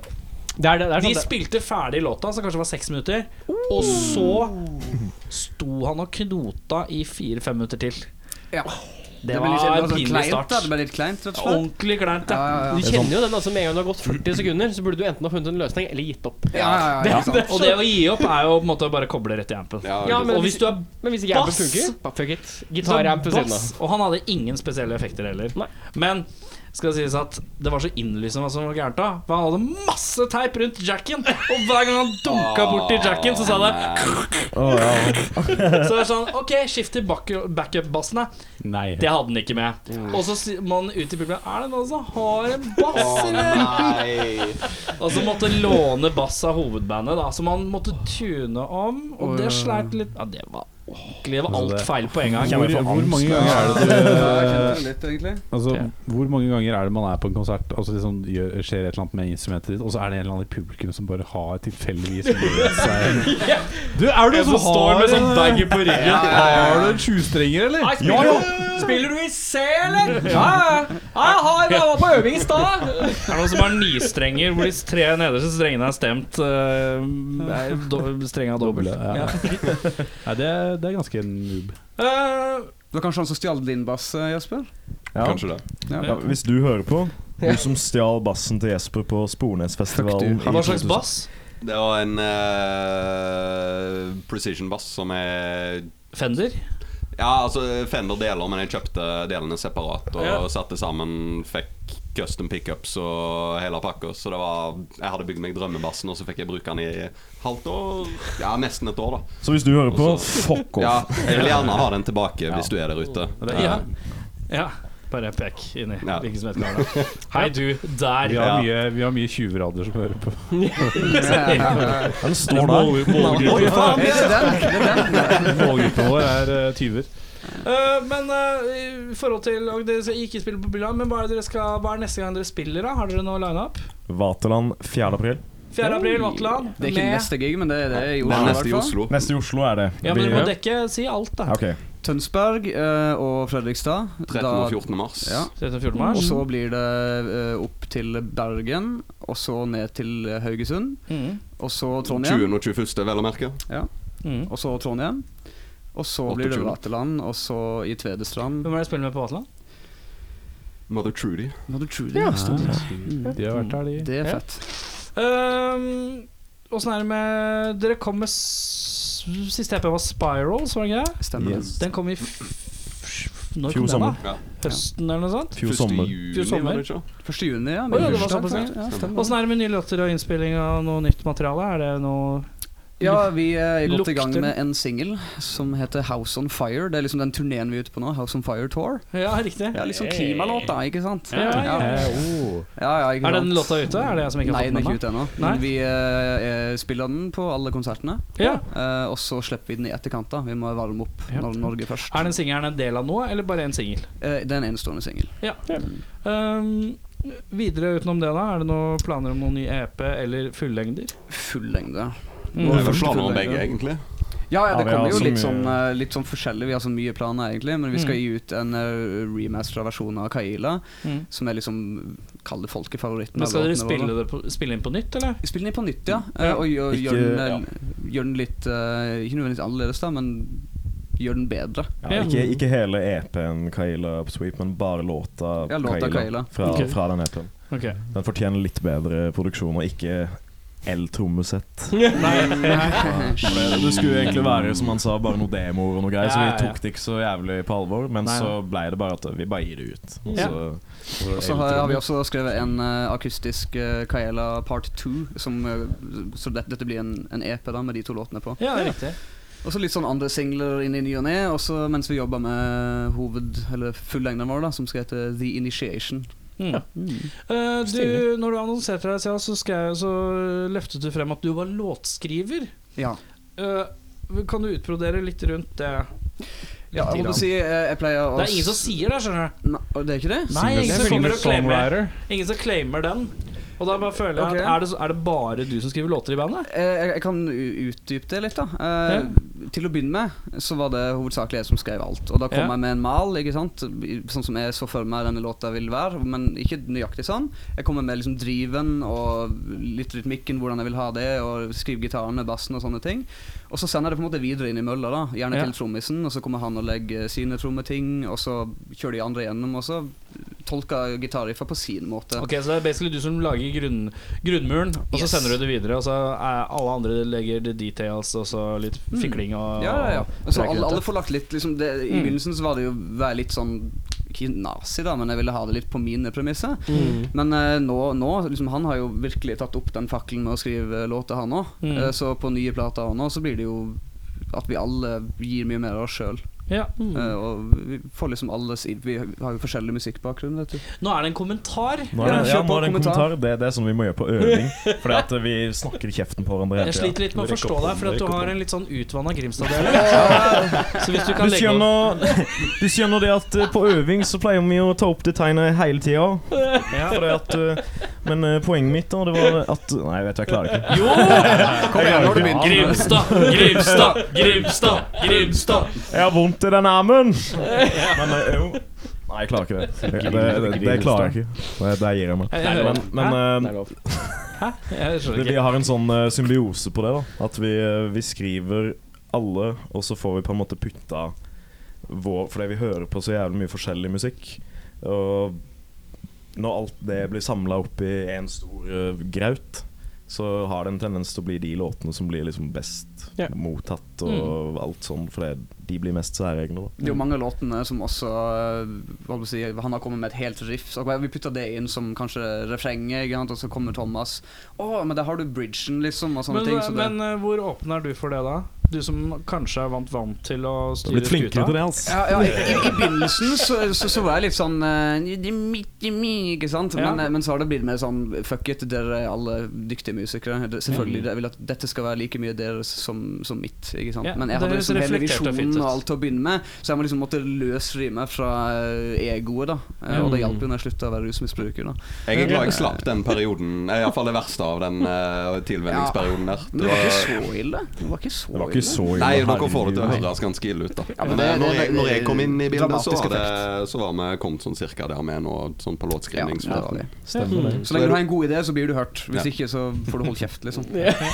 Speaker 1: Det er det, det er
Speaker 3: de
Speaker 1: sånn det- Oh.
Speaker 3: spilte ferdig låta, som kanskje var seks minutter. Og så sto han og knota i fire-fem minutter til.
Speaker 6: Ja.
Speaker 3: Det,
Speaker 6: ble litt-
Speaker 3: var
Speaker 6: det
Speaker 3: en
Speaker 6: sånn
Speaker 3: pinlig
Speaker 6: kleint, da.
Speaker 3: start.
Speaker 6: Det ble litt kleint, rett og slett.
Speaker 3: Ordentlig kleint,
Speaker 6: Ja,
Speaker 3: ja.
Speaker 6: ja, ja.
Speaker 1: Du kjenner jo den altså med en gang det har gått 40 sekunder, så burde du enten ha funnet en løsning eller gitt opp.
Speaker 6: Ja, ja, ja, ikke sant.
Speaker 3: Og det å gi opp er jo på en måte å bare koble rett i ampen.
Speaker 8: Ja,
Speaker 1: Ja,
Speaker 8: det-
Speaker 1: men
Speaker 3: Og
Speaker 1: hvis,
Speaker 3: hvis du er
Speaker 1: men hvis ikke ampen
Speaker 3: bass-
Speaker 1: funker, bare fuck it. Gitar-amp ved siden av.
Speaker 3: Bass, Og han hadde ingen spesielle effekter heller. Men skal det sies at det var så innlysende hva som var gærent da. For han hadde masse teip rundt jacken, og hver gang han dunka borti jacken, så sa det
Speaker 6: Ah,
Speaker 3: [LAUGHS] Så det er sånn OK, skift til back- backup-bassen, da.
Speaker 2: Nei.
Speaker 3: Det hadde han ikke med. Og så sier man ut i publikum Er det noen som har en bass, eller?
Speaker 8: Nei.
Speaker 3: Og så måtte låne bass av hovedbandet, da, som han måtte tune om. Og det sleit litt Ja, det var ordentlig. Det var alt feil på en gang.
Speaker 2: Hvor, hvor mange ganger er det
Speaker 6: Ja,
Speaker 2: du
Speaker 6: [LAUGHS] jeg kjenner Eh, det litt, egentlig.
Speaker 2: Altså, Hvor mange ganger er det man er på en konsert og så liksom gjør, skjer et eller annet med instrumentet ditt, og så er det en eller annen i publikum som bare har tilfeldigvis med seg [LAUGHS] Du, er det noen som har med sånn bag på ryggen? Har du en sjustrenger, eller?
Speaker 3: Ja, ja. Spiller du i C, eller? Ja, ja. Jeg har jeg var på øving i stad. [LAUGHS] Er det noen som har nystrenger hvor de tre nederste strengene er stemt eh, Strenga doble?
Speaker 2: Ja. Nei, det, er- det er ganske noob.
Speaker 3: Eh,
Speaker 6: Det var kanskje han som stjal din bass, eh, Jesper?
Speaker 7: Ja.
Speaker 8: Kanskje det.
Speaker 7: Ja, hvis du hører på, du som stjal bassen til Jesper på Spornesfestivalen
Speaker 3: Hva slags bass?
Speaker 8: Det var en eh, precision bass som er
Speaker 3: Fender?
Speaker 8: Ja, altså Fender deler, men jeg kjøpte delene separat og
Speaker 3: Ja.
Speaker 8: satte sammen. Fikk custom pickups og hele pakka. Så det var Jeg hadde bygd meg drømmebassen, og så fikk jeg bruke den i halvt år. Ja, nesten et år, da.
Speaker 7: Så hvis du hører på,
Speaker 8: Og så-
Speaker 7: fuck off.
Speaker 8: Ja, jeg vil gjerne ha den tilbake hvis du er der ute.
Speaker 3: Ja. ja. Bare pek inni
Speaker 8: Ja.
Speaker 3: hvilken som helst kar. da. Hei, du der.
Speaker 2: Vi har mye, vi har mye 20-rader som hører på.
Speaker 7: Den står der.
Speaker 6: Ja, det er den. Det er den.
Speaker 2: Målgruppa vår er eh, 20-er.
Speaker 3: Eh, men eh, i forhold til og Dere skal ikke spille på Byland, men hva er, det dere skal, hva er neste gang dere spiller? da? Har dere noe lineup?
Speaker 7: Vaterland 4. april.
Speaker 3: 4. april, Vatland.
Speaker 6: Det er ikke neste gig, men det er det i
Speaker 8: Det
Speaker 6: Oslo. i
Speaker 8: er neste
Speaker 6: hvert
Speaker 8: i
Speaker 6: fall.
Speaker 8: Oslo.
Speaker 7: Neste i Oslo er det.
Speaker 3: Ja, men dere må
Speaker 7: Vi-
Speaker 3: dekke Si alt, da.
Speaker 7: Ok.
Speaker 6: Tønsberg eh, og Fredrikstad.
Speaker 8: 13. og 14. mars.
Speaker 6: Ja.
Speaker 3: 13. og 14.
Speaker 6: Og
Speaker 3: mars.
Speaker 6: så blir det eh, opp til Bergen, og så ned til eh, Haugesund,
Speaker 3: Mm.
Speaker 6: og så Trondheim,
Speaker 8: 20. og 21., vel å merke.
Speaker 3: Mm.
Speaker 6: og så Trondheim. Og så blir det
Speaker 8: 28.
Speaker 6: Vaterland, og så i Tvedestrand.
Speaker 3: Hvem er det spiller med på Vatland?
Speaker 8: Mother Trudy.
Speaker 6: Nå du tror det, ja.
Speaker 2: De har vært der, de.
Speaker 6: det er fett.
Speaker 3: Mm. Ehm, Åssen er det med Dere kom med s- Siste EP var Spirals, var det ikke det?
Speaker 6: Stemmer det.
Speaker 3: Den kom i f f- Når
Speaker 7: Fjor
Speaker 3: kom den, da?
Speaker 7: sommer.
Speaker 8: Ja.
Speaker 3: Høsten, eller noe sånt?
Speaker 7: Fjor sommer.
Speaker 8: juni,
Speaker 3: Fjor sommer.
Speaker 8: var det ikke?
Speaker 6: 1. juni, ja.
Speaker 3: Å, ja,
Speaker 6: Min
Speaker 3: det var
Speaker 6: bursdag.
Speaker 3: såpass,
Speaker 6: ja, stemmer.
Speaker 3: Åssen er det med nye låter og innspilling av noe nytt materiale? Er det noe
Speaker 6: Ja, vi eh, er godt i gang
Speaker 3: Lukter-
Speaker 6: med en singel som heter House on Fire. Det er liksom den turneen vi er ute på nå. House on Fire Tour.
Speaker 3: Ja, riktig.
Speaker 6: Ja, liksom klimalåt, da, ikke sant?
Speaker 3: Ja, ja, ja.
Speaker 2: Eh, oh.
Speaker 6: ja, ja ikke
Speaker 3: Er
Speaker 6: sant?
Speaker 3: den låta ute? Er det jeg som ikke har
Speaker 6: Nei,
Speaker 3: fått den
Speaker 6: den er ikke
Speaker 3: med?
Speaker 6: ute ennå.
Speaker 3: Nei.
Speaker 6: Men vi eh, eh, spiller den på alle konsertene.
Speaker 3: Ja.
Speaker 6: Eh, og så slipper vi den i etterkant. da Vi må varme opp
Speaker 3: Ja.
Speaker 6: Nor- Norge først.
Speaker 3: Er den singelen en del av noe, eller bare en singel?
Speaker 6: Eh, det er en enestående singel.
Speaker 3: Um, videre utenom det, da? Er det noen planer om noen ny EP eller fullengder?
Speaker 6: Full lengde.
Speaker 3: Mm.
Speaker 8: Det er vel
Speaker 6: Første
Speaker 8: planer
Speaker 6: full
Speaker 8: om
Speaker 6: lengde.
Speaker 8: begge, egentlig.
Speaker 6: Ja, ja,
Speaker 7: Ja,
Speaker 6: det
Speaker 7: vi
Speaker 6: kommer
Speaker 7: har
Speaker 6: jo
Speaker 7: så
Speaker 6: litt
Speaker 7: mye-
Speaker 6: sånn, eh, litt sånn forskjellig. Vi har så mye planer, egentlig. Men vi skal
Speaker 3: Mm.
Speaker 6: gi ut en uh, remastera versjon av Kaila,
Speaker 3: Mm.
Speaker 6: som er liksom Kall det folkefavoritten.
Speaker 3: Men
Speaker 6: av
Speaker 3: skal dere
Speaker 6: låtene våre.
Speaker 3: spille, Mm. det på, spille inn på nytt, eller?
Speaker 6: Spille den inn på nytt, ja.
Speaker 3: Ja.
Speaker 6: Eh, Og gjør,
Speaker 7: Ikke-
Speaker 6: gjør, den, eh, gjør den litt eh, Ikke nødvendigvis annerledes, da, men gjør den bedre.
Speaker 7: Ja, ikke, ikke hele EP-en Kaila Upsweep, men bare låta
Speaker 6: Ja, låta Kaila.
Speaker 7: Fra,
Speaker 3: Ok.
Speaker 7: fra den EP-en.
Speaker 3: Ok.
Speaker 7: Den fortjener litt bedre produksjon, og ikke el-trommesett. Det
Speaker 6: [LAUGHS]
Speaker 7: skulle egentlig være, som han sa, bare noe demoer og noe greier,
Speaker 3: Ja,
Speaker 7: så
Speaker 3: ja,
Speaker 7: vi
Speaker 3: ja.
Speaker 7: tok det ikke så jævlig på alvor. Men
Speaker 3: Nei,
Speaker 7: så ble det bare at vi bare gir det ut. Og
Speaker 3: Ja.
Speaker 7: så,
Speaker 6: Og så har, har vi også skrevet en eh, akustisk eh, Kaela part 2, som, eh, så det, dette blir en, en EP da, med de to låtene på.
Speaker 3: Ja, det er riktig.
Speaker 6: Og så litt sånn andre singler inn i ny og ne, og så mens vi jobber med hoved- eller fullengden vår, da, som skal hete The Initiation.
Speaker 3: Mm. Eh, du, når du annonserte deg, Sia, så, skrev, så løftet du frem at du var låtskriver.
Speaker 6: Ja.
Speaker 3: Eh, kan du utbrodere litt rundt det?
Speaker 6: ja jeg,
Speaker 3: Litt
Speaker 6: holdt på å si, eh, jeg pleier å
Speaker 3: Det er ingen som sier det, skjønner du.
Speaker 6: Nei, og det er ikke det?
Speaker 3: Nei, ingen som kommer og claimer
Speaker 2: Songwriter.
Speaker 3: Ingen som claimer den. Og da bare føler jeg
Speaker 6: Ok.
Speaker 3: at er det, er det bare du som skriver låter i bandet?
Speaker 6: Eh, Jeg, jeg kan u- utdype det litt, da. Eh, Til å begynne med så var det hovedsakelig jeg som skrev alt. Og da kom
Speaker 3: Ja.
Speaker 6: jeg med en mal, ikke sant? I- sånn som jeg så for meg denne låta vil være. Men ikke nøyaktig sånn. Jeg kommer med liksom driven og litt rytmikken, hvordan jeg vil ha det, og skrive gitarene, bassen og sånne ting. Og så sender jeg det på en måte videre inn i mølla, da. Gjerne
Speaker 3: Ja.
Speaker 6: til trommisen, og så kommer han og legger sine trommeting, og så kjører de andre gjennom, og så tolker gitarriffa på sin måte.
Speaker 3: Ok, Så det er basically du som lager grunn, grunnmuren, og så
Speaker 6: Yes.
Speaker 3: sender du det videre. Og så er alle andre legger the details, og så litt fikling og
Speaker 6: Mm. Ja, ja, ja. Altså, alle,
Speaker 3: og-
Speaker 6: alle får lagt litt liksom det, I
Speaker 3: Mm.
Speaker 6: begynnelsen så var det jo være litt sånn ikke nazi, da, men jeg ville ha det litt på mine premisser.
Speaker 3: Mm.
Speaker 6: Men eh, nå, nå liksom, han har jo virkelig tatt opp den fakkelen med å skrive låter, han òg.
Speaker 3: Mm.
Speaker 6: så på nye plater nå så blir det jo at vi alle gir mye mer av oss sjøl.
Speaker 3: Ja.
Speaker 6: og vi får liksom alle si- Vi har jo forskjellig musikkbakgrunn, vet du.
Speaker 3: Nå er det en kommentar.
Speaker 2: Nå er det,
Speaker 6: Ja,
Speaker 2: ja,
Speaker 6: kjør på,
Speaker 2: nå er det en
Speaker 6: kommentar.
Speaker 2: kommentar. Det, det er sånn vi må gjøre på øving. Fordi at vi snakker i kjeften på hverandre. hele
Speaker 3: Jeg
Speaker 2: tiden.
Speaker 3: sliter litt med å
Speaker 2: Vi rekker
Speaker 3: forstå
Speaker 2: opp
Speaker 3: deg,
Speaker 2: hånden,
Speaker 3: fordi at du
Speaker 2: rekker opp
Speaker 3: har
Speaker 2: hånden.
Speaker 3: en litt sånn utvanna Grimstad-dialekt. Så hvis du kan
Speaker 2: du
Speaker 3: legge opp
Speaker 2: skjønner, [LAUGHS] du skjønner det at eh, på øving så pleier vi å ta opp det tegnet hele tida. Fordi at, eh, Men eh, poenget mitt da, det var at Nei, jeg vet jeg klarer det ikke.
Speaker 3: Jo!
Speaker 6: Kom igjen, nå har du begynt.
Speaker 3: Grimstad, Grimstad, Grimstad, Grimstad.
Speaker 2: Jeg har vondt i den armen! Men eh, jo. Nei, jeg klarer ikke det. Det, det, det, det klarer jeg ikke. Det, det gir jeg meg.
Speaker 3: Jeg- jeg-
Speaker 2: Men, men eh,
Speaker 3: Jeg
Speaker 2: Det,
Speaker 3: skjønner
Speaker 2: vi
Speaker 3: ikke.
Speaker 2: har en sånn eh, symbiose på det. da At vi, eh, vi skriver alle, og så får vi på en måte putta vår Fordi vi hører på så jævlig mye forskjellig musikk. Og når alt det blir samla opp i én stor eh, graut, så har det en tendens til å bli de låtene som blir liksom best
Speaker 1: Ja.
Speaker 2: mottatt og alt sånn, fordi de blir mest særegne.
Speaker 3: Mm.
Speaker 6: Det er jo mange av låtene som også eh, hva skal man si, Han har kommet med et helt riff. Så vi putter det inn som kanskje refrenget, ikke sant? og så kommer Thomas. Å, men der har du bridgen, liksom, og sånne
Speaker 3: Men,
Speaker 6: ting. Så det,
Speaker 3: men eh, hvor åpen er du for det, da? Du som kanskje er vant vant til å
Speaker 2: Du har
Speaker 3: styre
Speaker 2: blitt flinkere til det, altså.
Speaker 6: ja, ja, i, i, I begynnelsen så, så, så var jeg litt sånn eh, «Nidi midi mi», Ikke sant?
Speaker 3: Ja.
Speaker 6: Men, eh, men så har det blitt mer sånn Fuck it, dere er alle dyktige musikere. Det- Selvfølgelig,
Speaker 3: Mm.
Speaker 6: Jeg vil at dette skal være like mye deres som, som mitt. Ikke sant?
Speaker 3: Ja,
Speaker 6: men jeg
Speaker 3: det
Speaker 6: hadde
Speaker 3: høres
Speaker 6: liksom hele
Speaker 3: reflektert og fint
Speaker 6: visjonen
Speaker 3: ut.
Speaker 6: og alt til å begynne med, så jeg må liksom måtte løsrime fra eh, egoet. da Eh, Og det hjalp jo når jeg slutta å være rusmisbruker. da
Speaker 8: Jeg er glad jeg slapp den perioden. Eh, i hvert fall det verste av den eh, tilvenningsperioden der.
Speaker 6: Men det var ikke så ille. Det var ikke så
Speaker 2: Det var ikke så ille.
Speaker 8: Nei, dere får det til å
Speaker 2: herregud.
Speaker 8: høres ganske ille ut, da.
Speaker 6: Ja, men
Speaker 8: men
Speaker 6: det-
Speaker 8: eh, når,
Speaker 6: det-
Speaker 8: jeg, når jeg kom inn i bildet, så
Speaker 6: dramatisk
Speaker 8: var, det, så var vi kommet sånn cirka der med nå, sånn på
Speaker 6: Ja,
Speaker 8: låtskrivning.
Speaker 6: det
Speaker 8: som det
Speaker 6: var
Speaker 8: var.
Speaker 6: det.
Speaker 9: Stemmer det.
Speaker 6: Så lenge du har en god idé, så blir du hørt. Hvis
Speaker 8: Ja.
Speaker 6: ikke, så får du holde kjeft, liksom. Det er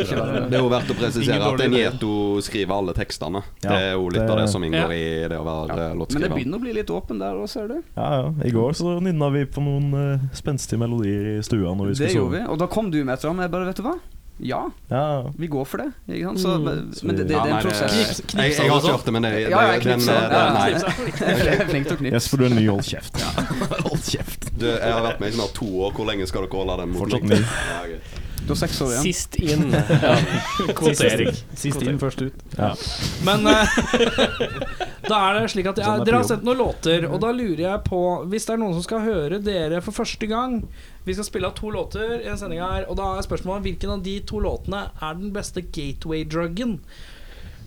Speaker 6: ikke verre.
Speaker 8: Det er jo verdt å presisere
Speaker 3: Ingen
Speaker 8: at en
Speaker 3: dårlig idé.
Speaker 8: gjeto skriver alle tekstene.
Speaker 2: Ja,
Speaker 8: Det er jo litt av det
Speaker 2: det-
Speaker 8: som inngår i det å være eh,
Speaker 6: Men det
Speaker 8: låtskriver.
Speaker 6: begynner å bli litt åpen der òg, ser du.
Speaker 2: Ja, ja. I går så nynna vi på noen eh, spenstige melodier i stua når vi
Speaker 6: Det
Speaker 2: skulle
Speaker 6: gjorde
Speaker 2: sove.
Speaker 6: vi. Og da kom du med et eller annet. og Jeg bare, vet du hva? Ja,
Speaker 2: Ja, ja.
Speaker 6: vi går for det. Ikke sant? Så, men
Speaker 2: Så
Speaker 6: men det,
Speaker 2: vi-
Speaker 6: det, det
Speaker 8: Ja,
Speaker 6: er
Speaker 8: nei,
Speaker 6: en [LAUGHS] prosess.
Speaker 8: det- Jeg, jeg har ikke hørt det, men det, det,
Speaker 6: sånn. Ja, ja,
Speaker 8: den,
Speaker 6: knipsa.
Speaker 8: eh, den-
Speaker 1: [LAUGHS]
Speaker 8: nei.
Speaker 6: Jeg er flink til å knipse.
Speaker 2: Jesper, du er ny. Hold kjeft. Hold kjeft.
Speaker 8: Du, jeg har vært med i snart to år. Hvor lenge skal dere holde den mot
Speaker 2: Fortsatt
Speaker 8: meg?
Speaker 2: ny.
Speaker 8: Ja, greit.
Speaker 6: Du har seks år igjen.
Speaker 1: Sist inn. [LAUGHS] Kvotering. Sist inn, først ut.
Speaker 3: Men eh, [LAUGHS] da er det slik at ja, Dere har
Speaker 2: Sånn er på jobb.
Speaker 3: sendt noen låter, og da lurer jeg på Hvis det er noen som skal høre dere for første gang Vi skal spille av to låter i en sending her, og da er spørsmålet hvilken av de to låtene er den beste gateway-druggen?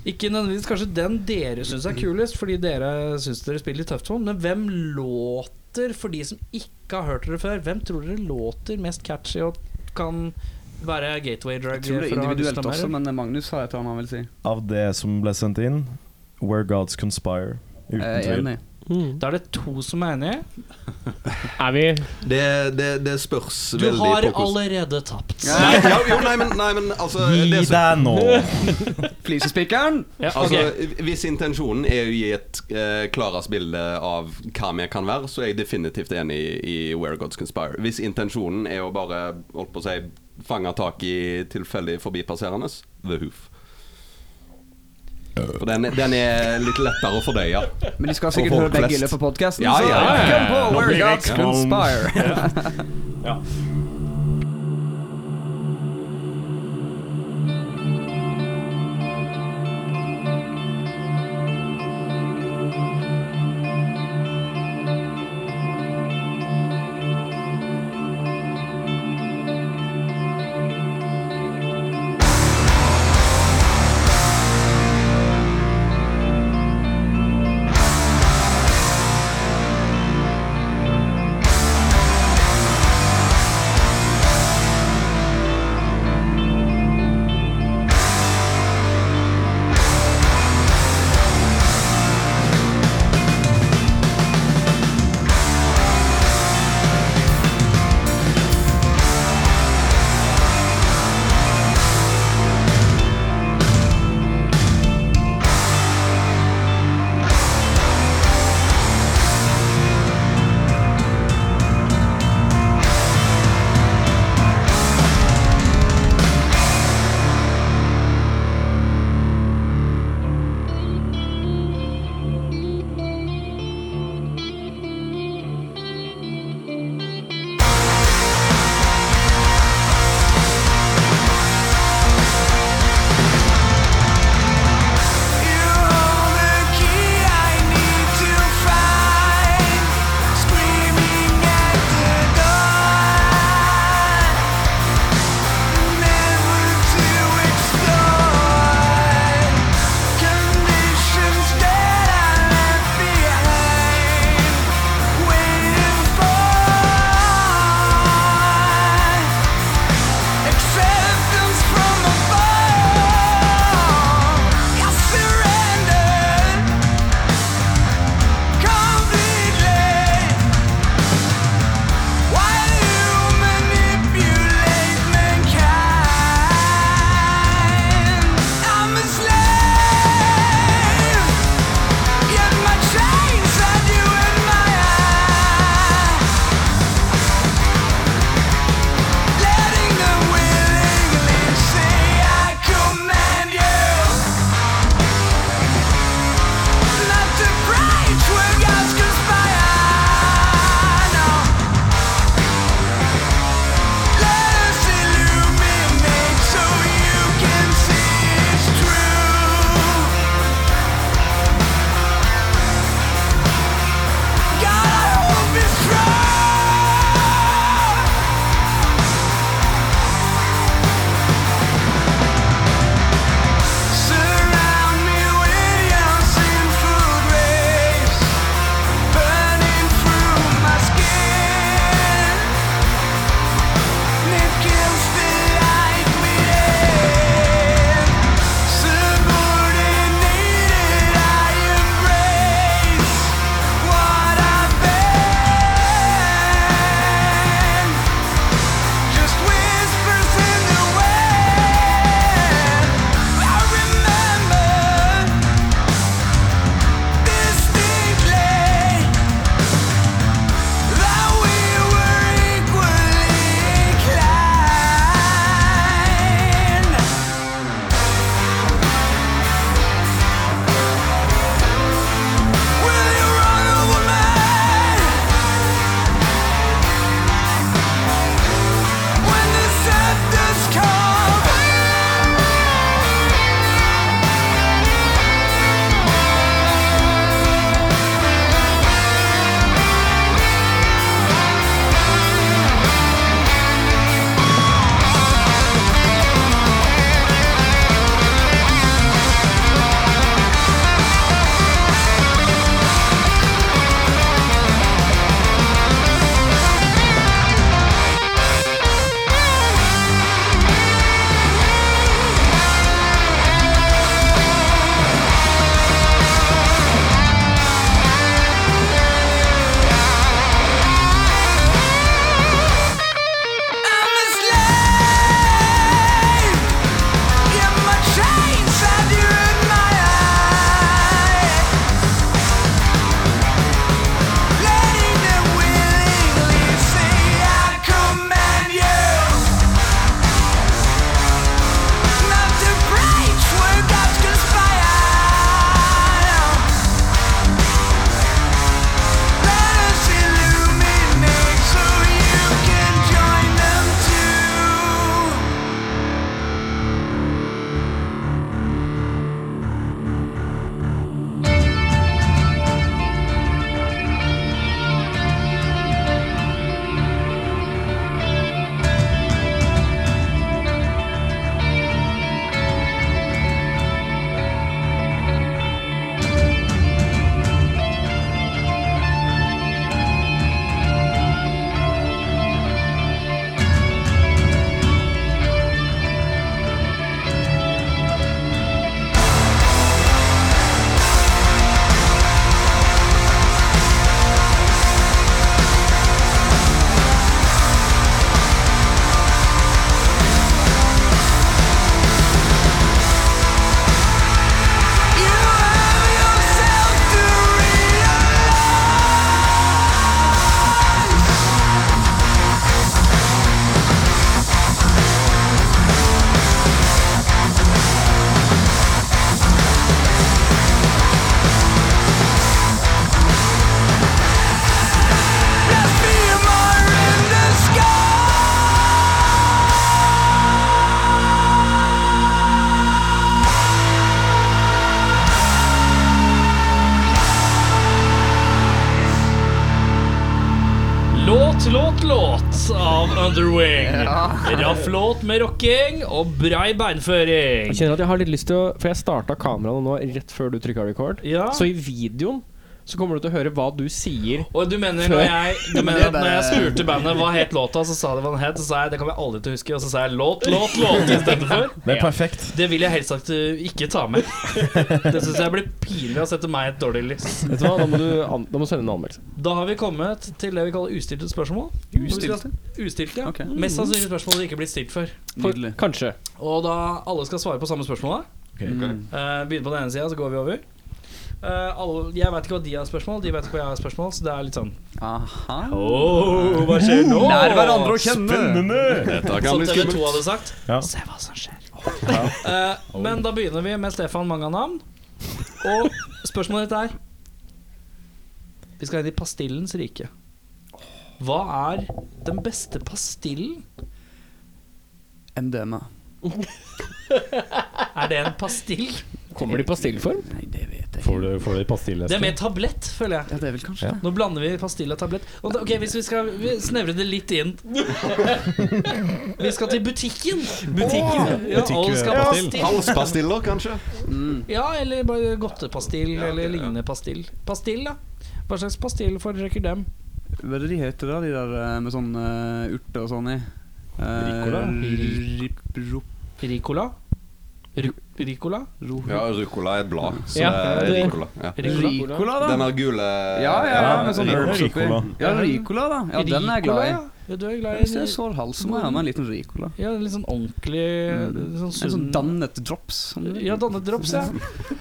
Speaker 3: Ikke nødvendigvis kanskje den dere syns er kulest, fordi dere syns dere spiller litt tøft for den, men hvem låter, for de som ikke har hørt dere før, hvem tror dere låter mest catchy og kan være gateway-drug?
Speaker 6: Jeg tror det er
Speaker 3: for å ha lyst til å
Speaker 6: individuelt
Speaker 3: være?
Speaker 6: også, men eh, Magnus har et eller annet han vil si.
Speaker 2: Av det som ble sendt inn, Where Gods Conspire. Uten
Speaker 6: Jeg er
Speaker 2: tvil.
Speaker 6: Eh, enig.
Speaker 3: Da er det to som er enige.
Speaker 10: Er vi
Speaker 8: Det, det, det spørs
Speaker 3: Du
Speaker 8: veldig
Speaker 3: har
Speaker 8: på hvordan
Speaker 3: allerede tapt.
Speaker 8: Nei, ja, jo, nei, men, nei, men altså,
Speaker 2: Gi
Speaker 8: det,
Speaker 2: deg
Speaker 8: som-
Speaker 2: nå!
Speaker 6: Flisespikeren!
Speaker 3: Ja, ok.
Speaker 8: altså Hvis intensjonen er å gi et eh, klarest bilde av hva vi kan være, så er jeg definitivt enig i, i Where Gods Conspire. Hvis intensjonen er å bare holdt på å si, fange tak i tilfeldig forbipasserende, The Hoof. For den, den er litt lettere å fordøye.
Speaker 1: [LAUGHS]
Speaker 6: Men de skal
Speaker 8: For
Speaker 6: sikkert
Speaker 8: folk
Speaker 6: høre begge
Speaker 8: flest.
Speaker 6: ille på podkasten,
Speaker 8: Ja, ja, ja, ja.
Speaker 6: så kom på
Speaker 2: Nå
Speaker 6: Where
Speaker 2: blir det
Speaker 6: Gods
Speaker 2: ekstremt.
Speaker 6: Conspire.
Speaker 11: Thank
Speaker 3: From Underwing. Raff låt med rocking og brei beinføring.
Speaker 1: Jeg kjenner at jeg har litt lyst til å For jeg starta kameraene nå rett før du trykka record.
Speaker 3: Ja.
Speaker 1: Så i videoen så kommer du til å høre hva du sier.
Speaker 3: Og du mener, når jeg, du mener at når
Speaker 1: [LAUGHS]
Speaker 3: jeg spurte bandet hva het låta, så sa de hva den het, så sa jeg det kommer jeg aldri til å huske, og så sa jeg låt, låt, låt
Speaker 1: [LAUGHS]
Speaker 3: istedenfor.
Speaker 2: Det er perfekt.
Speaker 3: Det vil jeg helst sagt uh, ikke ta med. Det syns jeg blir pinlig å sette meg i et dårlig lys.
Speaker 1: Vet du hva, Da må du, an da må du sende en anmeldelse.
Speaker 3: Da har vi kommet til det vi kaller ustilte spørsmål.
Speaker 6: Ustilte?
Speaker 3: Ustilte, ja.
Speaker 6: Ok.
Speaker 1: Mm.
Speaker 3: Mest sannsynlig spørsmål du ikke blir stilt før.
Speaker 6: Nydelig.
Speaker 1: Kanskje.
Speaker 3: Og da alle skal svare på samme spørsmål, da.
Speaker 6: Mm.
Speaker 3: Eh, begynner på den ene sida, så går vi over. Eh, alle, jeg veit ikke hva de har spørsmål, de vet ikke hva jeg har spørsmål, så det er litt sånn
Speaker 6: Aha.
Speaker 3: oh, Hva skjer nå?
Speaker 6: Lær hverandre å kjenne!
Speaker 8: Dette kan
Speaker 3: Som
Speaker 8: bli
Speaker 3: TV2
Speaker 8: skummelt.
Speaker 3: hadde sagt.
Speaker 2: Ja.
Speaker 3: Se hva som skjer. Eh, men da begynner vi med Stefan Manga navn. Og spørsmålet ditt er Vi skal inn i pastillens rike. Hva er den beste pastillen?
Speaker 6: MDMA.
Speaker 3: Er det en pastill?
Speaker 1: Kommer de på stillform?
Speaker 6: Nei, det vet jeg
Speaker 12: Får
Speaker 6: ikke.
Speaker 12: du, får du
Speaker 3: Det er
Speaker 12: pastilleske?
Speaker 3: mer tablett, føler jeg.
Speaker 6: Ja, det er vel kanskje det.
Speaker 3: Nå blander vi pastille og tablett. Og da- Ok, Hvis vi skal vi snevre det litt inn Vi skal til butikken. Butikken Ja, alle skal ha pastill.
Speaker 8: Halspastiller, kanskje?
Speaker 6: Mm.
Speaker 3: Ja, eller bare godtepastill eller lignende pastill. Pastill, da. Hva slags pastill foretrekker dem?
Speaker 6: Hva er det de heter, da? De der eh, med sånn eh, urte og sånn i?
Speaker 2: Ricola?
Speaker 6: Ricola?
Speaker 3: Ricola? Ru Ricola?
Speaker 8: Ja, rucola er et blad. Så
Speaker 1: Ja,
Speaker 8: det er
Speaker 1: det-
Speaker 8: ricola. Ja.
Speaker 6: Ricola, da?
Speaker 8: Den har gule
Speaker 6: Ja, ja, ja, med sånn
Speaker 2: Ja,
Speaker 6: herbs oppi.
Speaker 2: Ricola.
Speaker 6: Ja, Ricola, da. Ja, den er jeg glad i.
Speaker 3: Ricola, ja. Ja, du er glad
Speaker 6: Hvis jeg
Speaker 3: i
Speaker 6: er sår hals, så må jeg ha meg en liten Ricola.
Speaker 3: Ja, litt sånn ordentlig litt sånn
Speaker 6: En
Speaker 3: sunn
Speaker 6: sånn dannet drops. Sånn.
Speaker 3: Ja, dannedrops, ja.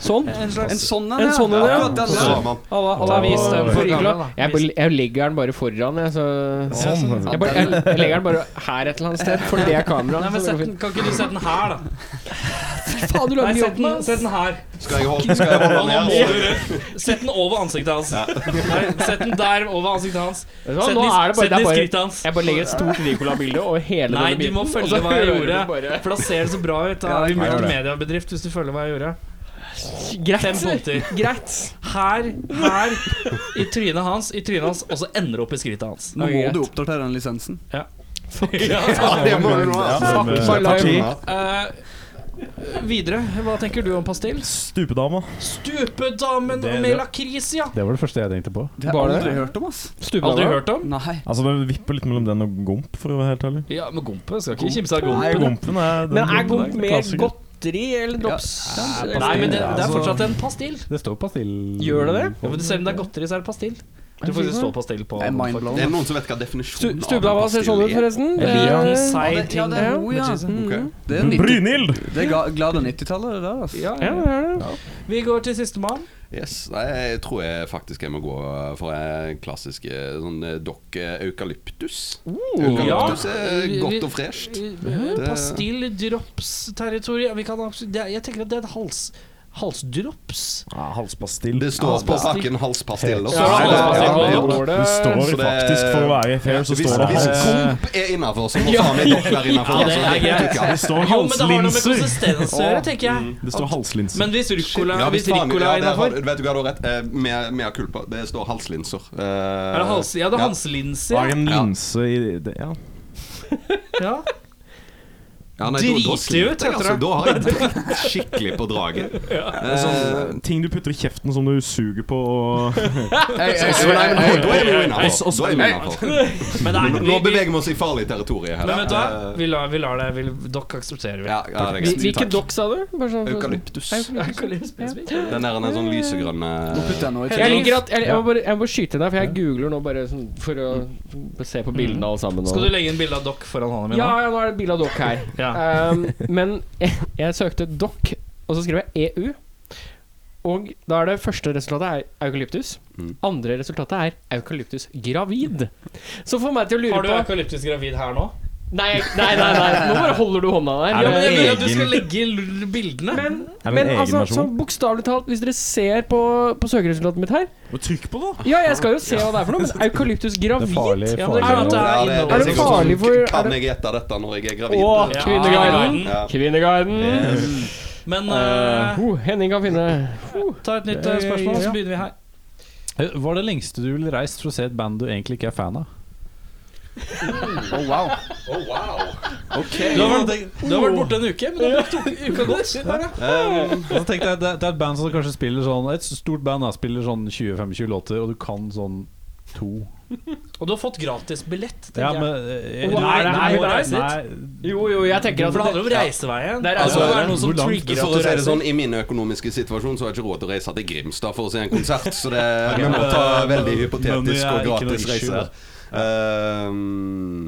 Speaker 1: Sånn.
Speaker 3: En
Speaker 6: En
Speaker 3: slags
Speaker 6: sånn
Speaker 1: En sånn en, ja.
Speaker 6: Akkurat den der.
Speaker 8: Så man
Speaker 1: Alla, alla,
Speaker 3: Da vis den for
Speaker 1: Ricola.
Speaker 3: gamle, da.
Speaker 1: Jeg, bare- jeg legger den bare foran, jeg, så
Speaker 2: Sånn.
Speaker 1: jeg, bare, jeg, jeg legger den bare her et eller annet sted, for det er
Speaker 3: Nei,
Speaker 1: kameraet. så
Speaker 3: men
Speaker 1: det går
Speaker 3: sett den,
Speaker 1: fint.
Speaker 3: Kan ikke du sette den her, da?
Speaker 1: Faen, du
Speaker 3: Nei,
Speaker 1: lager mye jobb
Speaker 3: sett den,
Speaker 1: med
Speaker 3: sett den her.
Speaker 8: Skal jeg holde, skal jeg holde den
Speaker 3: Nå må
Speaker 8: her?
Speaker 3: du- Sett den over ansiktet hans. Nei, sett den der over ansiktet hans.
Speaker 1: Vet du hva,
Speaker 3: Sett den
Speaker 1: Nå
Speaker 3: i,
Speaker 1: er det bare,
Speaker 3: sett
Speaker 1: det
Speaker 3: den
Speaker 1: er
Speaker 3: i
Speaker 1: bare
Speaker 3: skrittet hans.
Speaker 1: Jeg bare legger et stort Ricola-bilde og hele
Speaker 3: Nei,
Speaker 1: denne
Speaker 3: du
Speaker 1: biten.
Speaker 3: må
Speaker 1: og
Speaker 3: følge
Speaker 1: så
Speaker 3: hva jeg
Speaker 1: hører du
Speaker 3: gjorde.
Speaker 1: bare-
Speaker 3: For da ser det så bra ut. Da.
Speaker 6: Ja,
Speaker 3: Det
Speaker 6: jeg
Speaker 3: er
Speaker 6: gjør
Speaker 3: en
Speaker 2: det.
Speaker 3: mediebedrift hvis du følger hva jeg gjorde.
Speaker 1: Greit.
Speaker 3: Fem punkter.
Speaker 1: Greit.
Speaker 3: Her, her, i trynet hans, i trynet hans, og så ender det opp i skrittet hans.
Speaker 6: Nå må
Speaker 1: greit.
Speaker 6: du oppdatere den lisensen.
Speaker 3: Ja,
Speaker 8: Det må du nå, altså.
Speaker 2: Ja, men-
Speaker 1: my life.
Speaker 3: eh, videre, hva tenker du om pastill?
Speaker 2: Stupedama.
Speaker 3: Stupedamen
Speaker 2: Det-
Speaker 3: med
Speaker 2: det-
Speaker 3: lakris, ja!
Speaker 12: Det var det første jeg tenkte på.
Speaker 6: Det har
Speaker 1: Var
Speaker 6: jeg
Speaker 1: det?
Speaker 6: aldri hørt om, ass.
Speaker 3: Aldri
Speaker 1: Stupedama.
Speaker 3: hørt om?
Speaker 6: Nei.
Speaker 2: Altså, det vipper litt mellom den og gomp, for å være helt ærlig.
Speaker 3: Ja, men gompe skal ikke kimse av
Speaker 2: Nei,
Speaker 3: gompen.
Speaker 2: gompen er den
Speaker 1: Men er
Speaker 2: gompen
Speaker 1: gomp
Speaker 2: er
Speaker 1: mer
Speaker 2: klassiker.
Speaker 1: godteri eller drops?
Speaker 3: Nei, men det,
Speaker 1: altså-
Speaker 3: det er fortsatt en pastill.
Speaker 12: Det står pastill...
Speaker 1: Gjør det det?
Speaker 3: Ja, men selv om det er godteri, så er det pastill. Du får faktisk stå pastill på
Speaker 6: Jeg er
Speaker 8: Det er
Speaker 6: mindblown.
Speaker 8: noen som vet hva
Speaker 1: Stu-
Speaker 8: definisjonen
Speaker 1: Stupedama ser sånn ut, forresten.
Speaker 3: En lang,
Speaker 1: Det-
Speaker 6: Ja,
Speaker 3: seig
Speaker 6: det- Ja,
Speaker 3: ting.
Speaker 6: det er ro, ja. Mm.
Speaker 8: Ok.
Speaker 6: Det er, 90,
Speaker 2: Brynhild!
Speaker 6: det er ga- glade 90-tallet, det der, ass.
Speaker 3: Ja,
Speaker 1: Ja,
Speaker 3: ja.
Speaker 1: det er det.
Speaker 3: Vi går til sistemann.
Speaker 8: Yes, Nei, jeg tror jeg faktisk jeg må gå for en klassisk eh, sånn eh, dokk eh, eukalyptus. Eukalyptus er
Speaker 3: Oh. Ja.
Speaker 8: godt og fresht.
Speaker 3: Pastill, drops, territorium eh, Vi kan absolutt det er- Jeg tenker at det er et hals... Halsdrops?
Speaker 2: Ja, halspastill.
Speaker 8: Det står på
Speaker 3: Halspastill.
Speaker 8: pakken halspastiller.
Speaker 3: Ja, halspastill på
Speaker 8: ja,
Speaker 3: dokk.
Speaker 8: ja.
Speaker 2: Det står
Speaker 8: Så det-
Speaker 2: faktisk, for å være fair, så
Speaker 8: Hvis,
Speaker 2: står det
Speaker 8: hvis
Speaker 2: hals...
Speaker 8: komp er innafor, så må faen meg dokk være innafor. altså.
Speaker 3: Ja, det er greit.
Speaker 2: Det står
Speaker 3: Jo, men det har noe med
Speaker 2: halslinser. Mm.
Speaker 3: konsistens å gjøre, tenker jeg.
Speaker 2: Det står halslinser.
Speaker 3: Men hvis rucola
Speaker 8: Ja,
Speaker 3: hvis
Speaker 8: hvis faen,
Speaker 3: ricola
Speaker 8: ja,
Speaker 3: er
Speaker 8: det har,
Speaker 3: innafor
Speaker 8: vet du hva, du har rett. Eh, Mer, mer kulpa. Det står halslinser. Eh,
Speaker 3: er det hals, ja, det er
Speaker 2: Hva
Speaker 3: halslinser.
Speaker 2: er en
Speaker 8: Ja.
Speaker 2: linse i det? Ja.
Speaker 3: Ja.
Speaker 8: Ja, nei, da- da
Speaker 3: Driter
Speaker 8: sliter
Speaker 3: ut,
Speaker 8: jeg,
Speaker 3: heter [LAUGHS]
Speaker 8: altså.
Speaker 3: det.
Speaker 8: Da har jeg dritt skikkelig på draget. Eh,
Speaker 2: Det er
Speaker 13: Eh,
Speaker 2: sånn, ting du putter i kjeften som du suger
Speaker 13: [LAUGHS]
Speaker 2: på og
Speaker 8: Da er vi jo innafor. Da er vi innafor.
Speaker 3: Men det er,
Speaker 8: Nå
Speaker 3: vi, vi,
Speaker 8: beveger vi oss i farlig territorium her.
Speaker 3: men vet du hva?
Speaker 8: Eh,
Speaker 3: Vi lar, vi lar det. Vi, dere aksepterer vi. [LAUGHS]
Speaker 8: Ja, ja, det er
Speaker 1: Hvil-
Speaker 8: greit.
Speaker 1: Hvilken
Speaker 8: Takk.
Speaker 1: dokk sa du? Bare sånn-
Speaker 8: Eukalyptus.
Speaker 3: Eukalyptus.
Speaker 8: Den der den er sånn lysegrønn
Speaker 6: Nå
Speaker 8: eh,
Speaker 6: putter jeg noe i
Speaker 1: Jeg
Speaker 6: tillegg.
Speaker 1: liker at Jeg, jeg, må bare, jeg må bare skyte deg, for jeg googler nå bare sånn for å se
Speaker 2: Mm.
Speaker 1: på bildene alle sammen. og-
Speaker 3: Skal du legge inn bilde av dere foran hånda mi?
Speaker 1: ja,
Speaker 3: nå?
Speaker 1: ja, nå er det bilde av dokk her.
Speaker 3: [LAUGHS] Ja.
Speaker 1: Um, men jeg, jeg søkte dokk, og så skrev jeg EU. Og da er det første resultatet er eukalyptus.
Speaker 2: Mm.
Speaker 1: Andre resultatet er eukalyptus gravid. Så får meg til å lure
Speaker 3: Har du
Speaker 1: på
Speaker 3: eukalyptus gravid her nå?
Speaker 1: nei, nei, nei, nei, nå bare holder du hånda der.
Speaker 2: Er
Speaker 3: Ja,
Speaker 2: det
Speaker 3: men jeg vil at du
Speaker 2: egen-
Speaker 3: skal legge l- bildene.
Speaker 2: Er det
Speaker 1: Men
Speaker 2: en egen
Speaker 1: altså,
Speaker 2: versjon?
Speaker 1: sånn bokstavelig talt, hvis dere ser på, på søkeresultatet mitt her
Speaker 2: Men Trykk på det, da!
Speaker 1: Ja, jeg skal jo se hva det er
Speaker 3: [LAUGHS]
Speaker 1: for noe, men eukalyptus
Speaker 12: Det
Speaker 1: gravid
Speaker 12: er farlig.
Speaker 3: Ja, men det er klart at
Speaker 12: farlig.
Speaker 3: det er
Speaker 8: ja, det,
Speaker 1: Er
Speaker 3: innover.
Speaker 1: det
Speaker 8: sikkert
Speaker 1: farlig for- er
Speaker 8: Kan
Speaker 1: det-
Speaker 8: jeg gjete dette når jeg er gravid?
Speaker 1: Å,
Speaker 8: Ja.
Speaker 1: Kvinneguiden!
Speaker 8: Ja.
Speaker 1: Kvinneguiden!
Speaker 3: Men eh,
Speaker 1: Oh, Henning kan finne
Speaker 3: ta et nytt eh, spørsmål, så begynner vi her.
Speaker 12: Hva er det lengste du ville reist for å se et band du egentlig ikke er fan av?
Speaker 6: Oh, wow.
Speaker 8: Oh, wow. Ok.
Speaker 3: Du har vært, du har vært borte en uke, men du har brukt uka godt.
Speaker 13: Eh, Og så tenkte jeg, det, det er et band som kanskje spiller sånn Et stort band da, spiller sånn 20-25 låter, og du kan sånn to.
Speaker 3: Og du har fått gratisbillett.
Speaker 13: Ja, men eh,
Speaker 3: Og
Speaker 1: er det her vi må reise
Speaker 13: nei,
Speaker 1: Jo, jo, jeg tenker
Speaker 3: For det
Speaker 1: at
Speaker 3: handler om reiseveien.
Speaker 1: Det er
Speaker 3: altså,
Speaker 8: reiseveien.
Speaker 3: det er noen som
Speaker 13: Hvor langt?
Speaker 3: trigger
Speaker 8: For
Speaker 3: at
Speaker 8: å
Speaker 3: du
Speaker 8: si det
Speaker 3: reiser.
Speaker 8: sånn, I min økonomiske situasjon så har jeg ikke råd til å reise til Grimstad for å se en konsert, så det, vi må ta veldig
Speaker 13: Men det
Speaker 8: hypotetisk
Speaker 13: er
Speaker 8: og
Speaker 13: ikke noe
Speaker 8: gratis
Speaker 13: issue,
Speaker 8: reise.
Speaker 13: da.
Speaker 8: Ehm,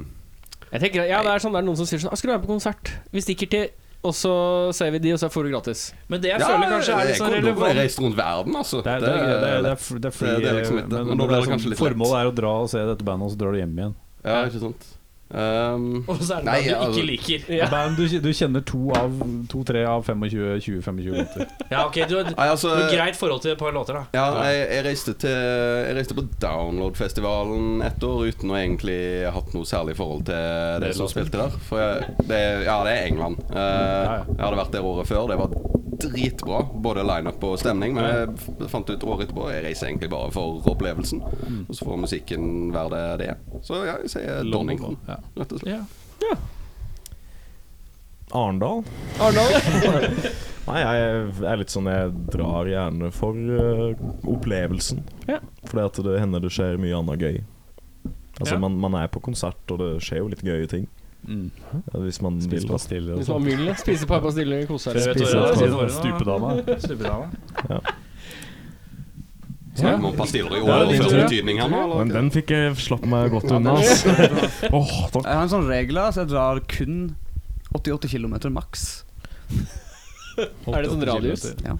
Speaker 1: Jeg tenker, at- ja, det er sånn det er noen som sier sånn «Ah, 'Skal du være med på konsert?' Vi stikker til, og så ser vi de, og så får du gratis.
Speaker 3: Men det jeg
Speaker 8: ja,
Speaker 3: føler kanskje er litt
Speaker 8: jeg
Speaker 3: sånn
Speaker 8: kunne nok
Speaker 3: relevant
Speaker 8: reist rundt verden, altså.
Speaker 13: Det er, det, er, det, er, det, er, fr- det er free,
Speaker 8: Det- det er liksom
Speaker 2: eh,
Speaker 8: litt-
Speaker 13: men,
Speaker 8: men nå
Speaker 13: det
Speaker 8: blir
Speaker 13: er
Speaker 8: det
Speaker 13: sånn,
Speaker 8: kanskje litt lett.
Speaker 13: Formålet er å dra og se dette bandet, og så drar du hjem igjen.
Speaker 8: Ja, ikke sant. Ehm,
Speaker 3: [LAUGHS] Og så er det
Speaker 8: Nei,
Speaker 3: noe du
Speaker 8: altså-
Speaker 3: ikke liker.
Speaker 1: Ja.
Speaker 13: Band, du, du kjenner to av to-tre av 25-20-25 låter.
Speaker 3: Ja, ok, du
Speaker 8: [LAUGHS]
Speaker 3: har du
Speaker 8: nei, altså
Speaker 3: har greit forhold til et par låter, da.
Speaker 8: ja, jeg, jeg, reiste til, jeg reiste på Downloadfestivalen ett år uten å egentlig ha hatt noe særlig forhold til det som spilte der. For jeg, det, ja, det er England. Eh,
Speaker 13: ja.
Speaker 8: jeg hadde vært der året før. Det var dritbra, både lineup og stemning. Men jeg f- fant ut året etterpå jeg reiser egentlig bare for opplevelsen.
Speaker 13: Mm.
Speaker 8: Og så får musikken være det det er. Så ja, jeg sier Donnington,
Speaker 13: Ja.
Speaker 8: rett og slett.
Speaker 2: Arendal? [LAUGHS] Nei, jeg er litt sånn Jeg drar gjerne for eh, opplevelsen.
Speaker 1: Ja.
Speaker 2: Fordi at det hender det skjer mye annet gøy. Altså,
Speaker 3: Ja.
Speaker 2: man, man er på konsert, og det skjer jo litt gøye ting.
Speaker 13: Mm.
Speaker 2: eh, Hvis man
Speaker 13: Spis
Speaker 2: vil. da.
Speaker 13: pastiller og
Speaker 1: Hvis man
Speaker 13: sånn.
Speaker 1: har mulig, spise et par pastiller, kose
Speaker 3: Før
Speaker 1: seg.
Speaker 3: jeg vet
Speaker 2: Spise
Speaker 3: ordet,
Speaker 2: et
Speaker 1: sånn,
Speaker 3: jeg vet
Speaker 2: par-
Speaker 3: ordet nå.
Speaker 13: Stupedame.
Speaker 1: [LAUGHS]
Speaker 3: Stupedame.
Speaker 8: Snakker vi om pastiller i
Speaker 2: Ja,
Speaker 8: år og
Speaker 2: litt,
Speaker 8: først
Speaker 2: ja.
Speaker 8: betydning her nå? eller?
Speaker 2: Men den fikk jeg slapp meg godt unna. Altså. [LAUGHS] Åh, takk.
Speaker 6: Jeg har en sånn regel, altså. Jeg drar kun 88 km maks.
Speaker 1: Er det sånn radius?
Speaker 6: Ja.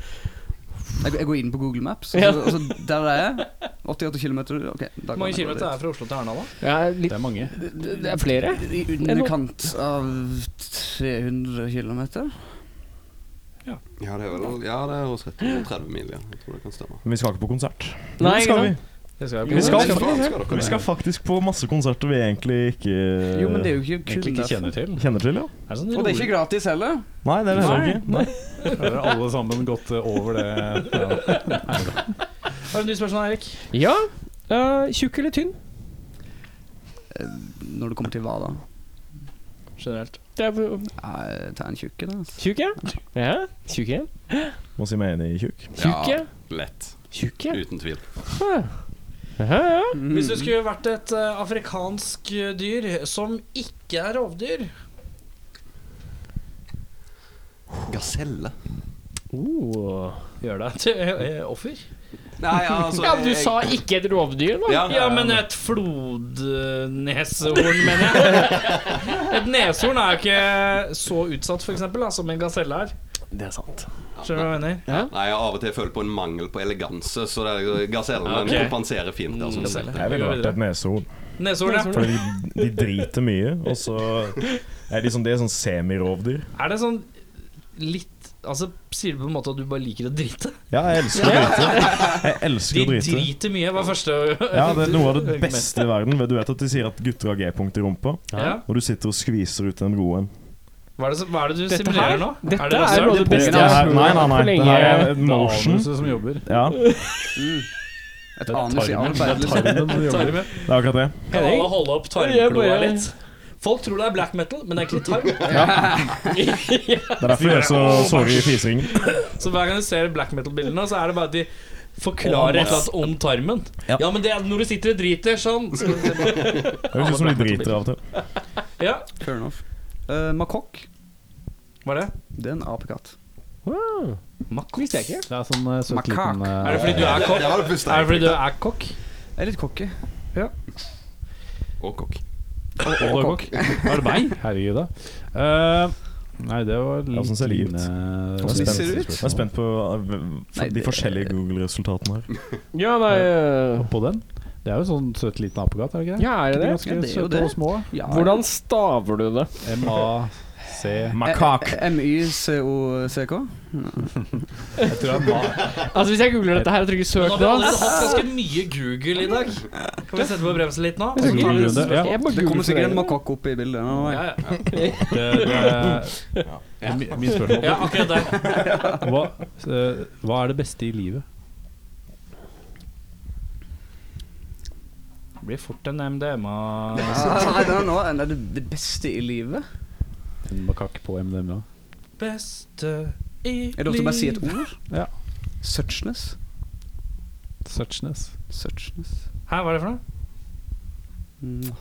Speaker 6: Jeg, jeg går inn på Google Maps, og
Speaker 1: Ja.
Speaker 6: så, og så der er jeg. 88 km. Ok, da
Speaker 3: Hvor
Speaker 6: kan
Speaker 3: mange
Speaker 6: jeg
Speaker 3: kilometer
Speaker 6: gå
Speaker 3: er det
Speaker 6: dit.
Speaker 3: fra Oslo til Arendal, da?
Speaker 1: Ja, litt,
Speaker 13: Det er mange.
Speaker 1: det det er flere.
Speaker 6: I underkant av 300 km.
Speaker 8: Ja, det er vel Ja, det er hos 30 mil, ja. Jeg tror det kan stemme.
Speaker 2: Men vi skal ikke på konsert.
Speaker 1: Nei,
Speaker 2: Jo, det skal
Speaker 1: ikke
Speaker 2: vi.
Speaker 1: sant? Det skal
Speaker 2: Vi skal-
Speaker 8: Men faen skal dere
Speaker 2: vi skal faktisk på masse konserter vi egentlig ikke
Speaker 6: Jo, men det er jo ikke kun
Speaker 13: Egentlig ikke
Speaker 6: derfor.
Speaker 13: kjenner til.
Speaker 2: Eh, kjenner til. ja
Speaker 6: Og det sånn? er ikke gratis heller.
Speaker 2: Nei, det er det heller ikke. Nei.
Speaker 13: Da har alle sammen gått eh, over det ja.
Speaker 3: Har du et nytt spørsmål, Erik?
Speaker 1: Ja. eh, tjukk eller tynn?
Speaker 6: Når det kommer til hva da?
Speaker 3: Generelt.
Speaker 1: Det er
Speaker 6: Nei, Ta en tjukk en, altså.
Speaker 1: Tjukk, ja. ja. Tjukk, ja.
Speaker 2: Må si meg enig i tjukk.
Speaker 1: Tjukk, ja.
Speaker 8: Lett.
Speaker 1: Tjukk, ja.
Speaker 8: Uten tvil.
Speaker 1: Jaha, ja.
Speaker 3: Hvis du skulle vært et eh, afrikansk eh, dyr som ikke er rovdyr
Speaker 8: Gaselle.
Speaker 1: Oh.
Speaker 3: Gjør [LAUGHS] deg til eh, offer?
Speaker 8: Nei, altså
Speaker 1: Ja, men du sa eh- ikke et rovdyr, da.
Speaker 8: ja,
Speaker 3: Ja, men et flodneshorn, mener jeg. [LAUGHS] Et neshorn er jo ikke så utsatt, for eksempel, da, som en gaselle er.
Speaker 1: Det er sant.
Speaker 3: Skjønner du hva jeg mener?
Speaker 8: Nei, jeg av og til føler på en mangel på eleganse, så det er gasellen den
Speaker 3: Ok.
Speaker 8: kompenserer fint. Altså.
Speaker 2: Jeg ville vært et nesehorn.
Speaker 3: Neshorn, ja.
Speaker 2: Fordi de, de driter mye, og så er de sånn, det er sånn semirovdyr.
Speaker 3: Er det sånn litt Altså, Sier du på en måte at du bare liker å drite?
Speaker 2: Ja, jeg elsker å drite. Jeg elsker
Speaker 3: De
Speaker 2: å drite.
Speaker 3: driter mye, var første
Speaker 2: Ja, Det er
Speaker 3: [LAUGHS]
Speaker 2: noe av det beste i verden. Du vet at de sier at gutter har G-punkt i rumpa,
Speaker 3: Ja.
Speaker 2: og du sitter og skviser ut en god en.
Speaker 3: Hva er det, som- hva er det du
Speaker 1: Dette
Speaker 3: simulerer
Speaker 1: her,
Speaker 3: nå?
Speaker 1: dette
Speaker 3: det
Speaker 1: er
Speaker 3: rasshøl?
Speaker 1: noe av det beste
Speaker 2: Det
Speaker 1: jeg har
Speaker 2: er- Nei, nei,
Speaker 1: hørt
Speaker 2: nei.
Speaker 1: på
Speaker 2: Det
Speaker 1: lenge.
Speaker 2: her er
Speaker 13: Det er
Speaker 2: motion.
Speaker 13: anuset som jobber.
Speaker 2: Ja, det
Speaker 6: Et anus i
Speaker 13: tarmen.
Speaker 6: arbeid, liksom.
Speaker 13: Tarmen som jobber.
Speaker 3: Tarmen.
Speaker 2: er akkurat det.
Speaker 3: Kan alle holde opp
Speaker 1: Jeg
Speaker 3: tarmkloa
Speaker 1: bare-
Speaker 3: litt? Folk tror det er black metal, men det er ikke tarm.
Speaker 2: Det er derfor jeg er så såre i fiseringen.
Speaker 3: Så hver gang du ser black metal-bildene, så er det bare at de forklarer et eller annet om tarmen.
Speaker 2: Ja.
Speaker 3: Ja, men det er når du sitter og driter sånn.
Speaker 2: Det høres ut som de driter av og til.
Speaker 3: Ja,
Speaker 6: Fair enough. Eh, makokk,
Speaker 3: var det?
Speaker 6: det er en apekatt.
Speaker 3: Makos. Er det
Speaker 13: Det er sånn eh, søt
Speaker 6: Makak.
Speaker 13: liten eh,
Speaker 3: fordi du er kokk?
Speaker 8: Det var det første
Speaker 3: Er det
Speaker 8: jeg
Speaker 3: fordi du er kokk?
Speaker 6: Jeg er litt cocky.
Speaker 8: Og kokk.
Speaker 13: Og kokk. Var det meg? Herregud, da. Eh, nei, det var litt
Speaker 2: Hvordan ser de ut?
Speaker 13: fine-
Speaker 2: Jeg er
Speaker 6: ser det ut?
Speaker 2: spent, jeg er spent på eh,
Speaker 6: Nei,
Speaker 2: de
Speaker 6: det-
Speaker 2: forskjellige Google-resultatene her.
Speaker 1: Ja, nei øh,
Speaker 13: eh, på den. Det er jo sånn søt liten apekatt, er det ikke det?
Speaker 1: Ja, er det
Speaker 13: De er
Speaker 1: det?
Speaker 13: Ganske
Speaker 6: Ja, det er jo
Speaker 13: søte
Speaker 6: det.
Speaker 13: og små.
Speaker 6: Ja.
Speaker 1: Hvordan staver du det?
Speaker 13: M-A-C
Speaker 6: eh,
Speaker 2: Makak.
Speaker 6: MYCOCK.
Speaker 13: Jeg tror det er ma...
Speaker 1: Altså Hvis jeg googler dette her og trykker
Speaker 3: Nå
Speaker 1: søk
Speaker 3: har vi
Speaker 1: nå
Speaker 3: allerede hatt ganske mye Google i dag. Kan vi sette på bremsen litt nå?
Speaker 13: Jeg tror det er- ja.
Speaker 1: Jeg bare
Speaker 6: Det kommer
Speaker 1: googler for
Speaker 6: sikkert en
Speaker 1: dere.
Speaker 6: makokk opp i bildet. Nå.
Speaker 3: Ja, ja.
Speaker 13: Det, det, er- det er mi- Mitt spørsmål
Speaker 3: ja, akkurat der.
Speaker 13: hva, eh, hva er det beste i livet?
Speaker 3: blir fort en MDMA.
Speaker 6: I don't know, er det det beste i livet?
Speaker 2: En makakk på MDMA.
Speaker 3: Beste i
Speaker 6: Er det lov til å bare si et ord?
Speaker 2: Ja.
Speaker 6: Suchness.
Speaker 2: Suchness.
Speaker 6: Suchness.
Speaker 3: Hæ, hva er det for noe?
Speaker 6: Mm.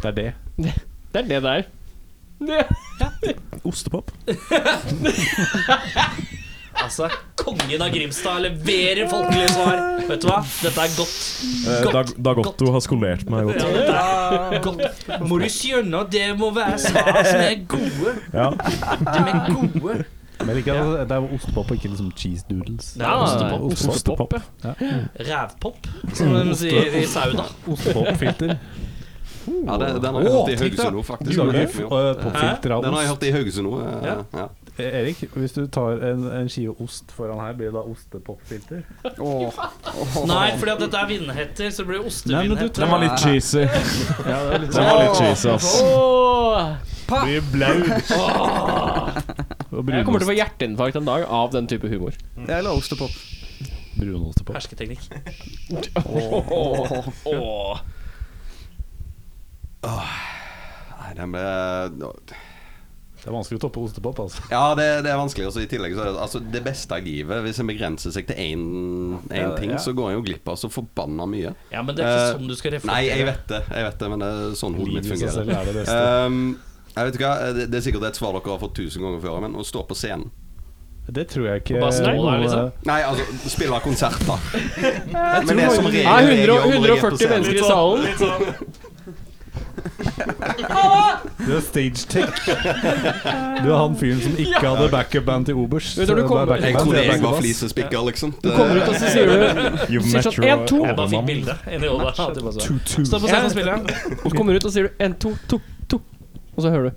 Speaker 2: Det er det.
Speaker 14: Det er det der.
Speaker 7: Ostepop.
Speaker 3: Altså, kongen av Grimstad leverer folkelige svar. Vet du hva? Dette er godt.
Speaker 7: Eh, Dag, Dag Otto har skolert meg godt.
Speaker 3: Ja, dette er godt. Må du skjønne at det må være svar som er gode.
Speaker 7: Ja.
Speaker 3: De er gode.
Speaker 2: Men jeg liker at det er ostepop og ikke liksom cheese doodles.
Speaker 3: Det er ostepop.
Speaker 2: Ostepop.
Speaker 7: Ostepop.
Speaker 3: Rævpop, som de sier i Sauda.
Speaker 2: Ostepopfilter.
Speaker 8: Ja, det, den har jeg hørt i Haugesund nå,
Speaker 2: Du
Speaker 8: faktisk.
Speaker 2: lager
Speaker 8: Den
Speaker 2: et eh, popfilter av
Speaker 8: har jeg
Speaker 2: ost.
Speaker 8: hørt i Haugesund nå. eh, Ja.
Speaker 2: Eh, Erik, hvis du tar en, en skive ost foran her, blir det da ostepopfilter?
Speaker 3: Nei, fordi at dette er vindhetter, så det blir ostevinnheter.
Speaker 7: Den var litt cheesy.
Speaker 2: Ja, det er litt
Speaker 7: Den var litt cheesy, ass.
Speaker 14: Åh,
Speaker 7: Blir blaut.
Speaker 2: Og
Speaker 14: jeg kommer til å
Speaker 2: brunost.
Speaker 14: få hjerteinfarkt en dag av den type humor.
Speaker 6: Jeg la ostepop.
Speaker 2: Brunostepop.
Speaker 3: Hersketeknikk.
Speaker 8: Nei, den ble
Speaker 2: Det er vanskelig å toppe ostepop, altså.
Speaker 8: Ja, det, det er vanskelig. Også, I tillegg så er det altså, det beste av livet. Hvis en begrenser seg til én
Speaker 2: Ja,
Speaker 8: ting,
Speaker 2: ja.
Speaker 8: så går en jo glipp av så forbanna mye.
Speaker 3: Ja, men det er
Speaker 8: Eh,
Speaker 3: ikke sånn du skal
Speaker 8: Nei, jeg
Speaker 3: reflektere.
Speaker 8: vet det, jeg vet det men det er sånn hodet
Speaker 2: Livet
Speaker 8: mitt
Speaker 2: i seg selv
Speaker 8: fungerer.
Speaker 2: er det beste.
Speaker 8: Um, jeg vet ikke hva, det, det er sikkert et svar dere har fått tusen ganger før, men å stå på scenen
Speaker 2: Det tror jeg ikke
Speaker 3: Bare stå der,
Speaker 2: noe- eh,
Speaker 3: liksom.
Speaker 8: Nei, altså spille konsert, da.
Speaker 2: [LAUGHS]
Speaker 8: Men
Speaker 2: tror faktisk-
Speaker 14: Det er 100, 140 mennesker i
Speaker 3: sånn,
Speaker 14: salen.
Speaker 2: Det er stage tech. Du er han fyren som ikke hadde backup-band til Obers.
Speaker 14: Vet du, du
Speaker 2: Det er
Speaker 14: kommer-
Speaker 2: backup-band,
Speaker 8: Jeg trodde
Speaker 2: det er
Speaker 8: jeg var
Speaker 2: backup-band.
Speaker 8: flisespikker, liksom. Det,
Speaker 14: Kommer ut, og så sier du
Speaker 7: You
Speaker 14: Sier sånn,
Speaker 7: metro
Speaker 14: en, to.
Speaker 3: Jeg bare fikk
Speaker 7: Everman.
Speaker 3: bildet inni hodet. Ja, det var så.
Speaker 2: Tutu.
Speaker 3: Stå på scenen og
Speaker 14: [LAUGHS]
Speaker 3: spille.
Speaker 14: Og kommer ut og sier du 1, 2, 2, 2 Og så hører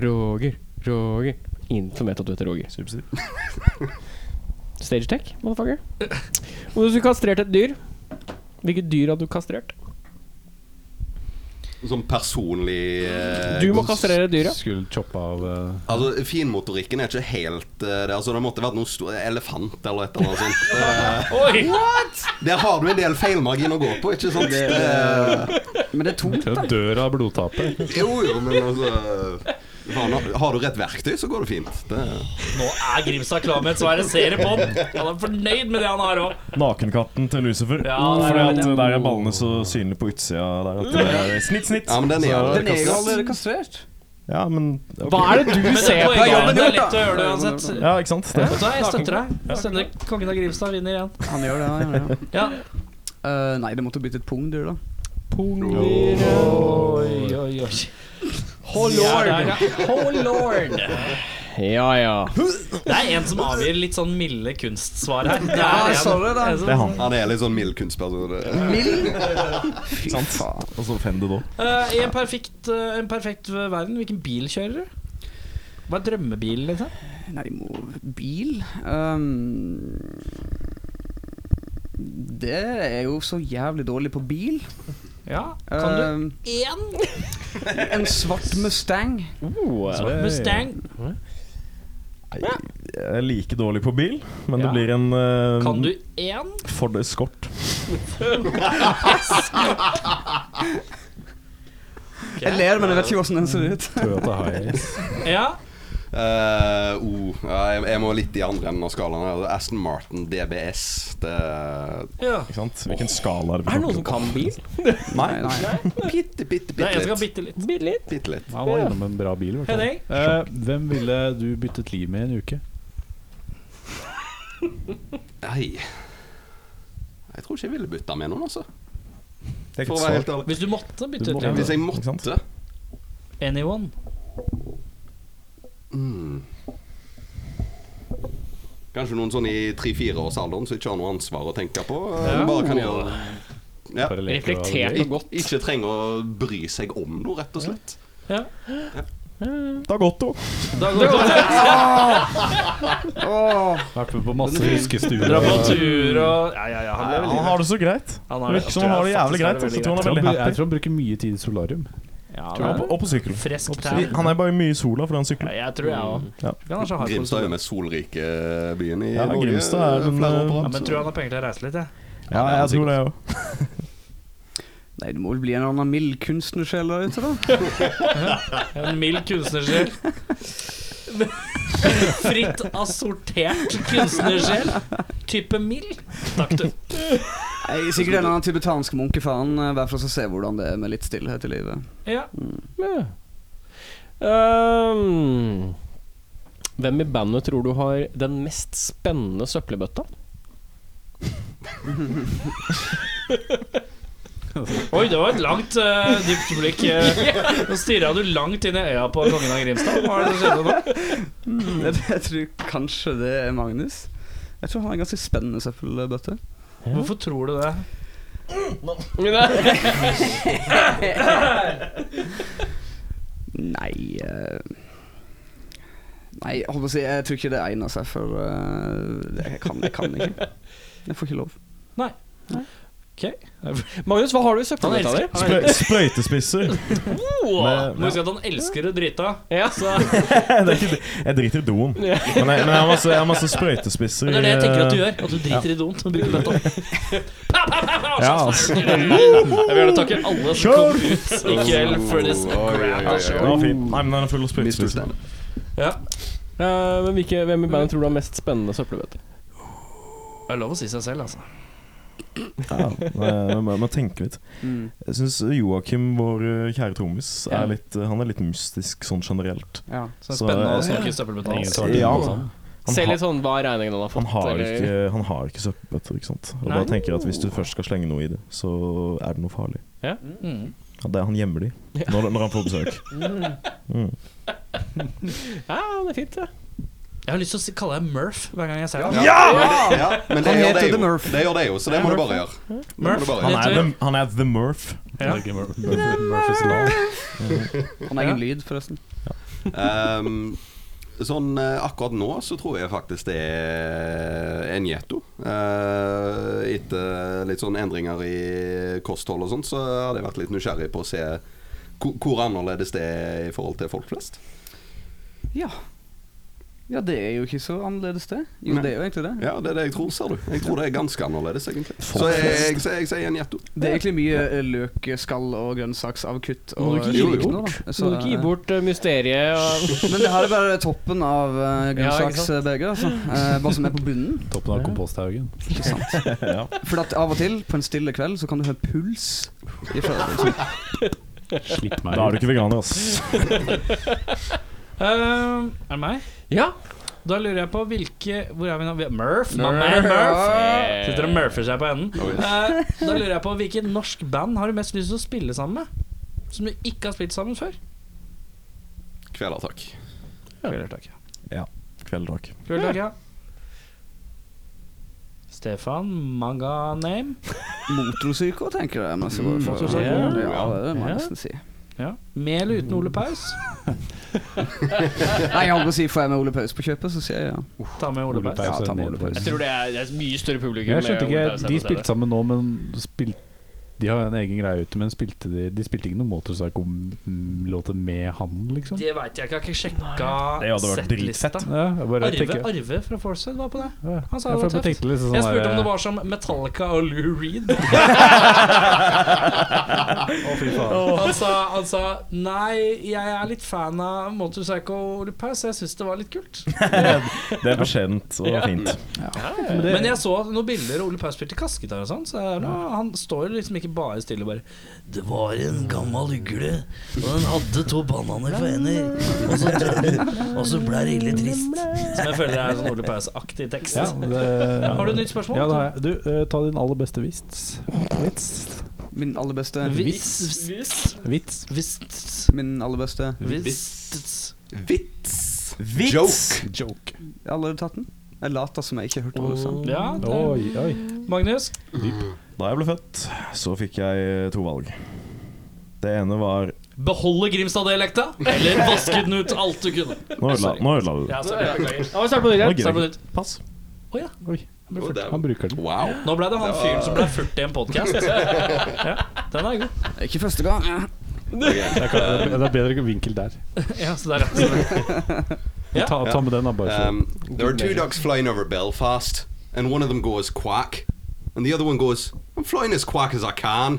Speaker 14: du Roger, Roger Ingen som vet at du heter Roger [LAUGHS] Stage tech, motherfucker Om du skulle kastrert et dyr Hvilket dyr hadde du kastrert?
Speaker 8: Sånn personlig eh,
Speaker 14: Du må kastrere dyret
Speaker 2: Skulle choppe av eh,
Speaker 8: Altså, Finmotorikken er ikke helt eh, det. Altså, det måtte vært noe stor elefant eller et eller annet
Speaker 2: [LAUGHS]
Speaker 8: sånt. Eh,
Speaker 3: Oi!
Speaker 8: Der har du en del feilmargin å gå på, ikke sant?
Speaker 6: Det,
Speaker 8: Det,
Speaker 6: Men det er [LAUGHS] tungt.
Speaker 2: Til å dø av blodtapet.
Speaker 8: Eh, jo, jo, men altså faen, Har du rett verktøy, så går det fint. Det,
Speaker 3: Nå er Grimstad klar med et svar. Jeg ser det på han. Han er fornøyd med det han har òg.
Speaker 7: Nakenkatten til Lucifer.
Speaker 3: Ja,
Speaker 7: Fordi
Speaker 3: det er
Speaker 7: at
Speaker 3: det.
Speaker 7: der er ballene så synlige på utsida der at det er snitt, snitt.
Speaker 8: ja, men den er
Speaker 6: Den er jo
Speaker 8: jo
Speaker 6: allerede kastrert.
Speaker 7: Ja, men
Speaker 14: Hva er det du
Speaker 3: Men det
Speaker 14: ser
Speaker 3: er
Speaker 14: på?
Speaker 6: Ja,
Speaker 3: poenget.
Speaker 6: men
Speaker 3: Det er
Speaker 6: det er
Speaker 3: lett å gjøre det
Speaker 6: bra.
Speaker 3: uansett.
Speaker 7: Ja, ikke sant? Det.
Speaker 3: Vet du hva, jeg støtter deg. Jeg stemmer. Kongen av Grimstad vinner igjen.
Speaker 6: Han gjør det, han gjør det. [LAUGHS]
Speaker 3: Ja.
Speaker 6: Eh, nei, det måtte blitt et pungdyr, da.
Speaker 3: Oi, oi, oi. Oh lord. Oh lord.
Speaker 14: Ja, ja
Speaker 3: Det er en som avgir litt sånn milde kunstsvar her. Det
Speaker 6: Ja,
Speaker 3: en-
Speaker 6: Ah, sorry, da.
Speaker 3: en som-
Speaker 7: Det er han.
Speaker 8: Han er litt sånn mild kunstperson. det.
Speaker 7: Sant? Og så fender da.
Speaker 3: Eh, I en perfekt, eh, en perfekt verden, hvilken bil kjører du? Hva er drømmebilen, liksom?
Speaker 6: Nei, må bil Ehm, Det er jo så jævlig dårlig på bil.
Speaker 3: Ja, kan
Speaker 6: Ehm,
Speaker 3: du én?
Speaker 6: [LAUGHS] en svart Mustang.
Speaker 3: Svart Mustang.
Speaker 7: Jeg er like dårlig på bil, men
Speaker 3: Ja.
Speaker 7: det blir en uh,
Speaker 3: Kan du én?
Speaker 7: Ford Escort.
Speaker 6: Jeg ler, men jeg vet ikke hvordan den
Speaker 3: [LAUGHS]
Speaker 6: ser ut.
Speaker 2: Toyota Hiace.
Speaker 3: Ja.
Speaker 8: Eh, oh, ja, jeg, jeg må litt i andre enden av skalaen. her. Aston Martin DBS. Det,
Speaker 3: ja.
Speaker 7: Ikke sant? Hvilken skala er det?
Speaker 14: Er det noen som kan bil?
Speaker 8: nei, bitte, bitte,
Speaker 3: Det er en som
Speaker 8: bitte
Speaker 3: kan
Speaker 8: litt.
Speaker 3: bitte litt.
Speaker 14: Bil litt
Speaker 8: Bitte litt.
Speaker 2: Han var innom en bra bil. i hvert fall.
Speaker 3: Henning?
Speaker 2: Eh, hvem ville du byttet liv med i en uke?
Speaker 8: Nei. Jeg tror ikke jeg ville bytta med noen, altså.
Speaker 7: Det er
Speaker 8: For
Speaker 7: ikke et
Speaker 8: å være
Speaker 7: svar.
Speaker 8: helt ærlig.
Speaker 3: Hvis du måtte bytte
Speaker 2: Du
Speaker 3: ut
Speaker 2: måtte.
Speaker 3: livet.
Speaker 8: Hvis jeg
Speaker 7: Ikke sant?
Speaker 8: måtte
Speaker 3: Anyone?
Speaker 8: mm. Kanskje noen sånn i tre-fireårsalderen som ikke har noe ansvar å tenke på. eh,
Speaker 3: Ja.
Speaker 8: Bare kan gjøre ja.
Speaker 2: Bare leker og-
Speaker 14: Reflektert og godt
Speaker 8: Ikke trenger å bry seg om noe, rett og slett.
Speaker 3: Ja.
Speaker 7: Dag Otto.
Speaker 3: Da går [LAUGHS] det
Speaker 6: Åh,
Speaker 2: Vært med på masse huskestuer.
Speaker 3: Dramatur og Ja, ja, ja. Han lever
Speaker 7: Han
Speaker 3: livet.
Speaker 7: har det så greit.
Speaker 3: Han har
Speaker 7: Det virker som han har det jævlig
Speaker 3: Faktisk har
Speaker 7: greit.
Speaker 3: det
Speaker 7: altså.
Speaker 3: veldig
Speaker 7: Jeg tror han er
Speaker 2: Jeg tror,
Speaker 7: veldig
Speaker 2: han, jeg
Speaker 7: happy.
Speaker 2: tror han bruker mye tid i solarium.
Speaker 3: Ja,
Speaker 7: Og på-
Speaker 3: men-
Speaker 7: Og på sykkel.
Speaker 3: Fresk tær.
Speaker 7: Han er bare mye i sola fordi han
Speaker 3: Ja,
Speaker 7: sykler.
Speaker 3: jeg tror jeg òg.
Speaker 7: Ja.
Speaker 8: Grimstad
Speaker 3: sånn-
Speaker 8: er jo mest solrike byen i
Speaker 7: Ja,
Speaker 8: Norge.
Speaker 7: Grimstad er den,
Speaker 8: flere år
Speaker 7: eh,
Speaker 8: på rad,
Speaker 3: Ja, men
Speaker 8: så-
Speaker 3: tror han har penger til å reise litt, jeg.
Speaker 7: Ja, jeg tror det òg.
Speaker 6: Nei, det må vel bli en eller annen mild kunstnersjel der ute, da.
Speaker 3: En mild kunstnersjel. [LAUGHS] Fritt assortert kunstnersjel. Type mild. Takk, du.
Speaker 6: Nei, sikkert en eller annen tibetansk munkefan, eh, bare for å se hvordan det er med litt stillhet i livet.
Speaker 3: Ja.
Speaker 1: Ja. Ehm, hvem i bandet tror du har den mest spennende søppelbøtta?
Speaker 3: Oi, det var et langt, eh, dypt blikk. eh. Nå stirra du langt inn i øya på kongen av Grimstad. Hva er det som skjedde nå? Mm.
Speaker 6: Jeg, jeg tror kanskje det er Magnus. Jeg tror han har en ganske spennende søppelbøtte.
Speaker 3: Hvorfor tror du det?
Speaker 6: Nei eh, Nei, jeg holdt på å si Jeg tror ikke det egner seg for eh, det- Jeg kan, jeg kan ikke. Jeg får ikke lov.
Speaker 1: Magnus, hva har du i
Speaker 3: Han
Speaker 1: søppelbøtta di?
Speaker 3: elsker, han
Speaker 7: Splø
Speaker 3: [LAUGHS]
Speaker 7: Spløytespisser.
Speaker 3: Wow.
Speaker 7: Men-
Speaker 3: Må huske at han elsker å drite.
Speaker 1: Ja.
Speaker 7: det er ikke, det. jeg driter i doen. Men jeg, men jeg, har, masse, jeg har masse sprøytespisser.
Speaker 3: Men det er det jeg tenker at du
Speaker 7: i-
Speaker 3: gjør. At du driter i doen. og bruker bøtta. Pa, pa, pa, pa, og
Speaker 7: Ja,
Speaker 3: så-
Speaker 7: altså.
Speaker 3: [LAUGHS] Jeg vil gjerne takke alle som kom ut i kveld for this
Speaker 8: Oi, oi, oi,
Speaker 3: grand
Speaker 8: oi.
Speaker 7: Den
Speaker 3: show.
Speaker 7: var fin. Nei, men den er full av
Speaker 8: Mr.
Speaker 7: sprøytespisser.
Speaker 8: Stan.
Speaker 3: Ja.
Speaker 1: Eh, men hvilke, hvem i bandet tror du har mest spennende søppelbøtte?
Speaker 3: Det er lov å si seg selv, altså.
Speaker 7: Ja, men man må tenke litt.
Speaker 3: Mm.
Speaker 7: Jeg syns Joakim, vår eh, kjære trommis, er litt, eh, han er litt mystisk sånn generelt.
Speaker 6: Ja.
Speaker 3: Så det
Speaker 7: Så,
Speaker 3: er spennende
Speaker 7: eh,
Speaker 3: å snakke søppelbøtta.
Speaker 2: Ingen
Speaker 3: hans.
Speaker 2: tar
Speaker 7: Ja.
Speaker 2: på sånn.
Speaker 7: Han,
Speaker 1: Se
Speaker 7: ha,
Speaker 1: litt sånn hva er regningen han har fått.
Speaker 7: han har
Speaker 1: eller-
Speaker 7: ikke, han har ikke søppelbøtter, ikke sant. Og
Speaker 3: Nei.
Speaker 7: da tenker jeg at hvis du først skal slenge noe i det, så er det noe farlig.
Speaker 3: Mm.
Speaker 7: Ja, det, han gjemmer de når, når han får besøk. Mm.
Speaker 1: Ja, det er fint, det.
Speaker 3: Jeg har lyst til å si- kalle deg Murph hver gang jeg ser deg. Ah!
Speaker 8: Ja, men det
Speaker 6: Han
Speaker 8: gjør
Speaker 6: heter
Speaker 8: det,
Speaker 6: The
Speaker 8: jo.
Speaker 6: Murph.
Speaker 8: det gjør det jo, så det må du bare gjøre. Det må du
Speaker 3: Murph.
Speaker 8: bare
Speaker 7: Han,
Speaker 8: gjøre.
Speaker 7: er the, han er the Murph.
Speaker 3: Ja.
Speaker 2: Ikke Mur- Mur- Murphys Law.
Speaker 6: Han har egen lyd, forresten.
Speaker 8: Ehm, sånn eh, akkurat nå så tror jeg faktisk det er en gjetto. Eh, etter litt sånn endringer i kosthold og sånt, så hadde jeg vært litt nysgjerrig på å se ko- hvor annerledes det er i forhold til folk flest.
Speaker 6: Ja. ja, det er jo ikke så annerledes, det. Jo,
Speaker 8: Nei.
Speaker 6: det er jo egentlig det.
Speaker 8: Ja, det er det jeg tror, ser du. Jeg tror det er ganske annerledes, egentlig.
Speaker 7: Folk
Speaker 8: Så jeg, jeg,
Speaker 7: flest.
Speaker 8: sier- jeg sier en gjetto.
Speaker 6: Det er egentlig mye eh, løk, skall og grønnsaksavkutt.
Speaker 1: Må
Speaker 6: Og
Speaker 1: du ikke gi
Speaker 6: slikt
Speaker 8: bort?
Speaker 6: nå, da.
Speaker 1: Så
Speaker 6: Så,
Speaker 1: du ikke gi
Speaker 6: eh,
Speaker 1: bort eh, mysteriet og
Speaker 6: Men det her er bare toppen av uh,
Speaker 1: Ja, ikke sant?
Speaker 6: grønnsaksbegeret. altså. Eh, hva som er på bunnen.
Speaker 2: Toppen av komposthaugen.
Speaker 6: Ikke sant?
Speaker 7: Ja.
Speaker 6: For at av og til, på en stille kveld, så kan du høre puls. Ifra, liksom,
Speaker 2: Slipp meg
Speaker 7: Da er du ikke veganer, ass.
Speaker 3: Ehm, er det meg?
Speaker 1: Ja.
Speaker 3: Da lurer jeg på hvilke Hvor er vi nå? Vi- Murph?
Speaker 6: Murph.
Speaker 3: My man Murph. Sitter og murfer seg på enden.
Speaker 8: Oi.
Speaker 3: Eh, da lurer jeg på hvilke norsk band har du mest lyst til å spille sammen med? Som du ikke har spilt sammen før?
Speaker 8: Kvelertak.
Speaker 3: Kveldertak, ja.
Speaker 7: Kveldertak.
Speaker 3: Kveldertak, ja. Stefan Manga Name.
Speaker 6: Motorpsyko, tenker jeg. Man skal gå
Speaker 1: Mm.
Speaker 6: for.
Speaker 3: motorpsyko.
Speaker 6: Ja, det må jeg nesten si.
Speaker 3: Ja. Med eller uten Ole Paus?
Speaker 6: Nei, jeg holdt på å si får jeg med Ole Paus på kjøpet, så sier jeg ja.
Speaker 3: Ta med Ole Paus.
Speaker 6: Paus. Ja, ta med Ole
Speaker 1: Jeg tror det er, det er et mye større publikum.
Speaker 2: Jeg
Speaker 1: med
Speaker 2: skjønte
Speaker 1: Ole
Speaker 2: ikke
Speaker 1: Paus enn
Speaker 2: De
Speaker 1: å se det.
Speaker 2: spilte sammen nå, men spil, de har en egen greie ute, men spilte de, de spilte ikke noen Motorpsycho-låter med han, liksom?
Speaker 3: Det veit jeg ikke, jeg har ikke sjekka
Speaker 7: Det hadde vært
Speaker 3: settlista.
Speaker 2: Ja, jeg bare
Speaker 3: Arve,
Speaker 2: tenker
Speaker 3: Arve fra Forset var på det.
Speaker 2: ja.
Speaker 3: Han sa
Speaker 2: Ja,
Speaker 3: det
Speaker 2: for
Speaker 3: var
Speaker 2: jeg
Speaker 3: tøft.
Speaker 2: tenkte litt sånn
Speaker 3: Jeg spurte om
Speaker 2: der-
Speaker 3: det var som Metallica og Lou Reed.
Speaker 2: [LAUGHS]
Speaker 3: [LAUGHS]
Speaker 2: Å, fy faen.
Speaker 3: Han sa, han sa Nei, jeg er litt fan av Motorpsycho og Ole Paus, så jeg syns det var litt kult.
Speaker 7: Det er beskjedent og fint.
Speaker 3: Men jeg så noen bilder av Ole Paus spilte kassegitar og sånn, så det er noe, han står jo liksom ikke bare stille og bare Det var en gammel ugle, og den hadde to bananer for hender, og så [LAUGHS] døde den, og så ble det ille trist. Som jeg føler er sånn Ole Paus-aktig tekst.
Speaker 2: Ja, det,
Speaker 3: Har du et nytt spørsmål?
Speaker 2: Ja, det har jeg. Du, eh, ta din aller beste vits. Vits.
Speaker 6: Min aller beste
Speaker 3: Vits.
Speaker 2: Vits.
Speaker 3: Vits.
Speaker 6: Min aller beste
Speaker 3: Vits.
Speaker 8: Vits. Joke.
Speaker 2: Joke.
Speaker 6: Jeg har allerede tatt den. Jeg later som jeg ikke hørte hva du sa.
Speaker 3: Ja, det er.
Speaker 2: Oi, oi.
Speaker 3: Magnus.
Speaker 7: Da jeg ble født, så fikk jeg eh, to valg. Det ene var
Speaker 3: Eh, Beholde Grimstad-dialekta, eller vaske den ut alt du kunne.
Speaker 7: Nå ødela, nå ødela du. det.
Speaker 3: Ja, sorry, jeg beklager.
Speaker 1: Ja, vi starter på
Speaker 7: Det var gøy.
Speaker 1: nytt igjen.
Speaker 3: Start på nytt.
Speaker 7: Pass.
Speaker 3: Å ja.
Speaker 8: Å, det er-
Speaker 2: Han bruker den.
Speaker 8: Wow.
Speaker 3: Nå ble det han fyren som ble 40 i en
Speaker 1: [LAUGHS]
Speaker 3: podkast. Ja, den er god.
Speaker 6: Ikke første gang.
Speaker 2: Det er, klart, det er bedre vinkel der.
Speaker 3: Ja, så der, ja. Ja.
Speaker 2: Ta, ta med den, da, bare. så-
Speaker 8: Um, there are two dogs flying over Belfast, and one of them goes quack, and the other one goes, I'm flying as quack as I can.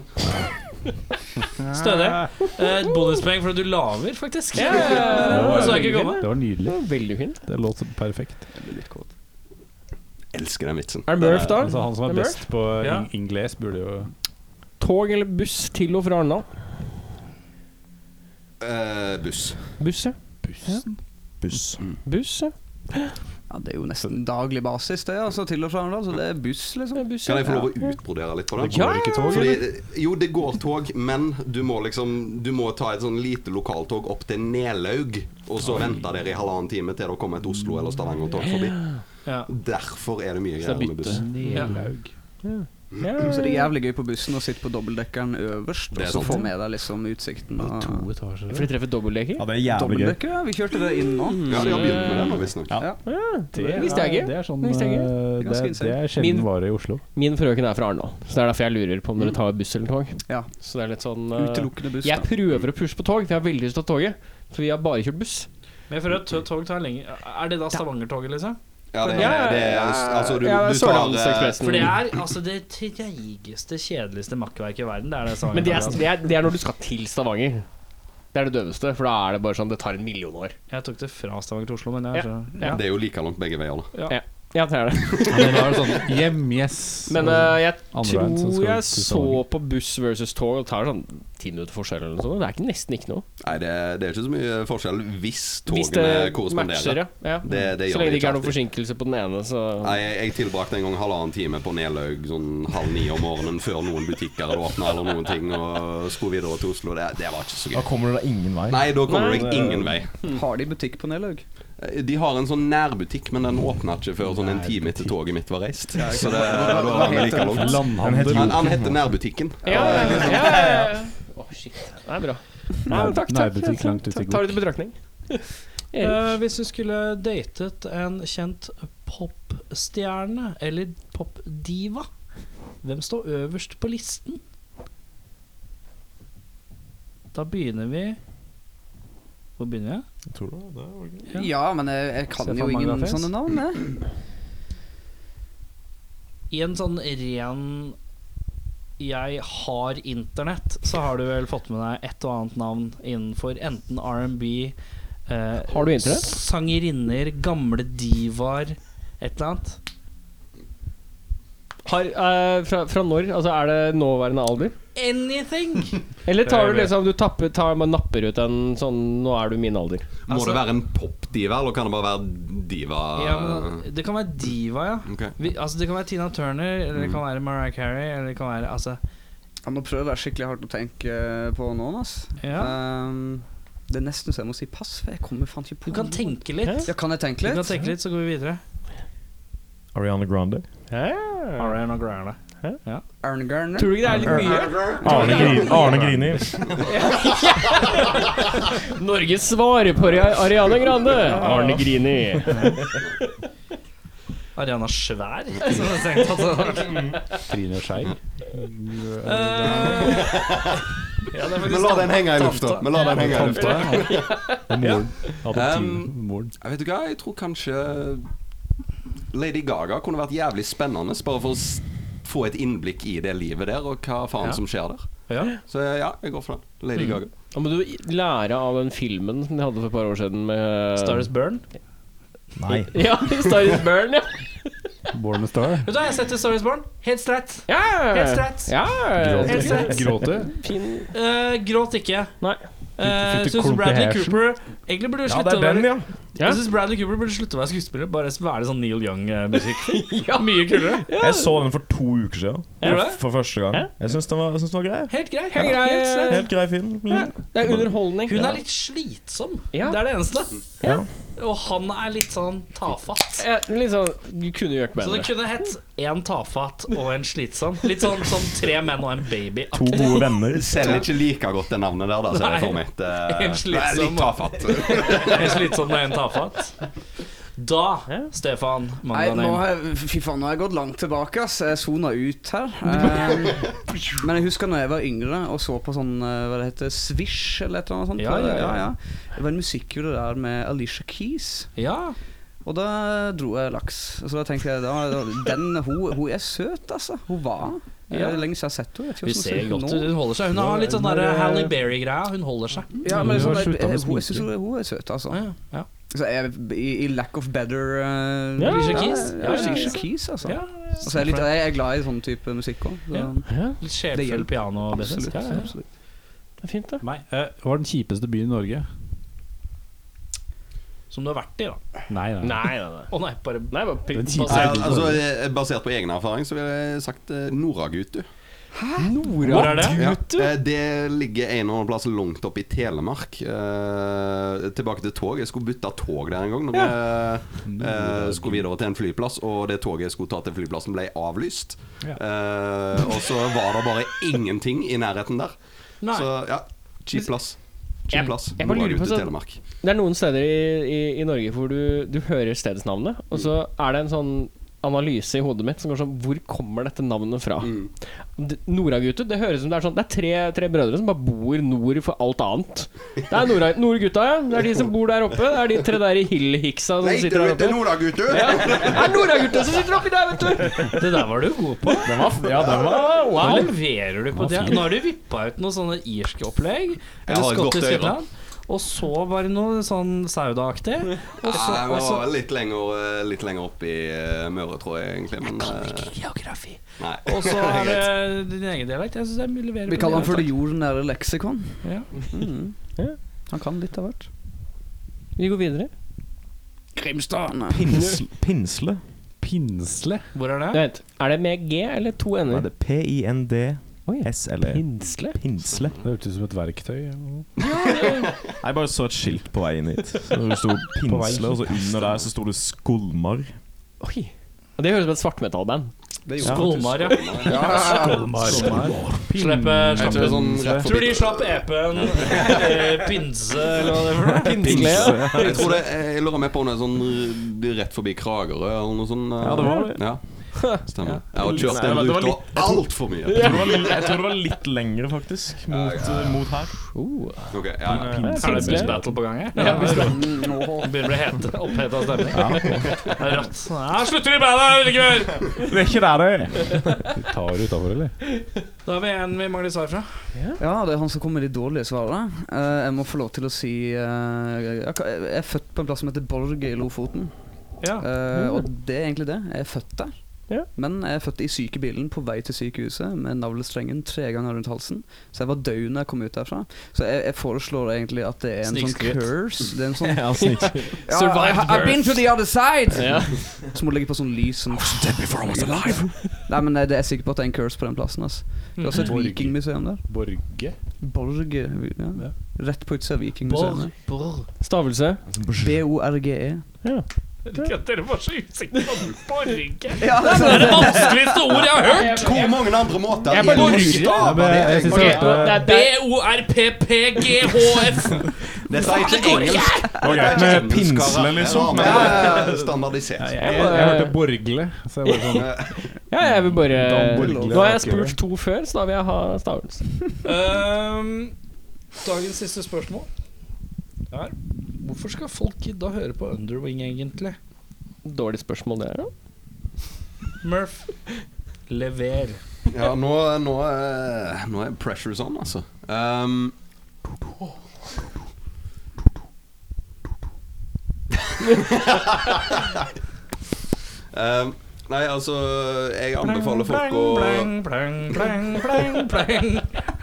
Speaker 3: Stødig. Eh, Et bonuspoeng for at du laver, faktisk.
Speaker 1: Ja, ja, ja.
Speaker 3: Det så jeg ikke komme.
Speaker 2: Det var nydelig.
Speaker 1: Veldig fint.
Speaker 2: Det låt perfekt.
Speaker 8: Elsker den vitsen.
Speaker 1: Er det Murph, da?
Speaker 2: Altså, han som
Speaker 1: Er
Speaker 2: er
Speaker 1: det
Speaker 2: best på
Speaker 3: Ja.
Speaker 2: ing- ingles, burde jo
Speaker 1: Murph? Tog eller buss til og fra Arendal?
Speaker 8: Eh, buss.
Speaker 1: Buss, ja.
Speaker 15: Buss.
Speaker 1: Buss, ja.
Speaker 6: Ja, Det er jo nesten daglig basis, det. altså Til og fra Arendal. Så det er buss, liksom.
Speaker 1: Det er buss,
Speaker 8: Kan
Speaker 1: ja.
Speaker 8: jeg få lov å utbrodere litt på det?
Speaker 1: Ja, ja, ja.
Speaker 8: Fordi, eh, jo, det går tog, men du må liksom Du må ta et sånn lite lokaltog opp til Nelaug, og så vente dere i halvannen time til det kommer et Oslo- eller Stavanger-tog forbi.
Speaker 3: Ja.
Speaker 8: Derfor er det mye
Speaker 16: Så det er
Speaker 8: greier med buss.
Speaker 2: Nelaug.
Speaker 6: Så det er jævlig gøy på bussen å sitte på dobbeltdekkeren øverst,
Speaker 8: Det er
Speaker 6: og så
Speaker 8: sant.
Speaker 6: få med deg liksom utsikten. Og...
Speaker 2: etasjer.
Speaker 1: For de treffer dobbeltdekker?
Speaker 15: Ja, det er jævlig gøy.
Speaker 6: Dobbeltdekker, ja. Vi kjørte det inn nå.
Speaker 3: Mm.
Speaker 8: Ja, de har begynt med det nå, visstnok.
Speaker 2: Ja.
Speaker 1: Det visste jeg ikke.
Speaker 2: Det er, sånn,
Speaker 1: Det visste jeg ikke.
Speaker 2: eh, det,
Speaker 6: Ganske insane.
Speaker 2: det er
Speaker 1: Min-
Speaker 2: sjelden vare i Oslo.
Speaker 1: Min frøken er fra Arendal, så det er derfor jeg lurer på om
Speaker 2: Mm.
Speaker 1: dere tar buss eller tog.
Speaker 6: Ja.
Speaker 1: Så det er litt sånn eh,
Speaker 6: Utelukkende buss.
Speaker 1: Jeg
Speaker 6: Da.
Speaker 1: prøver å pushe på tog, for jeg har veldig lyst til å ta toget. For vi har bare kjørt buss.
Speaker 3: Men for at tog tar lenger Er det da Stavanger-toget, liksom?
Speaker 8: Ja, det,
Speaker 1: Ja, ja,
Speaker 8: er- det er Altså, du,
Speaker 1: ja,
Speaker 8: du tar eh,
Speaker 1: Sørlandsekspressen.
Speaker 3: For det er altså det treigeste, kjedeligste makkverket i verden. Det er det Stavanger.
Speaker 1: Men det er, det, er, det er når du skal til Stavanger. Det er det døveste, for da er det bare sånn Det tar en million år.
Speaker 3: Jeg tok det fra Stavanger til Oslo, men jeg er så
Speaker 1: Ja.
Speaker 8: Det er jo like langt begge veier, da.
Speaker 1: Ja, det er det.
Speaker 2: [LAUGHS] Men da er det sånn Hjem-yes.
Speaker 1: Men eh, jeg
Speaker 2: Andre veien som
Speaker 1: tror
Speaker 2: skal
Speaker 1: jeg
Speaker 2: til
Speaker 1: så
Speaker 2: Stavanger.
Speaker 1: på buss versus tog, og det tar sånn ti minutter forskjell eller noe sånt. Det er ikke, nesten ikke noe.
Speaker 8: Nei, det, det er ikke så mye forskjell hvis
Speaker 1: Hvis
Speaker 8: togene
Speaker 1: det matcher,
Speaker 8: korresponderer.
Speaker 1: ja. ja.
Speaker 8: Det-
Speaker 1: så lenge
Speaker 8: det gjør det
Speaker 1: det ikke
Speaker 8: ikke
Speaker 1: er noen
Speaker 8: alltid.
Speaker 1: forsinkelse på den ene, så
Speaker 8: Nei, jeg, jeg tilbrakte en gang halvannen time på Nelaug sånn halv ni om morgenen før noen butikker hadde åpna eller noen ting, og skulle videre til Oslo. Det, det var ikke så gøy.
Speaker 15: Da kommer du da ingen vei.
Speaker 8: Nei, da kommer
Speaker 1: Nei.
Speaker 8: du deg ingen vei.
Speaker 6: Har de butikk på Nelaug?
Speaker 8: De har en sånn nærbutikk, men den åpna ikke før sånn en time etter toget mitt var reist. Så det, da var det like langt.
Speaker 2: Landhandel.
Speaker 8: Han, han heter Nærbutikken.
Speaker 1: Ja, ja, ja, ja, ja, ja. Å, shit. Det er bra. Nei, men takk, takk.
Speaker 2: Nærbutikk langt ute i
Speaker 1: Takk, Tar det til betraktning.
Speaker 3: Eh, hvis du skulle datet en kjent popstjerne eller popdiva, hvem står øverst på listen? Da begynner vi Hvor begynner jeg?
Speaker 15: Tror du det? var gøy.
Speaker 3: Ja.
Speaker 6: Ja, men jeg, jeg kan
Speaker 3: Se for
Speaker 6: jo
Speaker 3: mange
Speaker 6: ingen
Speaker 3: grafisk.
Speaker 6: sånne navn, jeg.
Speaker 3: I en sånn ren jeg har internett, så har du vel fått med deg et og annet navn innenfor enten R&B eh,
Speaker 1: Har du internett?
Speaker 3: Sangerinner, gamle divaer, et eller annet.
Speaker 1: Har, eh, fra, fra når? Altså Er det nåværende alder?
Speaker 3: Anything!
Speaker 1: Eller tar du liksom Du tapper, tar, man napper ut en sånn Nå er du min alder.
Speaker 8: Må
Speaker 3: Altså-
Speaker 8: det være en popdiva, eller kan det bare være diva
Speaker 3: Ja,
Speaker 2: Ah.
Speaker 3: men det kan være diva, ja.
Speaker 8: Ok.
Speaker 3: Vi, altså Det kan være Tina Turner, eller
Speaker 2: Mm.
Speaker 3: det kan være Mariah Carey, eller det kan være altså,
Speaker 6: Jeg må prøve å være skikkelig hardt å tenke eh, på noen, ass.
Speaker 3: ja.
Speaker 6: Ehm, det er nesten så jeg må si pass, for jeg kommer faen ikke på
Speaker 3: Du kan
Speaker 6: noen.
Speaker 3: tenke litt.
Speaker 6: Ja, kan jeg
Speaker 3: Du
Speaker 6: tenke
Speaker 3: kan
Speaker 6: litt?
Speaker 3: tenke litt, så går vi videre.
Speaker 15: Ariana Grande.
Speaker 3: Ariana Grande. Ja.
Speaker 6: Arne
Speaker 1: Tror
Speaker 6: Garner?
Speaker 1: du ikke det er litt mye?
Speaker 15: Arne, Grin Arne Grini.
Speaker 1: Norges svar på Ari- Ariana Grande. Arne Grini.
Speaker 3: Ariana [LAUGHS] Svær. Som jeg tenkte at det var.
Speaker 2: Trine Skei.
Speaker 3: Ja, det er
Speaker 8: Men
Speaker 3: faktisk
Speaker 8: la den henge i lufta.
Speaker 3: tante.
Speaker 8: Men la den henge i lufta.
Speaker 2: Moren.
Speaker 8: Um,
Speaker 2: Adoptivmoren.
Speaker 8: Jeg vet du hva, jeg tror kanskje Lady Gaga kunne vært jævlig spennende, bare for å s- få et innblikk i det livet der, og hva faen
Speaker 3: Ja.
Speaker 8: som skjer der.
Speaker 3: Ja. Mm.
Speaker 8: Så eh, ja, jeg går for den. Lady Gaga.
Speaker 1: Da må du lære av den filmen som de hadde for et par år siden med
Speaker 3: Star is Burn.
Speaker 15: Nei.
Speaker 1: Ja, Star is Burn, ja.
Speaker 2: Born a Star.
Speaker 3: Vet du hva, jeg har sett Star is Born. Helt streit.
Speaker 1: ja.
Speaker 3: Helt streit.
Speaker 1: Ja.
Speaker 3: Helt streit.
Speaker 2: Gråte.
Speaker 1: Fin
Speaker 3: Eh, gråt ikke.
Speaker 1: Nei.
Speaker 3: Uh,
Speaker 2: Fytte- fytte
Speaker 3: Syns
Speaker 2: klump i
Speaker 3: Bradley
Speaker 2: hersen.
Speaker 3: Cooper Egentlig burde du
Speaker 15: Ja,
Speaker 3: slutte
Speaker 15: det
Speaker 3: å
Speaker 15: er
Speaker 3: være
Speaker 15: den, ja.
Speaker 1: Ja.
Speaker 3: Jeg syns Bradley Cooper burde slutte å være skuespiller. Bare være sånn Neil Young-musikk. [LAUGHS] ja. Mye kulere.
Speaker 15: Jeg så den for to uker siden.
Speaker 3: Gjorde du det?
Speaker 15: For første gang. Jeg syns den, var- jeg syns den var grei.
Speaker 3: Helt grei.
Speaker 1: Helt grei.
Speaker 3: Helt streit.
Speaker 15: Helt grei film.
Speaker 1: Det er underholdning.
Speaker 3: Hun er litt slitsom.
Speaker 1: Ja.
Speaker 3: Det er det eneste.
Speaker 15: Ja.
Speaker 3: Og han er litt sånn tafatt.
Speaker 1: ja, litt sånn Du kunne gjort
Speaker 3: Så det
Speaker 1: bedre.
Speaker 3: kunne hett én tafatt og en slitsom. Litt sånn, sånn tre menn og en baby.
Speaker 15: To gode venner.
Speaker 8: Selv ikke like godt det navnet der, da, ser jeg for meg. Det,
Speaker 3: [LAUGHS] Helt
Speaker 8: det er
Speaker 3: slitsom.
Speaker 8: litt tafatt.
Speaker 3: En slitsom og en tafatt. Da, Stefan
Speaker 6: Nei, nå
Speaker 3: Mandanem
Speaker 6: har jeg, fy faen, nå har jeg gått langt tilbake, ass. Jeg sona ut her.
Speaker 3: [LAUGHS]
Speaker 6: Ehm, men jeg husker når jeg var yngre og så på sånn, eh, hva det heter, Swish eller et eller annet sånt.
Speaker 3: Ja, ja, ja.
Speaker 6: Det var en musikkvideo der med Alicia Keys.
Speaker 3: Ja.
Speaker 6: Og da dro jeg laks. Så da tenkte jeg da, da, den, hun, hun er søt, altså. Hun var Det er lenge siden jeg har sett henne. jeg vet ikke
Speaker 3: Hun ser
Speaker 6: hvordan hun
Speaker 3: godt
Speaker 6: nå.
Speaker 3: ut. Hun holder seg Hun har litt sånn der Halle Berry-greia. Hun holder seg.
Speaker 6: Ja,
Speaker 17: Hun har
Speaker 6: men sånn, jeg,
Speaker 17: sluttet med
Speaker 6: jeg, hun,
Speaker 17: sminke.
Speaker 6: jeg synes hun, hun er søt, altså.
Speaker 3: Ja, ja.
Speaker 6: Så jeg, i, I lack of better uh,
Speaker 3: Ja, Alicia
Speaker 6: ja,
Speaker 3: Keys.
Speaker 6: ja,
Speaker 3: Ja, ja, ja.
Speaker 6: Alicia Keys, altså.
Speaker 3: Ja,
Speaker 6: Og så er jeg, litt, jeg er glad i sånn type musikk òg.
Speaker 3: Ja. Litt
Speaker 6: Det
Speaker 3: sjelfull
Speaker 6: hjelper.
Speaker 3: piano. og business.
Speaker 6: Absolutt.
Speaker 3: Ja, ja.
Speaker 6: absolutt.
Speaker 1: Det er fint, det.
Speaker 3: Meg.
Speaker 17: Eh, Hva var den kjipeste byen i Norge?
Speaker 3: Som du har vært i, da.
Speaker 17: Nei, nei.
Speaker 1: Nei, nei, nei.
Speaker 3: Å nei, bare
Speaker 1: Nei, bare
Speaker 17: Den
Speaker 1: pil-
Speaker 17: kjipe-
Speaker 1: bare-
Speaker 8: Nei, altså, eh, basert på egen erfaring så ville jeg sagt eh, Noragutu.
Speaker 3: Hvor er det?
Speaker 8: Ja. Eh, Det ligger en eller annen plass langt opp i Telemark. Eh, tilbake til tog. Jeg skulle bytte tog der en gang. Når jeg eh,
Speaker 1: Mm.
Speaker 8: skulle videre til en flyplass, og det toget jeg skulle ta til flyplassen, ble avlyst. Eh, og så var det bare ingenting i nærheten der.
Speaker 3: Nei.
Speaker 8: Så ja, kjip plass.
Speaker 1: Jeg-
Speaker 8: Kjip plass.
Speaker 1: jeg bare lurer på
Speaker 8: Noragutu,
Speaker 1: sånn-
Speaker 8: Telemark.
Speaker 1: Det er noen steder i, i, i Norge hvor du, du hører stedsnavnet, og så er det en sånn analyse i hodet mitt som går sånn Hvor kommer dette navnet fra? D- Noragutu, det høres ut som det er sånn Det er tre, tre brødre som bare bor nord for alt annet. Det er Nora- Nordgutta, ja. Det er de som bor der oppe. Det er de tre der i Hill-hiksa som
Speaker 8: Nei, det
Speaker 1: sitter der
Speaker 8: er
Speaker 1: oppe.
Speaker 8: Noragutu!
Speaker 1: Ja, [LAUGHS] det er Noragutta som sitter oppi der, vet du!
Speaker 3: Det der var du god på.
Speaker 17: Den var, ja, den var
Speaker 1: Wow,
Speaker 3: Nå
Speaker 1: wow.
Speaker 3: leverer du på det. Nå har du vippa ut noen sånne irske opplegg.
Speaker 8: Jeg har
Speaker 3: Eller
Speaker 8: et godt
Speaker 3: skotsk
Speaker 8: øye, da.
Speaker 3: Irland. Og så var det noe sånn saudaaktig. Og så,
Speaker 8: Ja,
Speaker 3: og så
Speaker 8: jeg
Speaker 1: Altså-
Speaker 8: var litt lenger, eh, litt lenger opp i eh, Møre, tror jeg, egentlig. Men eh,
Speaker 3: Geografi.
Speaker 8: nei.
Speaker 3: Og så
Speaker 8: [LAUGHS]
Speaker 3: er det din egen dialekt. Jeg syns jeg leverer
Speaker 6: Vi kaller han for det jordnære leksikon.
Speaker 3: Ja.
Speaker 6: Mhm.
Speaker 1: Ja.
Speaker 6: Han kan litt av hvert.
Speaker 1: Vi går videre.
Speaker 6: Grimstad! Nei.
Speaker 2: Pinsle? Pinsle?
Speaker 17: pinsle.
Speaker 3: Hvor er det?
Speaker 1: Vent, er det med G eller to
Speaker 2: Hva
Speaker 1: n-er?
Speaker 2: er det?
Speaker 15: E.
Speaker 2: P-i-n-d-s-l-e.
Speaker 1: Pinsle?
Speaker 2: Pinsle.
Speaker 17: Det hørtes ut som et verktøy.
Speaker 2: Jeg bare så et skilt på veien hit. Så Det sto
Speaker 17: På vei hit.
Speaker 2: Pinsle, og så under der så sto det Skolmar.
Speaker 1: Oi. Det høres ut som et svartmetallband.
Speaker 3: Skolmar, ja. Slipp
Speaker 8: Jeg tror det er sånn rett forbi-
Speaker 3: Tror de slapp epen, eh, pinse eller hva det er for noe.
Speaker 1: Pinsle, ja.
Speaker 8: Jeg tror det Jeg lurer meg på om det er sånn uh, rett forbi Kragerø eller noe sånt. uh,
Speaker 2: Ja, det var det.
Speaker 8: Ja. Stemmer. Jeg har
Speaker 2: Nei,
Speaker 8: kjørt den
Speaker 2: men det var
Speaker 8: ruta altfor mye.
Speaker 2: Jeg tror, det var, jeg tror det var litt lengre, faktisk, mot, eh, mot her.
Speaker 17: Oh,
Speaker 2: Eh,
Speaker 8: Ok, ja, ja.
Speaker 3: Er det bussbattle på gang her? Ja, Begynner å bli hete. Oppheta stemning. Det er rått. Ja, slutter i bandet, gutter!
Speaker 2: Det er ikke der, det.
Speaker 17: Du tar utafor, eller?
Speaker 3: Da har vi en vi mangler svar fra.
Speaker 6: Ja, det er han som kommer med de dårlige svarene. Eh, jeg må få lov til å si eh, jeg kan- Jeg er født på en plass som heter Borg i Lofoten.
Speaker 3: Ja. Mm.
Speaker 6: Eh, og det er egentlig det. Jeg er født der. Men jeg er født i sykebilen på vei til sykehuset med navlestrengen tre ganger rundt halsen. Så jeg var død når jeg kom ut derfra. Så jeg, jeg foreslår egentlig at det er en sånn
Speaker 3: Snikskryt.
Speaker 6: curse. Det er en sånn ja,
Speaker 3: Survived
Speaker 6: I- I've been
Speaker 3: birth.
Speaker 6: to the other side! [LAUGHS] Så må du legge på sånn lys som Nei, men eh, det, jeg er sikker på at det er en curse på den plassen. ass.
Speaker 3: Mm.
Speaker 6: Det er også et
Speaker 17: Borg.
Speaker 6: vikingmuseum der.
Speaker 17: Borge.
Speaker 6: Borg eh, ja. Rett på utsida av vikingmuseet.
Speaker 1: Stavelse.
Speaker 6: B-O-R-G-E.
Speaker 3: Dere var så usikre på borge.
Speaker 6: [LAUGHS] Ja, det
Speaker 3: Det er det vanskeligste ordet jeg har hørt!
Speaker 8: Hvor mange andre måter
Speaker 1: Jeg bare
Speaker 8: gjennom
Speaker 1: lurer.
Speaker 8: staver
Speaker 17: Ja, men jeg- jeg
Speaker 8: det?
Speaker 17: synes
Speaker 1: Ok,
Speaker 17: det
Speaker 1: nå- det er- det er-
Speaker 3: B-o-r-p-p-g-h-f.
Speaker 8: Dette er ikke
Speaker 2: Det
Speaker 8: engelsk.
Speaker 2: var greit med pinsle, liksom.
Speaker 8: Men
Speaker 2: Men
Speaker 8: det er
Speaker 17: Jeg,
Speaker 8: standardisert.
Speaker 17: jeg hørte borgle, så jeg bare sånn
Speaker 1: Ja, jeg vil bare
Speaker 17: Borgle.
Speaker 1: Nå har jeg spurt to før, så da vil jeg ha stavelse.
Speaker 3: Ehm, Dagens siste spørsmål er Hvorfor skal folk gidde å høre på Underwing, egentlig?
Speaker 1: Dårlig spørsmål, det er jo.
Speaker 3: Murph, lever.
Speaker 8: Ja, nå, nå, er- nå er pressures on, altså. Um, [LAUGHS] um, nei, altså Jeg anbefaler folk å
Speaker 3: Plang, plang, plang, plang, plang, plang.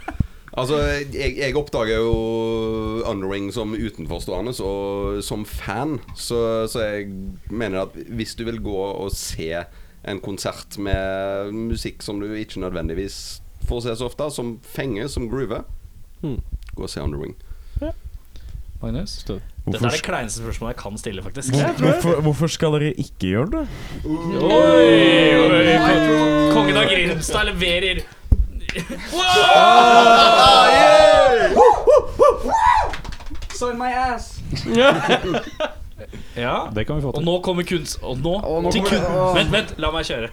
Speaker 8: Altså, jeg, jeg oppdager jo Underring som utenforstående, og som fan, så, så jeg mener at hvis du vil gå og se en konsert med musikk som du ikke nødvendigvis får se så ofte, som fenger, som groover,
Speaker 7: Hmm.
Speaker 8: gå og se Underring.
Speaker 3: Magnus? Dette er
Speaker 2: hvorfor,
Speaker 3: det kleineste spørsmålet jeg kan stille, faktisk.
Speaker 2: hvor- hvorfor, hvorfor skal dere ikke gjøre det?
Speaker 3: Kongen av Grimstad leverer.
Speaker 6: Sign my ass!
Speaker 3: Ja.
Speaker 17: Det kan vi få
Speaker 3: Og
Speaker 17: til.
Speaker 3: nå kommer kunst... Og nå,
Speaker 6: Og nå
Speaker 3: til kun...
Speaker 6: kommer det- Åh.
Speaker 3: Vent, vent, la meg
Speaker 6: [LAUGHS]
Speaker 3: kjøre.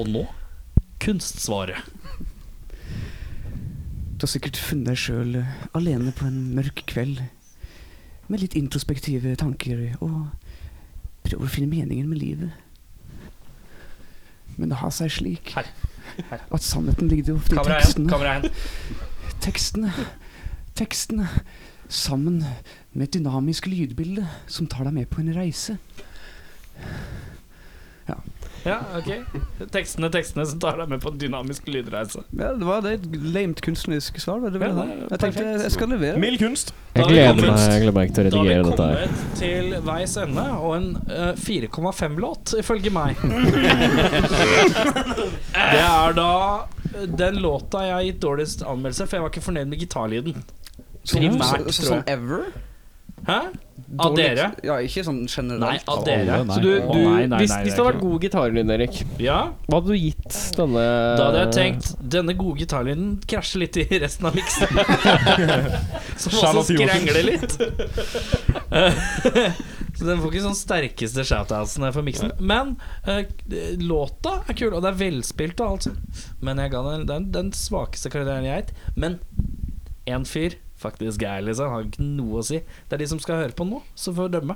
Speaker 3: Og nå kunstsvaret.
Speaker 6: Du har sikkert funnet deg sjøl alene på en mørk kveld. Med litt introspektive tanker og prøver å finne meningen med livet. Men det har seg slik
Speaker 3: Her.
Speaker 6: Og at sannheten ligger jo ofte i
Speaker 3: Kamera igjen.
Speaker 6: tekstene.
Speaker 3: Kamera igjen.
Speaker 6: Tekstene. Tekstene. Sammen med et dynamisk lydbilde som tar deg med på en reise.
Speaker 3: Ja, ok. Tekstene, tekstene som tar deg med på en dynamisk lydreise.
Speaker 6: Ja, det var det et lamet kunstnerisk svar. var Det vel
Speaker 3: Ja,
Speaker 6: det?
Speaker 3: det er
Speaker 6: Jeg tenkte jeg skal levere.
Speaker 7: Mild kunst.
Speaker 3: Da
Speaker 18: Jeg
Speaker 3: har vi
Speaker 18: gleder
Speaker 3: kommet-
Speaker 18: meg, jeg gleder meg ikke til å
Speaker 3: Da har vi
Speaker 18: redigere dette her.
Speaker 3: kommet til veis ende, og en eh, 4,5-låt, ifølge meg. Det er da eh, den låta jeg har gitt dårligst anmeldelse, for jeg var ikke fornøyd med gitarlyden.
Speaker 6: Sånn-
Speaker 3: Primært,
Speaker 6: så-
Speaker 3: tror
Speaker 6: Sånn ever?
Speaker 3: Hæ? Av
Speaker 6: Dårlig-
Speaker 3: dere?
Speaker 6: Ja, ikke sånn
Speaker 3: Nei,
Speaker 6: generelt.
Speaker 3: av
Speaker 6: [LAUGHS]
Speaker 3: dere.
Speaker 2: Alle, nei.
Speaker 1: Så du,
Speaker 3: Å,
Speaker 1: du
Speaker 3: nei, nei,
Speaker 1: hvis,
Speaker 3: nei,
Speaker 1: hvis det hadde
Speaker 3: det er ikke
Speaker 1: vært god gitarlyd, Erik,
Speaker 3: Ja,
Speaker 1: hva hadde du gitt denne
Speaker 3: da
Speaker 1: Eh,
Speaker 3: hadde jeg tenkt denne gode gitarlyden krasjer litt i resten
Speaker 1: [LAUGHS]
Speaker 3: av miksen. Som også
Speaker 7: Charlotte Johnsen.
Speaker 3: skrangler litt. [LAUGHS] Så den får ikke sånn sterkeste shoutoutsene for miksen. Men eh, låta er kul, og det er velspilt og alt sånt. Men jeg ga den den, den svakeste karakteren jeg har gitt. Men én fyr faktisk er liksom, har ikke noe å si. Det er de som skal høre på nå, som får dømme.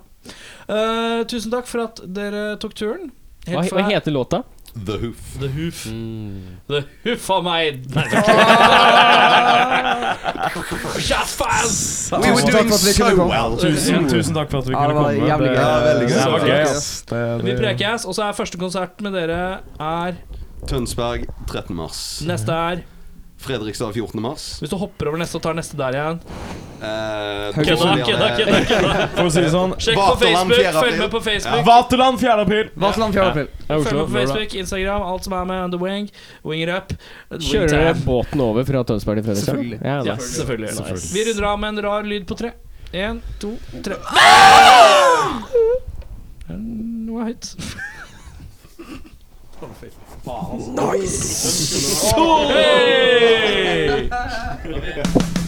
Speaker 3: Eh, tusen takk for at dere tok turen.
Speaker 1: hva, hva heter låta?
Speaker 8: The Hoof.
Speaker 3: The Hoof. The Hoof av meg. Nei,
Speaker 7: [LAUGHS]
Speaker 3: det
Speaker 6: We were doing so well.
Speaker 8: Mm.
Speaker 7: Tusen, tusen takk for at vi
Speaker 6: Ja, det
Speaker 7: kunne
Speaker 6: var
Speaker 7: komme.
Speaker 6: jævlig gøy. Ja, veldig gøy.
Speaker 7: Det var gøy,
Speaker 6: Ja.
Speaker 7: ass. Det,
Speaker 3: Vi
Speaker 7: det,
Speaker 3: prekes, og så er første konsert med dere er
Speaker 8: Tønsberg 13. mars.
Speaker 3: Neste er
Speaker 8: Fredrikstad 14. mars.
Speaker 3: Hvis du hopper over neste og tar neste der igjen
Speaker 8: Eh,
Speaker 3: Kødda,
Speaker 8: Trondheim-
Speaker 3: kødda, kødda, kødda.
Speaker 7: [LAUGHS] for å si det sånn
Speaker 3: Sjekk på
Speaker 8: Vaterland,
Speaker 3: Facebook,
Speaker 8: 4. april.
Speaker 3: følg med på Facebook.
Speaker 7: Vaterland 4. april!
Speaker 6: Vaterland 4. april.
Speaker 3: Følg med på Facebook, Instagram, alt som er med on the wing. Winger up.
Speaker 1: Kjører dere båten over fra Tønsberg til Fredrikstad?
Speaker 6: Selvfølgelig.
Speaker 1: Ja,
Speaker 3: Ja,
Speaker 1: nice.
Speaker 3: selvfølgelig. Vi runder av med en rar lyd på tre. Én, to, tre.
Speaker 7: Ah!
Speaker 3: Noe høyt. Nice!